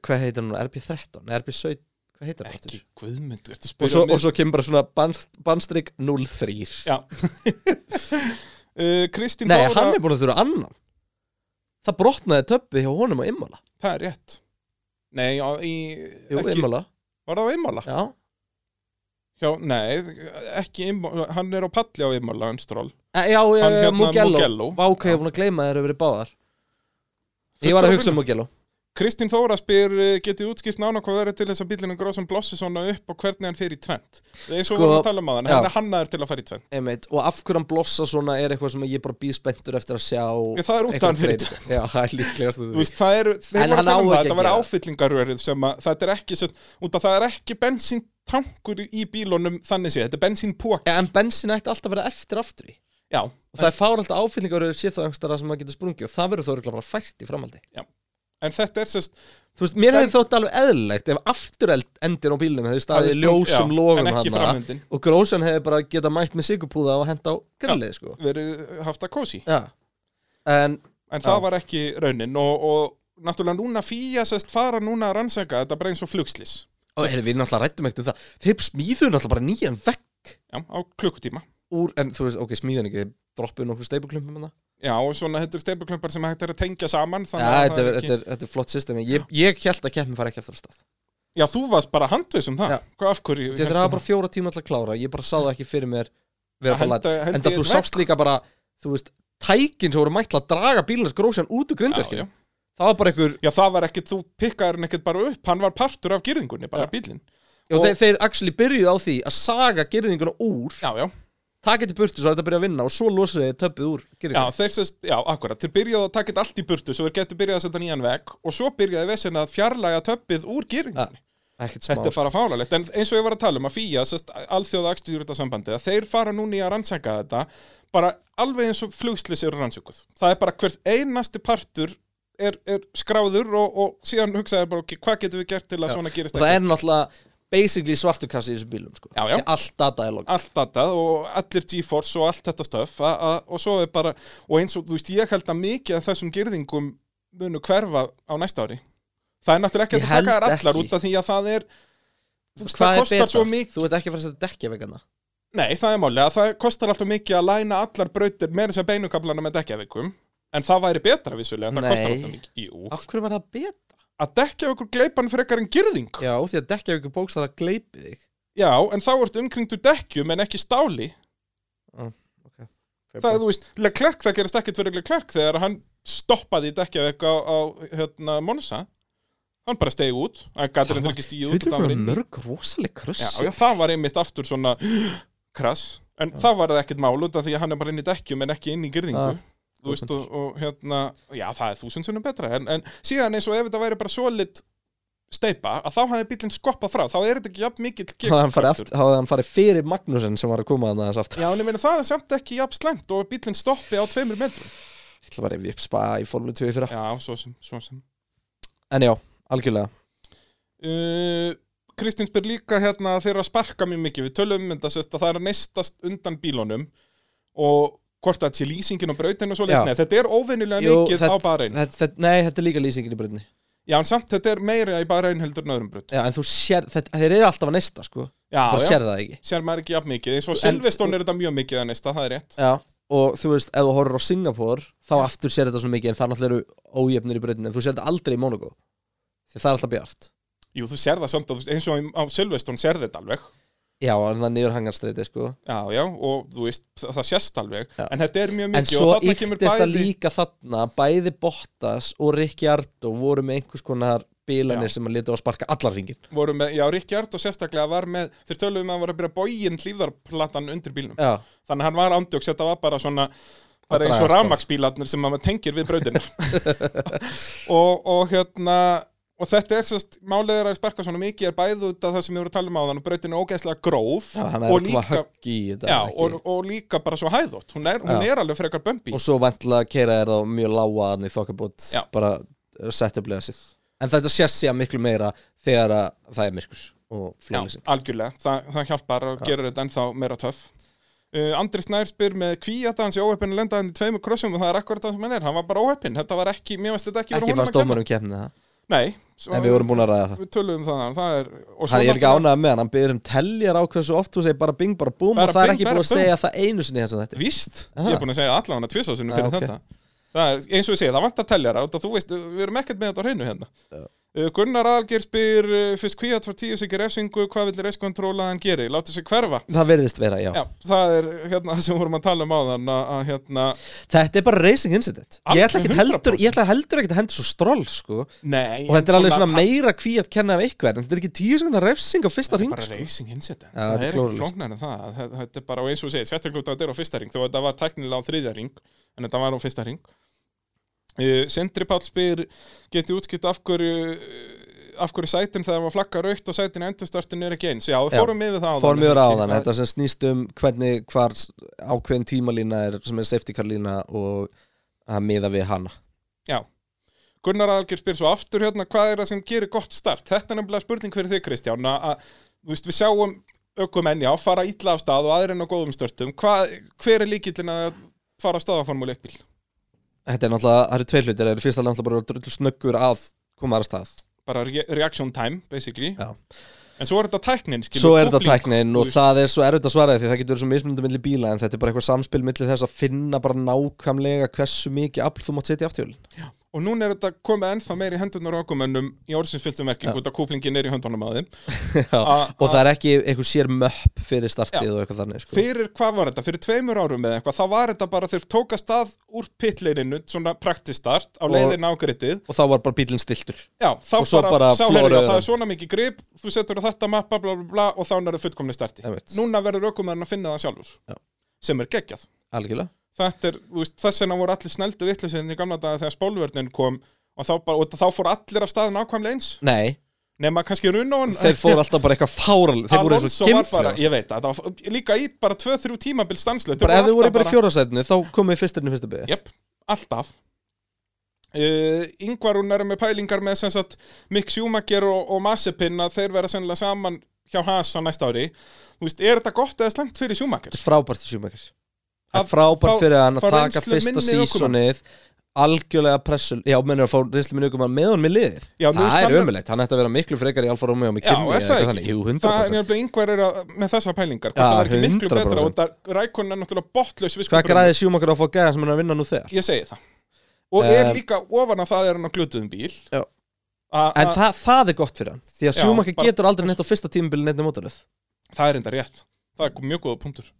[SPEAKER 1] hvað heitir hún, RP13, Nei, RP17 hvað heitir hún
[SPEAKER 2] Ekki,
[SPEAKER 1] aftur?
[SPEAKER 2] guðmyndu,
[SPEAKER 1] Og
[SPEAKER 2] ertu að spyrja
[SPEAKER 1] svo,
[SPEAKER 2] mig?
[SPEAKER 1] og svo kemur bara svona bannst- bannstrik 03
[SPEAKER 2] Já uh, Kristín
[SPEAKER 1] Nei,
[SPEAKER 2] Þóra
[SPEAKER 1] hann er búin að þurfa annan Það brotnaði töppið hjá honum á Immola
[SPEAKER 2] Það er rétt Nei, á, í,
[SPEAKER 1] Jú,
[SPEAKER 2] ekki, Ah.
[SPEAKER 1] Immola,
[SPEAKER 2] var það á Immola?
[SPEAKER 1] já
[SPEAKER 2] Já, nei, ekki Immola Hann er á palli á Immola, hann stról
[SPEAKER 1] Eh, Já, já,
[SPEAKER 2] Hann
[SPEAKER 1] já,
[SPEAKER 2] hérna
[SPEAKER 1] Mugello
[SPEAKER 2] Mugello.
[SPEAKER 1] Vá, hvað ég er búin að gleyma þeir eru verið báðar Ég var að hugsa um Mugello
[SPEAKER 2] Kristín Þóra spyr, uh, getið útskýrt nána hvað verið til þess að bílunum gróðsum blossi svona upp og hvernig hann fer í tvent eins
[SPEAKER 1] Sko,
[SPEAKER 2] og við vorum að tala um á
[SPEAKER 1] já.
[SPEAKER 2] hann, hann er hannaður til að fara í tvent
[SPEAKER 1] Einmitt. Og af hverju hann blossa svona er eitthvað sem ég bara býð spenntur eftir að sjá
[SPEAKER 2] Ég, það er út af hann fyrir tvent
[SPEAKER 1] Já, það er líklegast að
[SPEAKER 2] Þú veist, það eru, þeir
[SPEAKER 1] En
[SPEAKER 2] voru að
[SPEAKER 1] hann
[SPEAKER 2] tala
[SPEAKER 1] á
[SPEAKER 2] um það,
[SPEAKER 1] ekki að
[SPEAKER 2] þetta verið
[SPEAKER 1] gera.
[SPEAKER 2] áfyllingarörið sem að þetta er ekki, sem, út að það er ekki bensíntankur í bílunum þannig séð, þetta er bensínpók,
[SPEAKER 1] En bensin ætti alltaf að vera eftir aftur í
[SPEAKER 2] já,
[SPEAKER 1] Og það er fár alltaf áfyllingar og sé þá einhverstara sem maður getur sprungið og það verður þó örugglega bara fært í framaldi
[SPEAKER 2] en þetta er sérst,
[SPEAKER 1] Þú veist, mér
[SPEAKER 2] En-
[SPEAKER 1] hefði þótt alveg eðlilegt ef aftureld endir á bílunum hefði staðið í ljósum
[SPEAKER 2] Já,
[SPEAKER 1] logum
[SPEAKER 2] en ekki
[SPEAKER 1] hann
[SPEAKER 2] framöndin
[SPEAKER 1] og grósan hefði bara getað mætt með sigurpúða og hent á grillið sko.
[SPEAKER 2] verið haft að kósi
[SPEAKER 1] Já. En
[SPEAKER 2] en
[SPEAKER 1] Já.
[SPEAKER 2] það var ekki raunin og, og náttúrulega núna fýja sérst fara núna að rannsaka þetta bara eins og flugslis
[SPEAKER 1] og erum við náttúrulega rættum ekkert um það þeir smíðu náttúrulega bara nýjan vekk
[SPEAKER 2] já, á klukkutíma
[SPEAKER 1] úr, en þú veist, ok, smíðan ekki þeir droppuðu nokkuð um steipuklumpum hann
[SPEAKER 2] já, og svona þetta er steipuklumpar sem hægt er að tengja saman
[SPEAKER 1] ja,
[SPEAKER 2] þannig að
[SPEAKER 1] þetta,
[SPEAKER 2] það
[SPEAKER 1] er, þetta, er, þetta er flott system en ég, ég held að keppin fara ekki eftir að stað
[SPEAKER 2] já, þú varst bara handvis um það
[SPEAKER 1] Já.
[SPEAKER 2] hvað af hverju
[SPEAKER 1] þetta er bara fjóra tíma til að klára ég bara sá það ekki fyrir mér vera
[SPEAKER 2] Að
[SPEAKER 1] það
[SPEAKER 2] henda-
[SPEAKER 1] læt
[SPEAKER 2] henda
[SPEAKER 1] en
[SPEAKER 2] í
[SPEAKER 1] þú
[SPEAKER 2] einn
[SPEAKER 1] sást líka bara, þú veist tækin sem voru mætt til að draga bílunars grósjan út úr
[SPEAKER 2] Já, já.
[SPEAKER 1] grindverkinu það var bara einhver,
[SPEAKER 2] já, það var ekkit, þú pikkaður hann ekkit bara upp hann var partur af gyrðingunni, bara
[SPEAKER 1] Já.
[SPEAKER 2] bílinn
[SPEAKER 1] og,
[SPEAKER 2] Og-
[SPEAKER 1] þeir, þeir actually byrjuðu á því að saga gerðinguna úr
[SPEAKER 2] já, já,
[SPEAKER 1] taka þetta í burtu svo þetta byrja að vinna og svo losa þeir töppið úr
[SPEAKER 2] já,
[SPEAKER 1] gerðinguna
[SPEAKER 2] þeir sérst, já, akkurat þeir byrjaðu að taka þetta allt í burtu, svo þeir getur byrjað að setja nýjan veg og svo byrjaði vesinn að fjarlæga töppið úr gyrðingunni
[SPEAKER 1] ekkert smá
[SPEAKER 2] Þetta er bara fálalegt, en eins og ég var að tala um að FIA, sest, alþjóða akstjúrita sambandi, að þeir fara núna í að rannsaka þetta bara alveg eins og flugslis eru rannsökuð. Það er bara hvert einasti partur er, er skráður og, og síðan hugsaði bara, ok, hvað getum við gert til að svona gerist
[SPEAKER 1] og það er náttúrulega basically svartukassi í þessum bílum sko.
[SPEAKER 2] Já, já.
[SPEAKER 1] Því allt data er logg
[SPEAKER 2] allt þetta og allir G-Force og allt þetta stöf og svo er bara, og eins og þú veist, ég held að mikið af þessum girðingum munu hverfa á næsta ári það er náttúrulega
[SPEAKER 1] Ég
[SPEAKER 2] ekki að taka
[SPEAKER 1] held
[SPEAKER 2] þær allar
[SPEAKER 1] ekki.
[SPEAKER 2] út af því að það er þú veist,
[SPEAKER 1] Hvað
[SPEAKER 2] það
[SPEAKER 1] er
[SPEAKER 2] kostar
[SPEAKER 1] betra?
[SPEAKER 2] svo mikið
[SPEAKER 1] þú ert ekki að fara að setja dekkja hérna. vegana
[SPEAKER 2] nei, það er máli að það kostar alltaf mikið að læna allar brautir með þess að segja beinukablana með dekkjaveikum en það væri betra vissulega, það
[SPEAKER 1] Nei.
[SPEAKER 2] kostar alltaf mikið Jú,
[SPEAKER 1] af hverju var það betra?
[SPEAKER 2] að dekkjaveikur gleipan frekar en girðing
[SPEAKER 1] já, því að dekkja vegur bókstæða gleipi þig
[SPEAKER 2] Já, en þá ertu umkringdu dekkjum en ekki stáli það er, þú veist, Leclerc, það gerist ekkert fyrir Leclerc þegar hann stoppaði í dekkjaveik á, á hérna, Monsa hann bara stegi út, hann gæti hendur ekki stíð út
[SPEAKER 1] Þetta
[SPEAKER 2] það var
[SPEAKER 1] er
[SPEAKER 2] inn í.
[SPEAKER 1] mörg rosaleg
[SPEAKER 2] já,
[SPEAKER 1] kröss
[SPEAKER 2] já, það var einmitt aftur svona <gasps> krass, en það var það ekkert mál út af því að hann er bara inn í dekkjum en ekki inn í gyrðingu
[SPEAKER 1] Já.
[SPEAKER 2] þú veist, og, og hérna já, það er þúsundsunum betra, en, en síðan eins og ef þetta væri bara solid steipa, að þá hafði bílinn skoppað frá, þá er þetta ekki jafn <laughs> mikill
[SPEAKER 1] þá hafði hann farið
[SPEAKER 2] kick-kraftur.
[SPEAKER 1] aft- þá hafði hann farið fyrir Magnúsin sem var að koma þannig aðeins aftur
[SPEAKER 2] Já, en ég meina það er samt ekki jafn slæmt og bílinn stoppi á tveimur metrum.
[SPEAKER 1] ég ætla bara að við spa í Formule 2 fyrir
[SPEAKER 2] Já, svo sem, svo sem.
[SPEAKER 1] en já, algjörlega
[SPEAKER 2] Uh, Kristinn spyr líka hérna að þeir eru að sparka mjög mikið við tölum um þetta sérst að það er að neistast undan bílunum og hvort það sé lýsingin og brautinu og svo
[SPEAKER 1] Já.
[SPEAKER 2] leysni þetta er óvenjulega mikið á
[SPEAKER 1] þetta,
[SPEAKER 2] barinn
[SPEAKER 1] þetta, þetta, nei, þetta er líka lýsingin í brunni
[SPEAKER 2] já en samt þetta er meira í barinn heldur en öðrum braut
[SPEAKER 1] já, en þú sér, þetta, þeir eru alltaf að nesta sko
[SPEAKER 2] já,
[SPEAKER 1] bara
[SPEAKER 2] já,
[SPEAKER 1] sér það ekki
[SPEAKER 2] sér maður ekki jafn mikið eins og
[SPEAKER 1] En-
[SPEAKER 2] Silveston er þetta mjög mikið að neista, það er rétt
[SPEAKER 1] Já, og þú veist, ef þú horfir á Singapore þá aftur sér þetta svona mikið en það náttúrulega eru ójöfnir í breytin en þú sér þetta aldrei í Monaco því það er alltaf bjart
[SPEAKER 2] jú, þú sér það samt, að þú- eins og á Silveston sér þetta alveg
[SPEAKER 1] Já, en það niður hangarstreiti sko
[SPEAKER 2] já, já, og þú veist, það, það sérst alveg
[SPEAKER 1] Já.
[SPEAKER 2] en þetta er mjög
[SPEAKER 1] En
[SPEAKER 2] mikið
[SPEAKER 1] svo
[SPEAKER 2] og þarna
[SPEAKER 1] yktist
[SPEAKER 2] kemur
[SPEAKER 1] það
[SPEAKER 2] bæði
[SPEAKER 1] líka þarna bæði Bottas og Ricciardo voru með einhvers konar bilanir sem að leta á að sparka allar ringin
[SPEAKER 2] voru með, já, Rikki Ardó sérstaklega var með, þeir töluðum að hann var að byrja bógin hlýfðarplatan undir bílnum
[SPEAKER 1] Já,
[SPEAKER 2] þannig að hann var ándjóks, þetta var bara svona bara
[SPEAKER 1] Að
[SPEAKER 2] eins og
[SPEAKER 1] dragast á.
[SPEAKER 2] rafmaksbílarnir sem maður tengir við brautina <laughs> og, og hérna og þetta er sérst, málið er að sparka svona mikið er bæði út af það sem við vorum að tala um á þann og brautin er ógeðslega gróf
[SPEAKER 1] já hann er
[SPEAKER 2] og,
[SPEAKER 1] að koma
[SPEAKER 2] líka,
[SPEAKER 1] högg í þetta
[SPEAKER 2] já,
[SPEAKER 1] ekki-
[SPEAKER 2] og, og líka bara svo hæðótt hún er, hún
[SPEAKER 1] Já.
[SPEAKER 2] er alveg frekar bömbi
[SPEAKER 1] og svo vantla að keira þér á mjög lága þannig þokkabót,
[SPEAKER 2] Já.
[SPEAKER 1] bara uh, setja upp sig en þetta sést sér miklu meira þegar að það er myrkur og
[SPEAKER 2] Já,
[SPEAKER 1] fljóðlýsing
[SPEAKER 2] algjörlega, Þa, það hjálpar að gera þetta ennþá meira töff uh, Andri Snær spyr með hví að hans í óheppin að lenda hann í tveimur krossum og það er akkurat það sem hann er, hann var bara óheppin þetta var ekki, mér veist þetta ekki um vera
[SPEAKER 1] ekki
[SPEAKER 2] honum
[SPEAKER 1] fannst
[SPEAKER 2] að kenna.
[SPEAKER 1] dómarum kemni það
[SPEAKER 2] Nei, svo,
[SPEAKER 1] en við vorum búin að ræða það
[SPEAKER 2] við tölum það, það er, og
[SPEAKER 1] hann
[SPEAKER 2] svo
[SPEAKER 1] er ekki
[SPEAKER 2] náttúrulega-
[SPEAKER 1] ánægð með hann, hann byrður um teljar á hversu oft þú segir bara bing, bara búm
[SPEAKER 2] Bara
[SPEAKER 1] og það er
[SPEAKER 2] bing,
[SPEAKER 1] ekki
[SPEAKER 2] bara
[SPEAKER 1] búin að
[SPEAKER 2] búm.
[SPEAKER 1] segja það einu sinni þess að þetta
[SPEAKER 2] Víst,
[SPEAKER 1] Aha.
[SPEAKER 2] ég er búin að segja allan að tvisa sinni
[SPEAKER 1] Já,
[SPEAKER 2] fyrir
[SPEAKER 1] ok.
[SPEAKER 2] þetta það er, eins og ég segi, það vantar teljara og þú veist, við erum ekkert með þetta á hreinu hérna uh, Gunnar Alger spyr uh, fyrst kvíat frá tíu sikir refsingu, hvað vill reskkontróla að hann geri, láta sig hverfa
[SPEAKER 1] það verðist vera, já.
[SPEAKER 2] Já, það er hérna <laughs> það sem við vorum að tala um á þann að, að hérna,
[SPEAKER 1] þetta er bara racing incident ég ætla, ekkert heldur,
[SPEAKER 2] 100%.
[SPEAKER 1] ég ætla heldur ekkert að henda svo stról sko. og
[SPEAKER 2] nei
[SPEAKER 1] þetta er alveg svona meira kví að kenna af eitthvað en þetta er ekki tíu sekundar refsing á fyrsta
[SPEAKER 2] Það er
[SPEAKER 1] ring
[SPEAKER 2] bara
[SPEAKER 1] sko.
[SPEAKER 2] racing incident,
[SPEAKER 1] Já,
[SPEAKER 2] það
[SPEAKER 1] þetta er
[SPEAKER 2] er ekki
[SPEAKER 1] glórulaust.
[SPEAKER 2] flóknar en það Það- Þetta er bara, og eins og ég segi, sérstaklega út að þetta er á fyrsta ring Þó að þetta var teknilega á þriðja ring En þetta var á fyrsta ring uh, Sindri Páll spyr Geti útskipt af hverju Af hverju sætin þegar var flagga raukt Og sætin í endurstartin er ekki eins Já, við
[SPEAKER 1] Já,
[SPEAKER 2] fórum yfir það áðan,
[SPEAKER 1] fór mjög
[SPEAKER 2] er það
[SPEAKER 1] ráðan,
[SPEAKER 2] ekki?
[SPEAKER 1] þetta sem snýst um hvernig hvar s- ákveðin tímalína er sem er safety car lína og að miða við hana
[SPEAKER 2] Gunnar Algjör spyr svo aftur hérna hvað er það sem gerir gott start þetta er nefnilega spurning fyrir þig Kristján að, að, þú veist, við sjáum aukumenni á fara illa af stað og aðrir en á góðum störtum Hva, hver er líkillin að fara af stað á formúli 1 bíl
[SPEAKER 1] þetta er náttúrulega, það eru tveir hlutir það eru fyrst að náttúrulega bara drullu snöggur að koma aðra stað
[SPEAKER 2] bara re reaction time basically
[SPEAKER 1] Já.
[SPEAKER 2] en svo er þetta tæknin skilur,
[SPEAKER 1] svo er þetta
[SPEAKER 2] koppling,
[SPEAKER 1] tæknin og
[SPEAKER 2] þú veist,
[SPEAKER 1] það er svo erfitt að svara því það getur verið svo mismunandi milli bíla en þetta er bara eitthvað samspil milli þess að finna bara nákvæmlega hversu mikið afl þú mátt setja í afturhjólin <laughs>
[SPEAKER 2] og núna er þetta komið ennþá meir í hendurnar á aukumennum í orðsinsfylltum ekki hvort að kúplingin er í höndunum að þeim
[SPEAKER 1] Já,
[SPEAKER 2] A-
[SPEAKER 1] og
[SPEAKER 2] a-
[SPEAKER 1] það er ekki einhver sér möpp fyrir startið og eitthvað þannig sko.
[SPEAKER 2] fyrir hvað var þetta, fyrir tveimur árum eða eitthvað, þá var þetta bara þeir tóka stað úr pitleininu, svona praktistart á leiðin ágritið
[SPEAKER 1] og þá var bara bílinn stiltur
[SPEAKER 2] Já, þá
[SPEAKER 1] Og svo
[SPEAKER 2] bara,
[SPEAKER 1] bara
[SPEAKER 2] sá herri, já,
[SPEAKER 1] flóruðu
[SPEAKER 2] það er
[SPEAKER 1] þeim.
[SPEAKER 2] svona mikið grip, þú setur á þetta mappa, bla, bla, bla, og þá er það fullkomni starti.
[SPEAKER 1] Einmitt.
[SPEAKER 2] Núna verður aukumæðurinn að finna það sjálfur,
[SPEAKER 1] Já.
[SPEAKER 2] sem er geggjað.
[SPEAKER 1] algjörlega
[SPEAKER 2] Þetta er, þú veist, þess vegna voru allir snældu vittlusinn í gamla daga þegar spólvörnin kom og þá, bara, og þá fór allir af staðin ákvæmlega eins,
[SPEAKER 1] Nei,
[SPEAKER 2] nema kannski runóan.
[SPEAKER 1] þeir
[SPEAKER 2] <laughs>
[SPEAKER 1] fóru alltaf bara eitthvað fáral þeir voru eins og
[SPEAKER 2] Alonso var bara,
[SPEAKER 1] gimfrjálst
[SPEAKER 2] ég veit, að það var líka ít bara 2-3 tímabil stanslegt.
[SPEAKER 1] bara ef þið voru bara í fjórasætinu þá komið fyrstirinn í fyrstu byggja
[SPEAKER 2] Jep, alltaf uh, Yngvarún er með pælingar með sem sagt Mick Schumacher og, og Mazepin að þeir vera sennilega saman hjá Haas á næsta ári Þú veist, er þetta gott eða slæmt fyrir Schumacher?
[SPEAKER 1] þetta er frábært fyrir sjúmakar það
[SPEAKER 2] Að
[SPEAKER 1] er frábært
[SPEAKER 2] fá-
[SPEAKER 1] fyrir hann að
[SPEAKER 2] fá
[SPEAKER 1] taka
[SPEAKER 2] reynslu
[SPEAKER 1] fyrsta
[SPEAKER 2] minni ökumann.
[SPEAKER 1] sísonið algjörlega pressul já, mennur að fá reynslu minni ykkur með honum í liðið
[SPEAKER 2] Já, mér
[SPEAKER 1] það
[SPEAKER 2] finnst
[SPEAKER 1] er
[SPEAKER 2] hann-
[SPEAKER 1] ömulegt, hann ætti að vera miklu frekar í Alfa Romeo með
[SPEAKER 2] Já,
[SPEAKER 1] kynni
[SPEAKER 2] er það ekki?
[SPEAKER 1] þannig, jú,
[SPEAKER 2] Það er
[SPEAKER 1] 100%
[SPEAKER 2] nefnilega yngvar er að, með þessa pælingar
[SPEAKER 1] Já,
[SPEAKER 2] Hvort það var ekki miklu
[SPEAKER 1] 100%.
[SPEAKER 2] betra og þetta rækon er náttúrulega botlaus við
[SPEAKER 1] hvað
[SPEAKER 2] sköpunum.
[SPEAKER 1] græði sjúmakar á að fá gæða sem hann er að vinna nú þegar
[SPEAKER 2] Ég segi það Og er
[SPEAKER 1] Eh,
[SPEAKER 2] líka ofan að það er hann á glutuðum bíl
[SPEAKER 1] Já.
[SPEAKER 2] A-
[SPEAKER 1] en
[SPEAKER 2] a-
[SPEAKER 1] það, það er gott fyrir hann því að
[SPEAKER 2] Já,
[SPEAKER 1] sjúmakar
[SPEAKER 2] bara-
[SPEAKER 1] getur aldrei neitt á fyrsta tímubili neitt mótalöð
[SPEAKER 2] það er enda rétt Það er mjög góða punktur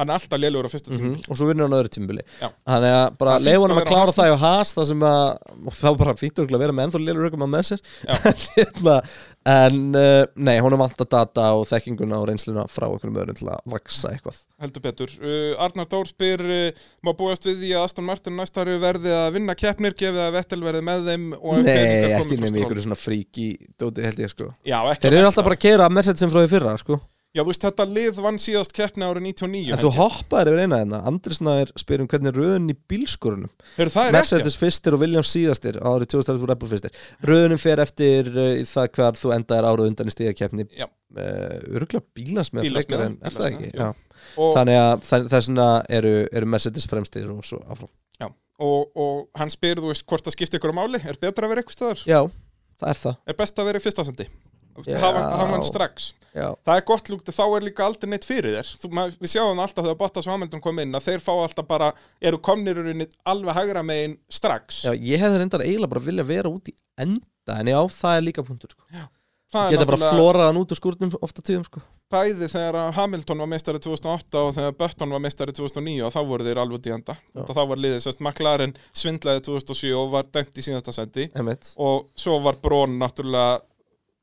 [SPEAKER 2] Hann er alltaf lélugur á fyrsta
[SPEAKER 1] mm
[SPEAKER 2] tíma
[SPEAKER 1] og svo vinnur hann á öðru tímubili
[SPEAKER 2] Mhm. Já.
[SPEAKER 1] þannig að bara
[SPEAKER 2] Það er fínt
[SPEAKER 1] leifa hann
[SPEAKER 2] að
[SPEAKER 1] að
[SPEAKER 2] vera á
[SPEAKER 1] klára
[SPEAKER 2] Haas.
[SPEAKER 1] það hjá Haas það sem að, og þá bara fínt örugglega að vera með ennþá lélur ökumann með sér
[SPEAKER 2] Já.
[SPEAKER 1] <laughs> En hérna, en uh, nei, hún er vant að data og þekkinguna og reynsluna frá okkur um öðrum til að vaksa eitthvað
[SPEAKER 2] heldur betur. Uh, Arnar Dór spyr uh, má búast við því að Aston Martin næstari verði að vinna keppnir, gefið að Vettel verði með þeim og ef
[SPEAKER 1] nei,
[SPEAKER 2] peningar
[SPEAKER 1] ekki
[SPEAKER 2] komi frá
[SPEAKER 1] nefnir
[SPEAKER 2] Stroll.
[SPEAKER 1] ykkur svona fríki dóti held ég sko
[SPEAKER 2] Já, ekki
[SPEAKER 1] þeir eru
[SPEAKER 2] að
[SPEAKER 1] alltaf
[SPEAKER 2] versla.
[SPEAKER 1] bara að keira Mercedesin frá því fyrra sko
[SPEAKER 2] Já, þú veist, þetta lið vann síðast keppni árið 99
[SPEAKER 1] en þú
[SPEAKER 2] held ég.
[SPEAKER 1] hoppaðir yfir eina þeirna Andrisnaðir spyr um hvernig röðun í bílskorunum
[SPEAKER 2] Heyrðu, það er
[SPEAKER 1] Mercedes fyrstir og Williams síðastir árið 2030 Red Bull fyrstir röðunum fer eftir uh, í það hvar þú endaðir ára undan í stíðakefni
[SPEAKER 2] Já.
[SPEAKER 1] uh, örgulega bílasmið frekar
[SPEAKER 2] Bílasmiðar,
[SPEAKER 1] en er það
[SPEAKER 2] bílasmiðar,
[SPEAKER 1] ekki
[SPEAKER 2] jú.
[SPEAKER 1] Já.
[SPEAKER 2] ekki og,
[SPEAKER 1] þannig að þa- þess vegna eru, eru Mercedes fremstir og svo áfram
[SPEAKER 2] já, og, og hann spyr, þú veist, hvort það skipti ykkur á máli er betra að vera eitthvað staðar?
[SPEAKER 1] já, það er það
[SPEAKER 2] Er best að vera í fyrsta sendi?
[SPEAKER 1] Já.
[SPEAKER 2] Hafa hafa hann strax
[SPEAKER 1] já,
[SPEAKER 2] Það er gott lúkt að þá er líka aldrei neitt fyrir þér Þú, maður, Við sjáum það alltaf þegar Bottas og Hamilton kom inn að þeir fá alltaf bara, eru komnir í rauninni alveg hægra megin strax
[SPEAKER 1] já ég hefði reyndar eiginlega bara vilja vera út í enda en já, það er líka punktur sko.
[SPEAKER 2] það er
[SPEAKER 1] Geta bara
[SPEAKER 2] náttúrulega
[SPEAKER 1] flórað hann út úr skúrnum ofta tíðum sko
[SPEAKER 2] bæði þegar að Hamilton var meistari 2008 og þegar Button var meistari 2009 og þá voru þeir alveg dýjanda og þá var liðið sérst McLaren svindlaði 2007 og var dæmt í síðasta sendi
[SPEAKER 1] Emmett
[SPEAKER 2] og svo var Brón náttúrulega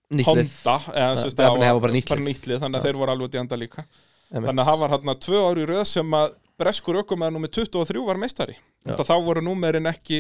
[SPEAKER 2] Honda eða,
[SPEAKER 1] Nei,
[SPEAKER 2] sérst,
[SPEAKER 1] það
[SPEAKER 2] já,
[SPEAKER 1] var bara- það var bara nýtt lið.
[SPEAKER 2] nýtlið þannig að þeir voru alveg dýjanda líka
[SPEAKER 1] Emmett.
[SPEAKER 2] þannig að það var hérna tvö ári röð sem að breskur ökumæður nummer 23 var meistari þetta þá voru númerin ekki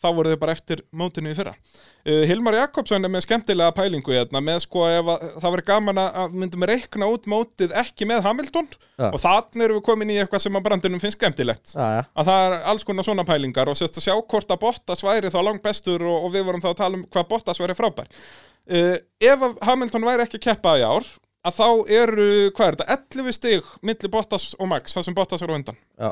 [SPEAKER 2] þá voru þau bara eftir mótinu í fyrra uh, Hilmar Jakobsson er með skemmtilega pælingu hérna, með sko ef að, það verið gaman að- að myndum reikna út mótið ekki með Hamilton
[SPEAKER 1] Já.
[SPEAKER 2] og þannig erum við komin í eitthvað sem að brandinum finnst skemmtilegt
[SPEAKER 1] Já, já.
[SPEAKER 2] að það er alls konar svona pælingar og sérst að sjá hvort að Bottas væri þá langt bestur og, og við vorum þá að tala um hvað Bottas væri frábær uh, ef að Hamilton væri ekki að keppa í ár að þá eru, hvað er þetta, 11 stig milli Bottas og Max, það sem Bottas er á undan
[SPEAKER 1] Já.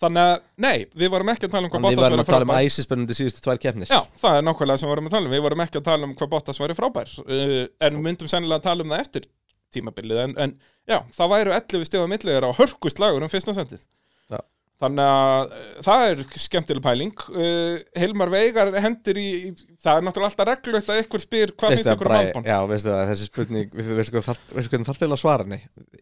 [SPEAKER 2] þannig að, nei, við vorum ekki að tala um hvað
[SPEAKER 1] Þannig við
[SPEAKER 2] Bottas
[SPEAKER 1] varum
[SPEAKER 2] væri
[SPEAKER 1] að tala um
[SPEAKER 2] frábær
[SPEAKER 1] æsispennandi síðustu tvær keppnir
[SPEAKER 2] Já, það er nákvæmlega sem við vorum að tala um Við vorum ekki að tala um hvað Bottas væri frábær uh, En við myndum sennilega að tala um það eftir tímabilið En, en já, það væru 11 stifa milliður á hörkustlagur um fyrsta sendið
[SPEAKER 1] Já.
[SPEAKER 2] Þannig að uh, það er skemmtileg pæling uh, Hilmar Veigar hendir í í- Það er náttúrulega alltaf reglulegt að ykkur spyr Hvað
[SPEAKER 1] Veistu
[SPEAKER 2] finnst
[SPEAKER 1] það,
[SPEAKER 2] ykkur um
[SPEAKER 1] Bragi-
[SPEAKER 2] Albon?
[SPEAKER 1] já, veistu það, þessi spurning við- Veistu hvað þarf- veistu hvernig þarf til að svara henni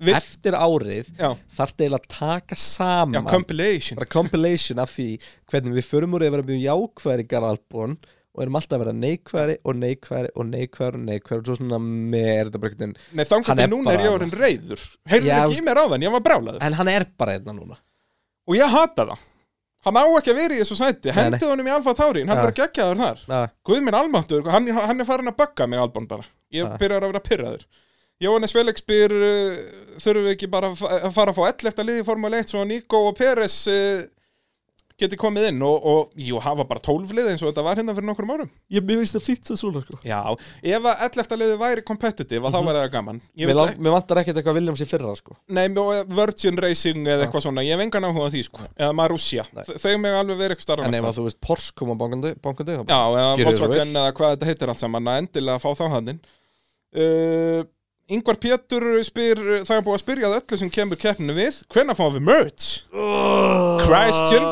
[SPEAKER 2] Við-
[SPEAKER 1] Eftir árið
[SPEAKER 2] Já,
[SPEAKER 1] þarf til að taka
[SPEAKER 2] já,
[SPEAKER 1] saman
[SPEAKER 2] compilation
[SPEAKER 1] bara compilation af því hvernig við förum úr að vera mjög jákvæðari garðalbún og erum alltaf að vera neikvæðari og neikvæðari og neikvæðari og neikvæðari og svo svona með er þetta bara einhvern veginn
[SPEAKER 2] Nei,
[SPEAKER 1] Hann
[SPEAKER 2] þangur til
[SPEAKER 1] er
[SPEAKER 2] núna er ég
[SPEAKER 1] bara-
[SPEAKER 2] orðin reyður Heyrðu
[SPEAKER 1] Já,
[SPEAKER 2] ekki í mér á þann, ég var brálaður
[SPEAKER 1] en hann er bara hérna núna
[SPEAKER 2] Og ég hata það Hann á ekki að vera í þessu sæti
[SPEAKER 1] nei.
[SPEAKER 2] Hendið honum í Alfa Tauri, hann
[SPEAKER 1] Já.
[SPEAKER 2] var geggjaður þar
[SPEAKER 1] ja.
[SPEAKER 2] Guð minn almáttur, hann, hann er farin að bögga mig Albon bara Ég
[SPEAKER 1] Ha.
[SPEAKER 2] byrjar að vera pyrraður Jóhannes Felix spyr uh, Þurfum við ekki bara að fa- að fara að fá 11 lið í Formule 1 Svo að Nico og Peres uh, geti komið inn Og, og jú, hafa bara 12 lið eins og þetta var hérna fyrir nokkrum árum
[SPEAKER 1] ég mér veist það fýtt það svona sko
[SPEAKER 2] Já, ef að 11 liði væri competitive
[SPEAKER 1] Mhm.
[SPEAKER 2] að þá væri það gaman Ég
[SPEAKER 1] mér,
[SPEAKER 2] vil
[SPEAKER 1] lang, mér vantar ekkert eitthvað Williams í fyrra sko
[SPEAKER 2] Nei, og Virgin Racing eða eitthvað svona Ég hef engan áhuga á því, sko Eða Marussia, þau meg alveg verið eitthvað starfa
[SPEAKER 1] en ef að þú veist Porsche koma bangandi, bangandi þá
[SPEAKER 2] Já,
[SPEAKER 1] bara
[SPEAKER 2] eða
[SPEAKER 1] Gjörið svo
[SPEAKER 2] Volkswagen eða hvað þetta heitir allt saman að endilega fá þá hannin uh, Yngvar Pétur spyr það er búið að spyrja að öllu sem kemur keppninu við hvenær fáum við merch? Christian,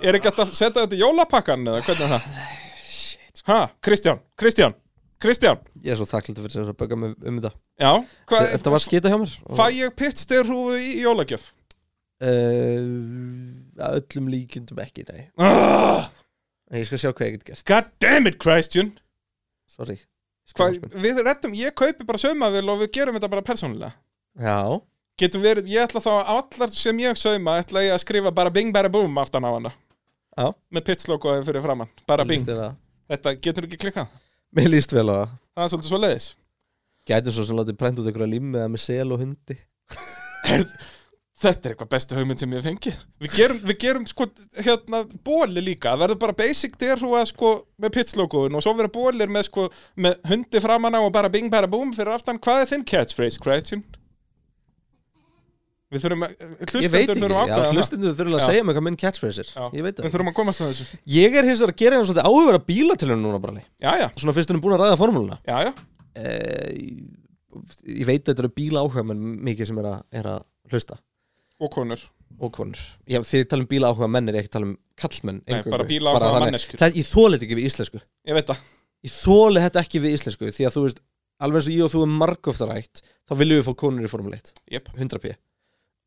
[SPEAKER 2] er ekki hægt að setja þetta í jólapakkan eða hvernig er það? Ha, Kristján, Kristján, Kristján
[SPEAKER 1] ég er svo þakklítið fyrir þess að bögga mig um þetta
[SPEAKER 2] Já, hvað,
[SPEAKER 1] þetta var skita hjá mér og,
[SPEAKER 2] fæ ég pittstyrhúfu í jólagjöf?
[SPEAKER 1] Eh, að öllum líkindum ekki, nei
[SPEAKER 2] Ah,
[SPEAKER 1] En ég skal sjá hvað ég get gert,
[SPEAKER 2] God damn it, Christian
[SPEAKER 1] sorry Ég skal
[SPEAKER 2] Hva,
[SPEAKER 1] hafa spennt.
[SPEAKER 2] Við rettum, ég kaupi bara saumavél og við gerum þetta bara persónulega
[SPEAKER 1] Já,
[SPEAKER 2] Getum verið, ég ætla þá að allar sem ég sauma ætla ég að skrifa bara bing bara boom aftan á hana
[SPEAKER 1] Já.
[SPEAKER 2] Með pitchlogoði fyrir framann, bara
[SPEAKER 1] mér
[SPEAKER 2] bing
[SPEAKER 1] líst vel á það.
[SPEAKER 2] Þetta getur ekki klikkað,
[SPEAKER 1] Mér líst vel á það
[SPEAKER 2] það er svolítið svo leiðis
[SPEAKER 1] Gætum svo sem látið prent út einhverja límið með sel og hundi
[SPEAKER 2] Þetta er eitthvað bestu hugmynd sem ég hef fengið Við gerum, við gerum sko, hérna, bóli líka Það verður bara basic derhúa sko með pitchlogoðin og svo verður bólir með sko með hundi framan á og bara bing bara boom fyrir aftan Hvað er þinn catchphrase, Christian? Við þurfum að,
[SPEAKER 1] Ég veit
[SPEAKER 2] hlustendur
[SPEAKER 1] ekki,
[SPEAKER 2] þurfum að
[SPEAKER 1] já,
[SPEAKER 2] ákveða það.
[SPEAKER 1] hlustendur þurfa að
[SPEAKER 2] Já.
[SPEAKER 1] segja mig hvað minn catchphrase
[SPEAKER 2] Já,
[SPEAKER 1] er Ég veit
[SPEAKER 2] Við
[SPEAKER 1] það
[SPEAKER 2] þurfum að komast að þessu
[SPEAKER 1] Ég er hins vegar að gera hérna svolítið áhugur að bíla til hennu núna bara Lei.
[SPEAKER 2] Já, já,
[SPEAKER 1] Svona fyrst hún er búin að ræða formúluna
[SPEAKER 2] já, já
[SPEAKER 1] eh, Ég veit að þetta eru bíla áhuga menn mikið sem er að, er að hlusta
[SPEAKER 2] Og konur
[SPEAKER 1] og konur Já, þið tala um bíla áhuga menn er ég ekki tala um kallmenn eingöngu.
[SPEAKER 2] bara bílaáhuga
[SPEAKER 1] þannig-
[SPEAKER 2] manneskjur.
[SPEAKER 1] Það- Ég þóla þetta ekki við íslensku
[SPEAKER 2] Ég veit það
[SPEAKER 1] ég þóli þetta ekki við íslensku því að þú veist, alveg eins og ég og þú er margoftarætt þá viljum við fá konur í Formule 1
[SPEAKER 2] Jep
[SPEAKER 1] 100p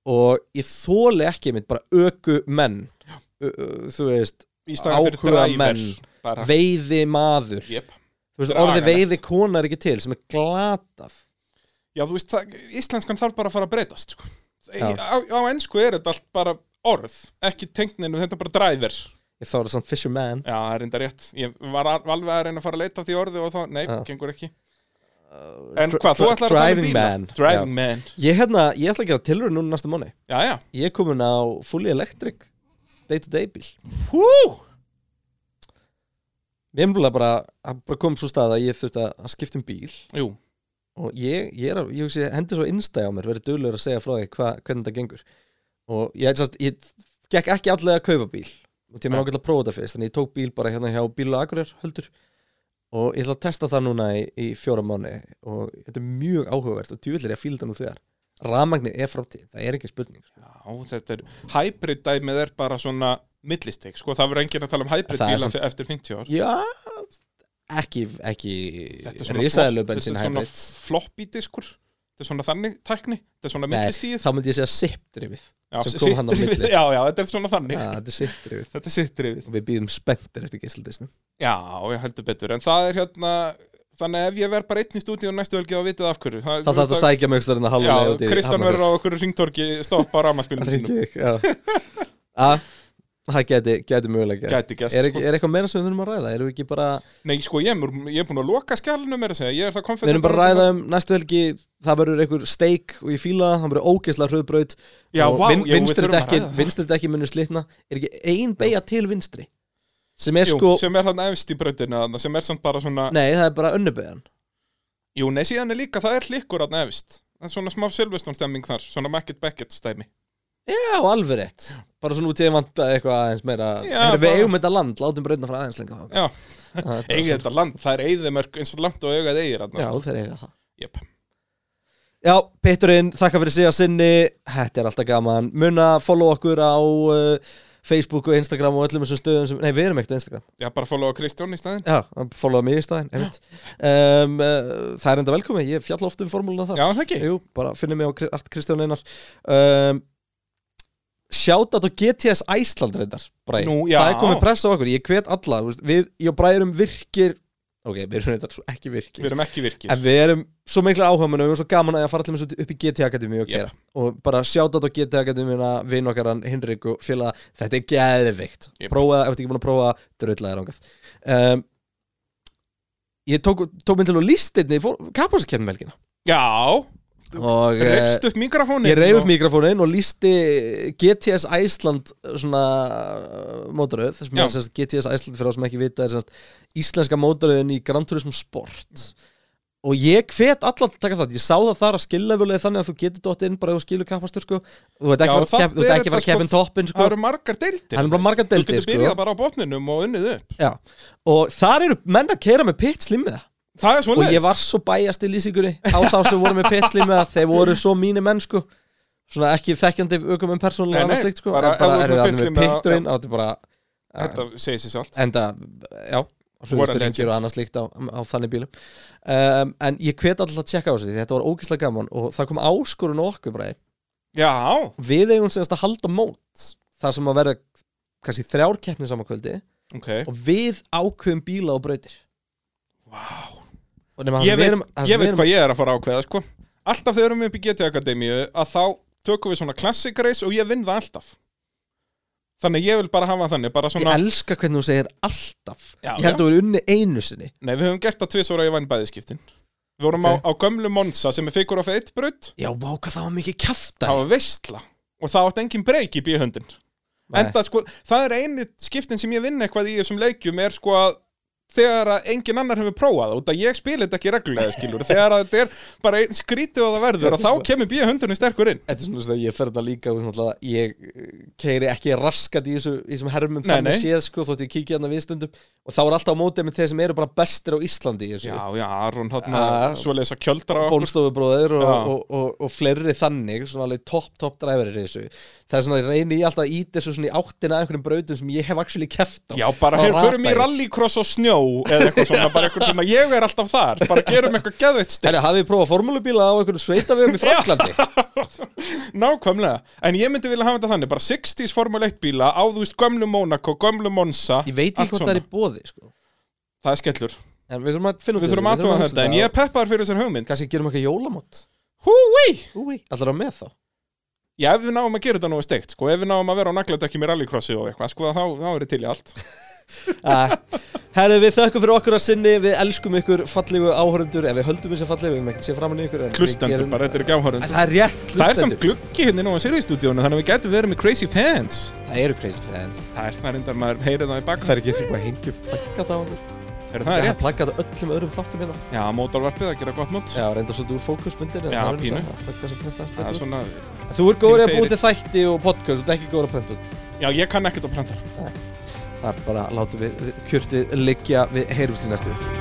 [SPEAKER 1] og ég þóli ekki mitt bara öku menn ö, ö, þú veist,
[SPEAKER 2] Í staðan fyrir
[SPEAKER 1] Áhuga
[SPEAKER 2] driver
[SPEAKER 1] menn.
[SPEAKER 2] Bara
[SPEAKER 1] veiði maður
[SPEAKER 2] Jep
[SPEAKER 1] þú veist,
[SPEAKER 2] Dragalegt.
[SPEAKER 1] orðið veiði kona er ekki til sem er glatað
[SPEAKER 2] Já, þú veist, það, íslenskan þarf bara að fara að breytast sko. Í-
[SPEAKER 1] Já.
[SPEAKER 2] á, á ennsku er þetta allt bara orð Ekki tengninu, þetta er bara driver Já,
[SPEAKER 1] ég þá er það samt fisherman
[SPEAKER 2] það er enda rétt Ég var al- alveg að reyna að fara að leita að því orði og þá Nei,
[SPEAKER 1] Já.
[SPEAKER 2] gengur ekki En hvað, þú
[SPEAKER 1] dri-
[SPEAKER 2] ætlar að tala um
[SPEAKER 1] driving
[SPEAKER 2] bíla
[SPEAKER 1] man.
[SPEAKER 2] Driving man
[SPEAKER 1] ég, hérna, ég ætla að gera tilraun núna næsta mánu
[SPEAKER 2] Já, já
[SPEAKER 1] ég er komin á fully electric day to day bíl
[SPEAKER 2] Hú
[SPEAKER 1] við erum bara, bara, það bara komum svo stað að ég þurfti að að skipta um bíl
[SPEAKER 2] Jú
[SPEAKER 1] og ég, ég, er, að- ég hugsi, hendi svo innstæði á mér verið duglegur að segja frá því hva, hvernig þetta gengur og ég, sast, ég gekk ekki allega að kaupa bíl og tíma
[SPEAKER 2] Nei.
[SPEAKER 1] ákveðla að prófa þetta fyrst þannig ég tók bíl bara hérna hjá bíl og agurir höldur og ég ætla að testa það núna í, í fjóra mánu og þetta er mjög áhugavert og djúvillir ég að fíla þetta nú þegar rafmagnið er framtíð, það er ekki spurning
[SPEAKER 2] Já, þetta er Hybrid dæmið er bara svona millistik Sko, það verður enginn að tala um hybrid
[SPEAKER 1] Það er
[SPEAKER 2] bíla
[SPEAKER 1] samt-
[SPEAKER 2] eftir 50 ár
[SPEAKER 1] já, ekki, ekki
[SPEAKER 2] Þetta er svona,
[SPEAKER 1] risaðilu
[SPEAKER 2] flop-
[SPEAKER 1] bensin
[SPEAKER 2] þetta er svona
[SPEAKER 1] hybrid
[SPEAKER 2] floppy diskur Þetta er svona þannig tækni Þetta er svona
[SPEAKER 1] Nei,
[SPEAKER 2] millistíð
[SPEAKER 1] þá myndi ég segja sippdrifið
[SPEAKER 2] Já,
[SPEAKER 1] sem kom hann á
[SPEAKER 2] sitt-
[SPEAKER 1] milli.
[SPEAKER 2] Já, já, þetta er svona
[SPEAKER 1] Já,
[SPEAKER 2] þannig
[SPEAKER 1] Ah, þetta er
[SPEAKER 2] <laughs>
[SPEAKER 1] sippdrifið
[SPEAKER 2] Þetta er sittrifið
[SPEAKER 1] og við býðum spenntir eftir gísildisnum
[SPEAKER 2] Já, ég heldur betur, en það er hérna Þannig að ef ég verð bara einn í stúdíu næstu helgi þá vitið af hverju
[SPEAKER 1] þá þarf þetta að sækja mjög stærna
[SPEAKER 2] Já,
[SPEAKER 1] halvunni
[SPEAKER 2] Kristján verður
[SPEAKER 1] <laughs>
[SPEAKER 2] á okkur ringtorki stoppa rámaspilum sínum
[SPEAKER 1] okkur að Ah, það geti, geti mögulega gerst.
[SPEAKER 2] Gæti gerst,
[SPEAKER 1] er,
[SPEAKER 2] sko.
[SPEAKER 1] ekki, er eitthvað meira sem við þurfum að ræða erum við ekki bara,
[SPEAKER 2] Nei, sko, ég er, ég er búin að loka skjálunum er að segja, ég er það
[SPEAKER 1] við
[SPEAKER 2] konfident
[SPEAKER 1] erum bara að ræða um næstu helgi, það verður einhver steik og ég fíla það, það verður ógeðslega hröðbraut
[SPEAKER 2] Já,
[SPEAKER 1] og
[SPEAKER 2] vá,
[SPEAKER 1] vin,
[SPEAKER 2] já, við
[SPEAKER 1] vinstri
[SPEAKER 2] þurfum að
[SPEAKER 1] dekkin
[SPEAKER 2] ræða það.
[SPEAKER 1] vinstri dekkin munir slitna, er ekki ein beigja til vinstri sem er
[SPEAKER 2] Jú,
[SPEAKER 1] sko,
[SPEAKER 2] sem er hann efst í brautina þarna, sem er samt bara svona
[SPEAKER 1] nei það er bara önnubeigjan
[SPEAKER 2] Jú, nei, síðan er líka, það er hlikkur hann efst Það er svona smá Silveston stemming þar, svona Mackett Beckett stæmi
[SPEAKER 1] Já, alveg rétt Bara svona út í að vanta eitthvað aðeins meira
[SPEAKER 2] Já,
[SPEAKER 1] Heyrðu, Við
[SPEAKER 2] bara-
[SPEAKER 1] eigum þetta land, látum breytna frá aðeins lengra
[SPEAKER 2] Já,
[SPEAKER 1] Það er
[SPEAKER 2] eigið þetta land, það er eigðumörk eins og langt og augað eigir
[SPEAKER 1] bara- Já,
[SPEAKER 2] hann
[SPEAKER 1] þeir eiga það
[SPEAKER 2] Jep,
[SPEAKER 1] Já, Peturinn, þakka fyrir sig að sinni Þetta er alltaf gaman Muna, follow okkur á uh, Facebook og Instagram og öllum þessum stöðum sem... Nei, við erum ekkert á Instagram
[SPEAKER 2] já, bara followa Kristján í staðinn
[SPEAKER 1] Já, follow mig í staðinn einmitt. um, uh, Það er enda velkomi, ég fjalla oft um formúluna þar
[SPEAKER 2] Já, það ekki,
[SPEAKER 1] Jú, bara finnum mig á Kri- at Kristján Einar um, Shoutout á GTS Æsland reyndar Bræ.
[SPEAKER 2] Nú, já.
[SPEAKER 1] Það er komið pressa á okkur, ég hvet alla þú veist, Við, ég og Bræ erum virkir Ok, við erum reyndar svo ekki virkir
[SPEAKER 2] við erum ekki virkið
[SPEAKER 1] En við erum svo mikla áhugamunum Við erum svo gaman að ég að fara allir með svo upp í GT Akademi og
[SPEAKER 2] Jep.
[SPEAKER 1] gera Og bara shoutout á GT Akademi Vinn okkar hann, Hinrik og félaga Þetta er geðvikt
[SPEAKER 2] Jep.
[SPEAKER 1] Prófa, ef þetta ekki búin að prófa Dröðlaðir ángað um, Ég tók, tók minn til og lístinni Kapphúsakefnum um helgina
[SPEAKER 2] Já,
[SPEAKER 1] Og, eh,
[SPEAKER 2] Reifst upp mikrofónin
[SPEAKER 1] Ég reyf upp
[SPEAKER 2] og-
[SPEAKER 1] mikrofónin og lísti GTS Æsland svona uh, mótaröð sem
[SPEAKER 2] Já.
[SPEAKER 1] er sérst GTS Æsland fyrir þá sem ekki vita er sérst íslenska mótaröðin í Gran Turismo Sport og ég hvet allan til að taka það ég sá það þar að skilla völuði þannig að þú getur dótt inn bara ef þú skilur kappastur sko þú veit
[SPEAKER 2] Já,
[SPEAKER 1] ekki að
[SPEAKER 2] þarna
[SPEAKER 1] fara að kepp- þú
[SPEAKER 2] er
[SPEAKER 1] veit ekki að fara
[SPEAKER 2] þetta,
[SPEAKER 1] að keppin
[SPEAKER 2] sko,
[SPEAKER 1] toppin
[SPEAKER 2] Það
[SPEAKER 1] sko
[SPEAKER 2] eru margar deildir
[SPEAKER 1] Hann er bara margar
[SPEAKER 2] Þú
[SPEAKER 1] deildir
[SPEAKER 2] getur byrjað
[SPEAKER 1] sko
[SPEAKER 2] bara á botninum og unnið upp
[SPEAKER 1] Já. og þar eru menn að keira með pit slim með það
[SPEAKER 2] Það er svona
[SPEAKER 1] og ég var svo bæjast í lýsingunni á þá sem voru með petsli með að þeir voru svo mínu menn sko svona ekki þekkjandi aukum en
[SPEAKER 2] Nei,
[SPEAKER 1] persónulega
[SPEAKER 2] nei,
[SPEAKER 1] annars slikt sko
[SPEAKER 2] bara
[SPEAKER 1] en bara er
[SPEAKER 2] ef þú ert með
[SPEAKER 1] það
[SPEAKER 2] pitsli
[SPEAKER 1] með
[SPEAKER 2] með-
[SPEAKER 1] pitturinn og þetta er bara
[SPEAKER 2] Þetta segir sér sjálf
[SPEAKER 1] enda, já
[SPEAKER 2] What a
[SPEAKER 1] hlutur
[SPEAKER 2] legend.
[SPEAKER 1] ringir og annars líkt á, á þannig bílum um, en ég hvet alltaf að tjekka á þessu því þetta var ógeðslega gaman og það kom áskorun á okkur bara
[SPEAKER 2] Já,
[SPEAKER 1] við eigum semst að halda mót þar sem að verða kannski þrjár keppni saman kvöldi
[SPEAKER 2] ok
[SPEAKER 1] og við ákveðum bíla og brautir
[SPEAKER 2] Vá.
[SPEAKER 1] og nema það sem
[SPEAKER 2] Ég
[SPEAKER 1] við
[SPEAKER 2] veit,
[SPEAKER 1] erum- það sem við
[SPEAKER 2] ég veit
[SPEAKER 1] erum-
[SPEAKER 2] hvað ég er að fara að ákveða sko. Alltaf þegar við erum upp í GT Akademíu að þá tökum við svona classic race og ég vinn það alltaf Þannig ég vil bara hafa þannig bara svona,
[SPEAKER 1] Ég elska hvernig þú segir alltaf
[SPEAKER 2] Já,
[SPEAKER 1] Ég held
[SPEAKER 2] já.
[SPEAKER 1] að þú eru unni einu sinni
[SPEAKER 2] Nei, við höfum gert það tvisóra ég vann bæðiskiptin Við vorum á, á gömlu Monza sem er figur af eitt braut
[SPEAKER 1] Já, vá, hvað það var mikið kjafta
[SPEAKER 2] Það var veistla og það átt engin breyk í bíhöndin Enda, sko, það er eini skiptin sem ég vinn eitthvað í þessum leikjum er sko að þegar að engin annar hefur prófað það, út að ég spila þetta ekki reglulega skilur þegar að þetta er bara einn skrítið og það verður og þá kemur bíja hundunum sterkur inn
[SPEAKER 1] Þetta er svona svona, ég fer þetta líka og svona, alltaf, Ég keiri ekki raskat í þessu, í þessum hermum
[SPEAKER 2] Nei,
[SPEAKER 1] Þannig
[SPEAKER 2] nei.
[SPEAKER 1] séð, sko, þótt ég kíkja hérna við stundum Og þá er alltaf á mótið með þeir sem eru bara bestir á Íslandi í þessu.
[SPEAKER 2] Já, já, Aron hann
[SPEAKER 1] Ah.
[SPEAKER 2] svoleiðis að kjöldra á okkur
[SPEAKER 1] Bólstofubróður og,
[SPEAKER 2] Já.
[SPEAKER 1] og, og, og fleiri þannig Svona alveg topp, topp dræfarir í þessu Það er svona, ég reyni ég alltaf að íta þessu svona í áttina að einhverjum brautum sem ég hef actually keft á
[SPEAKER 2] Já, bara
[SPEAKER 1] Þá
[SPEAKER 2] hér
[SPEAKER 1] rata
[SPEAKER 2] förum í
[SPEAKER 1] ég.
[SPEAKER 2] rallycross á snjó eða eitthvað svona, bara eitthvað svona, ég er alltaf þar bara gerum eitthvað geðveitt stil
[SPEAKER 1] Herra, hafið þið prófað formúlubíla á einhverjum
[SPEAKER 2] <laughs>
[SPEAKER 1] sveitavegum í Franklandi?
[SPEAKER 2] Nákvæmlega, en ég myndi vilja hafa þetta þannig bara 60s Formule 1 bíla á þú veist gömlu Monaco, gömlu Monza
[SPEAKER 1] Ég veit
[SPEAKER 2] allt
[SPEAKER 1] ekki hvort það er
[SPEAKER 2] svona.
[SPEAKER 1] í bóði sko.
[SPEAKER 2] Það er skellur,
[SPEAKER 1] En við þurfum að finna út úr
[SPEAKER 2] við þurfum
[SPEAKER 1] þessu,
[SPEAKER 2] aðtóða þetta en
[SPEAKER 1] hugsa
[SPEAKER 2] ég er peppar fyrir þessar hugmynd
[SPEAKER 1] Kannski gerum eitthvað jólamót
[SPEAKER 2] Húi!
[SPEAKER 1] Úi, allar á með þá
[SPEAKER 2] Já, ef við náum að gera þetta nú að steikt, sko, ef við náum að vera á nagladekki með rallycrossi og eitthvað, sko, þá, þá er þetta til í allt.
[SPEAKER 1] uh, Herðu, við þökkum fyrir okkur að sinni Við elskum ykkur fallegu áhörundur Ef við höldum þessi fallegu, við höfum ekkert séð framan í ykkur en við
[SPEAKER 2] Klustendur
[SPEAKER 1] gerum-
[SPEAKER 2] bara, þetta er ekki
[SPEAKER 1] En
[SPEAKER 2] áhörðundur.
[SPEAKER 1] Það er rétt
[SPEAKER 2] Það er samt
[SPEAKER 1] hlustendur
[SPEAKER 2] gluggi hérna nú á Sirius-stúdíónu, þannig að við getum verið með crazy fans.
[SPEAKER 1] Það eru crazy fans
[SPEAKER 2] Það er það reyndar maður heyrið það í baka.
[SPEAKER 1] Það er ekki sem bara hengjum plakkat á okkur
[SPEAKER 2] Er það
[SPEAKER 1] Það er
[SPEAKER 2] rétt?
[SPEAKER 1] plakkat á öllum öðrum þáttum hérna
[SPEAKER 2] Já, mótorvarpið, það gera gott mót.
[SPEAKER 1] Já, reynda svolítið úr fókusmyndir
[SPEAKER 2] Já, pínu. Það er svona,
[SPEAKER 1] pínu Þú er góður í að
[SPEAKER 2] pínu
[SPEAKER 1] búið til þætti og podcast Þú ert ekki góður að prenta út
[SPEAKER 2] já, ég kann ekkert að prenta.
[SPEAKER 1] Þar bara látum við kjörtið liggja Við heyrumst í næstu viku.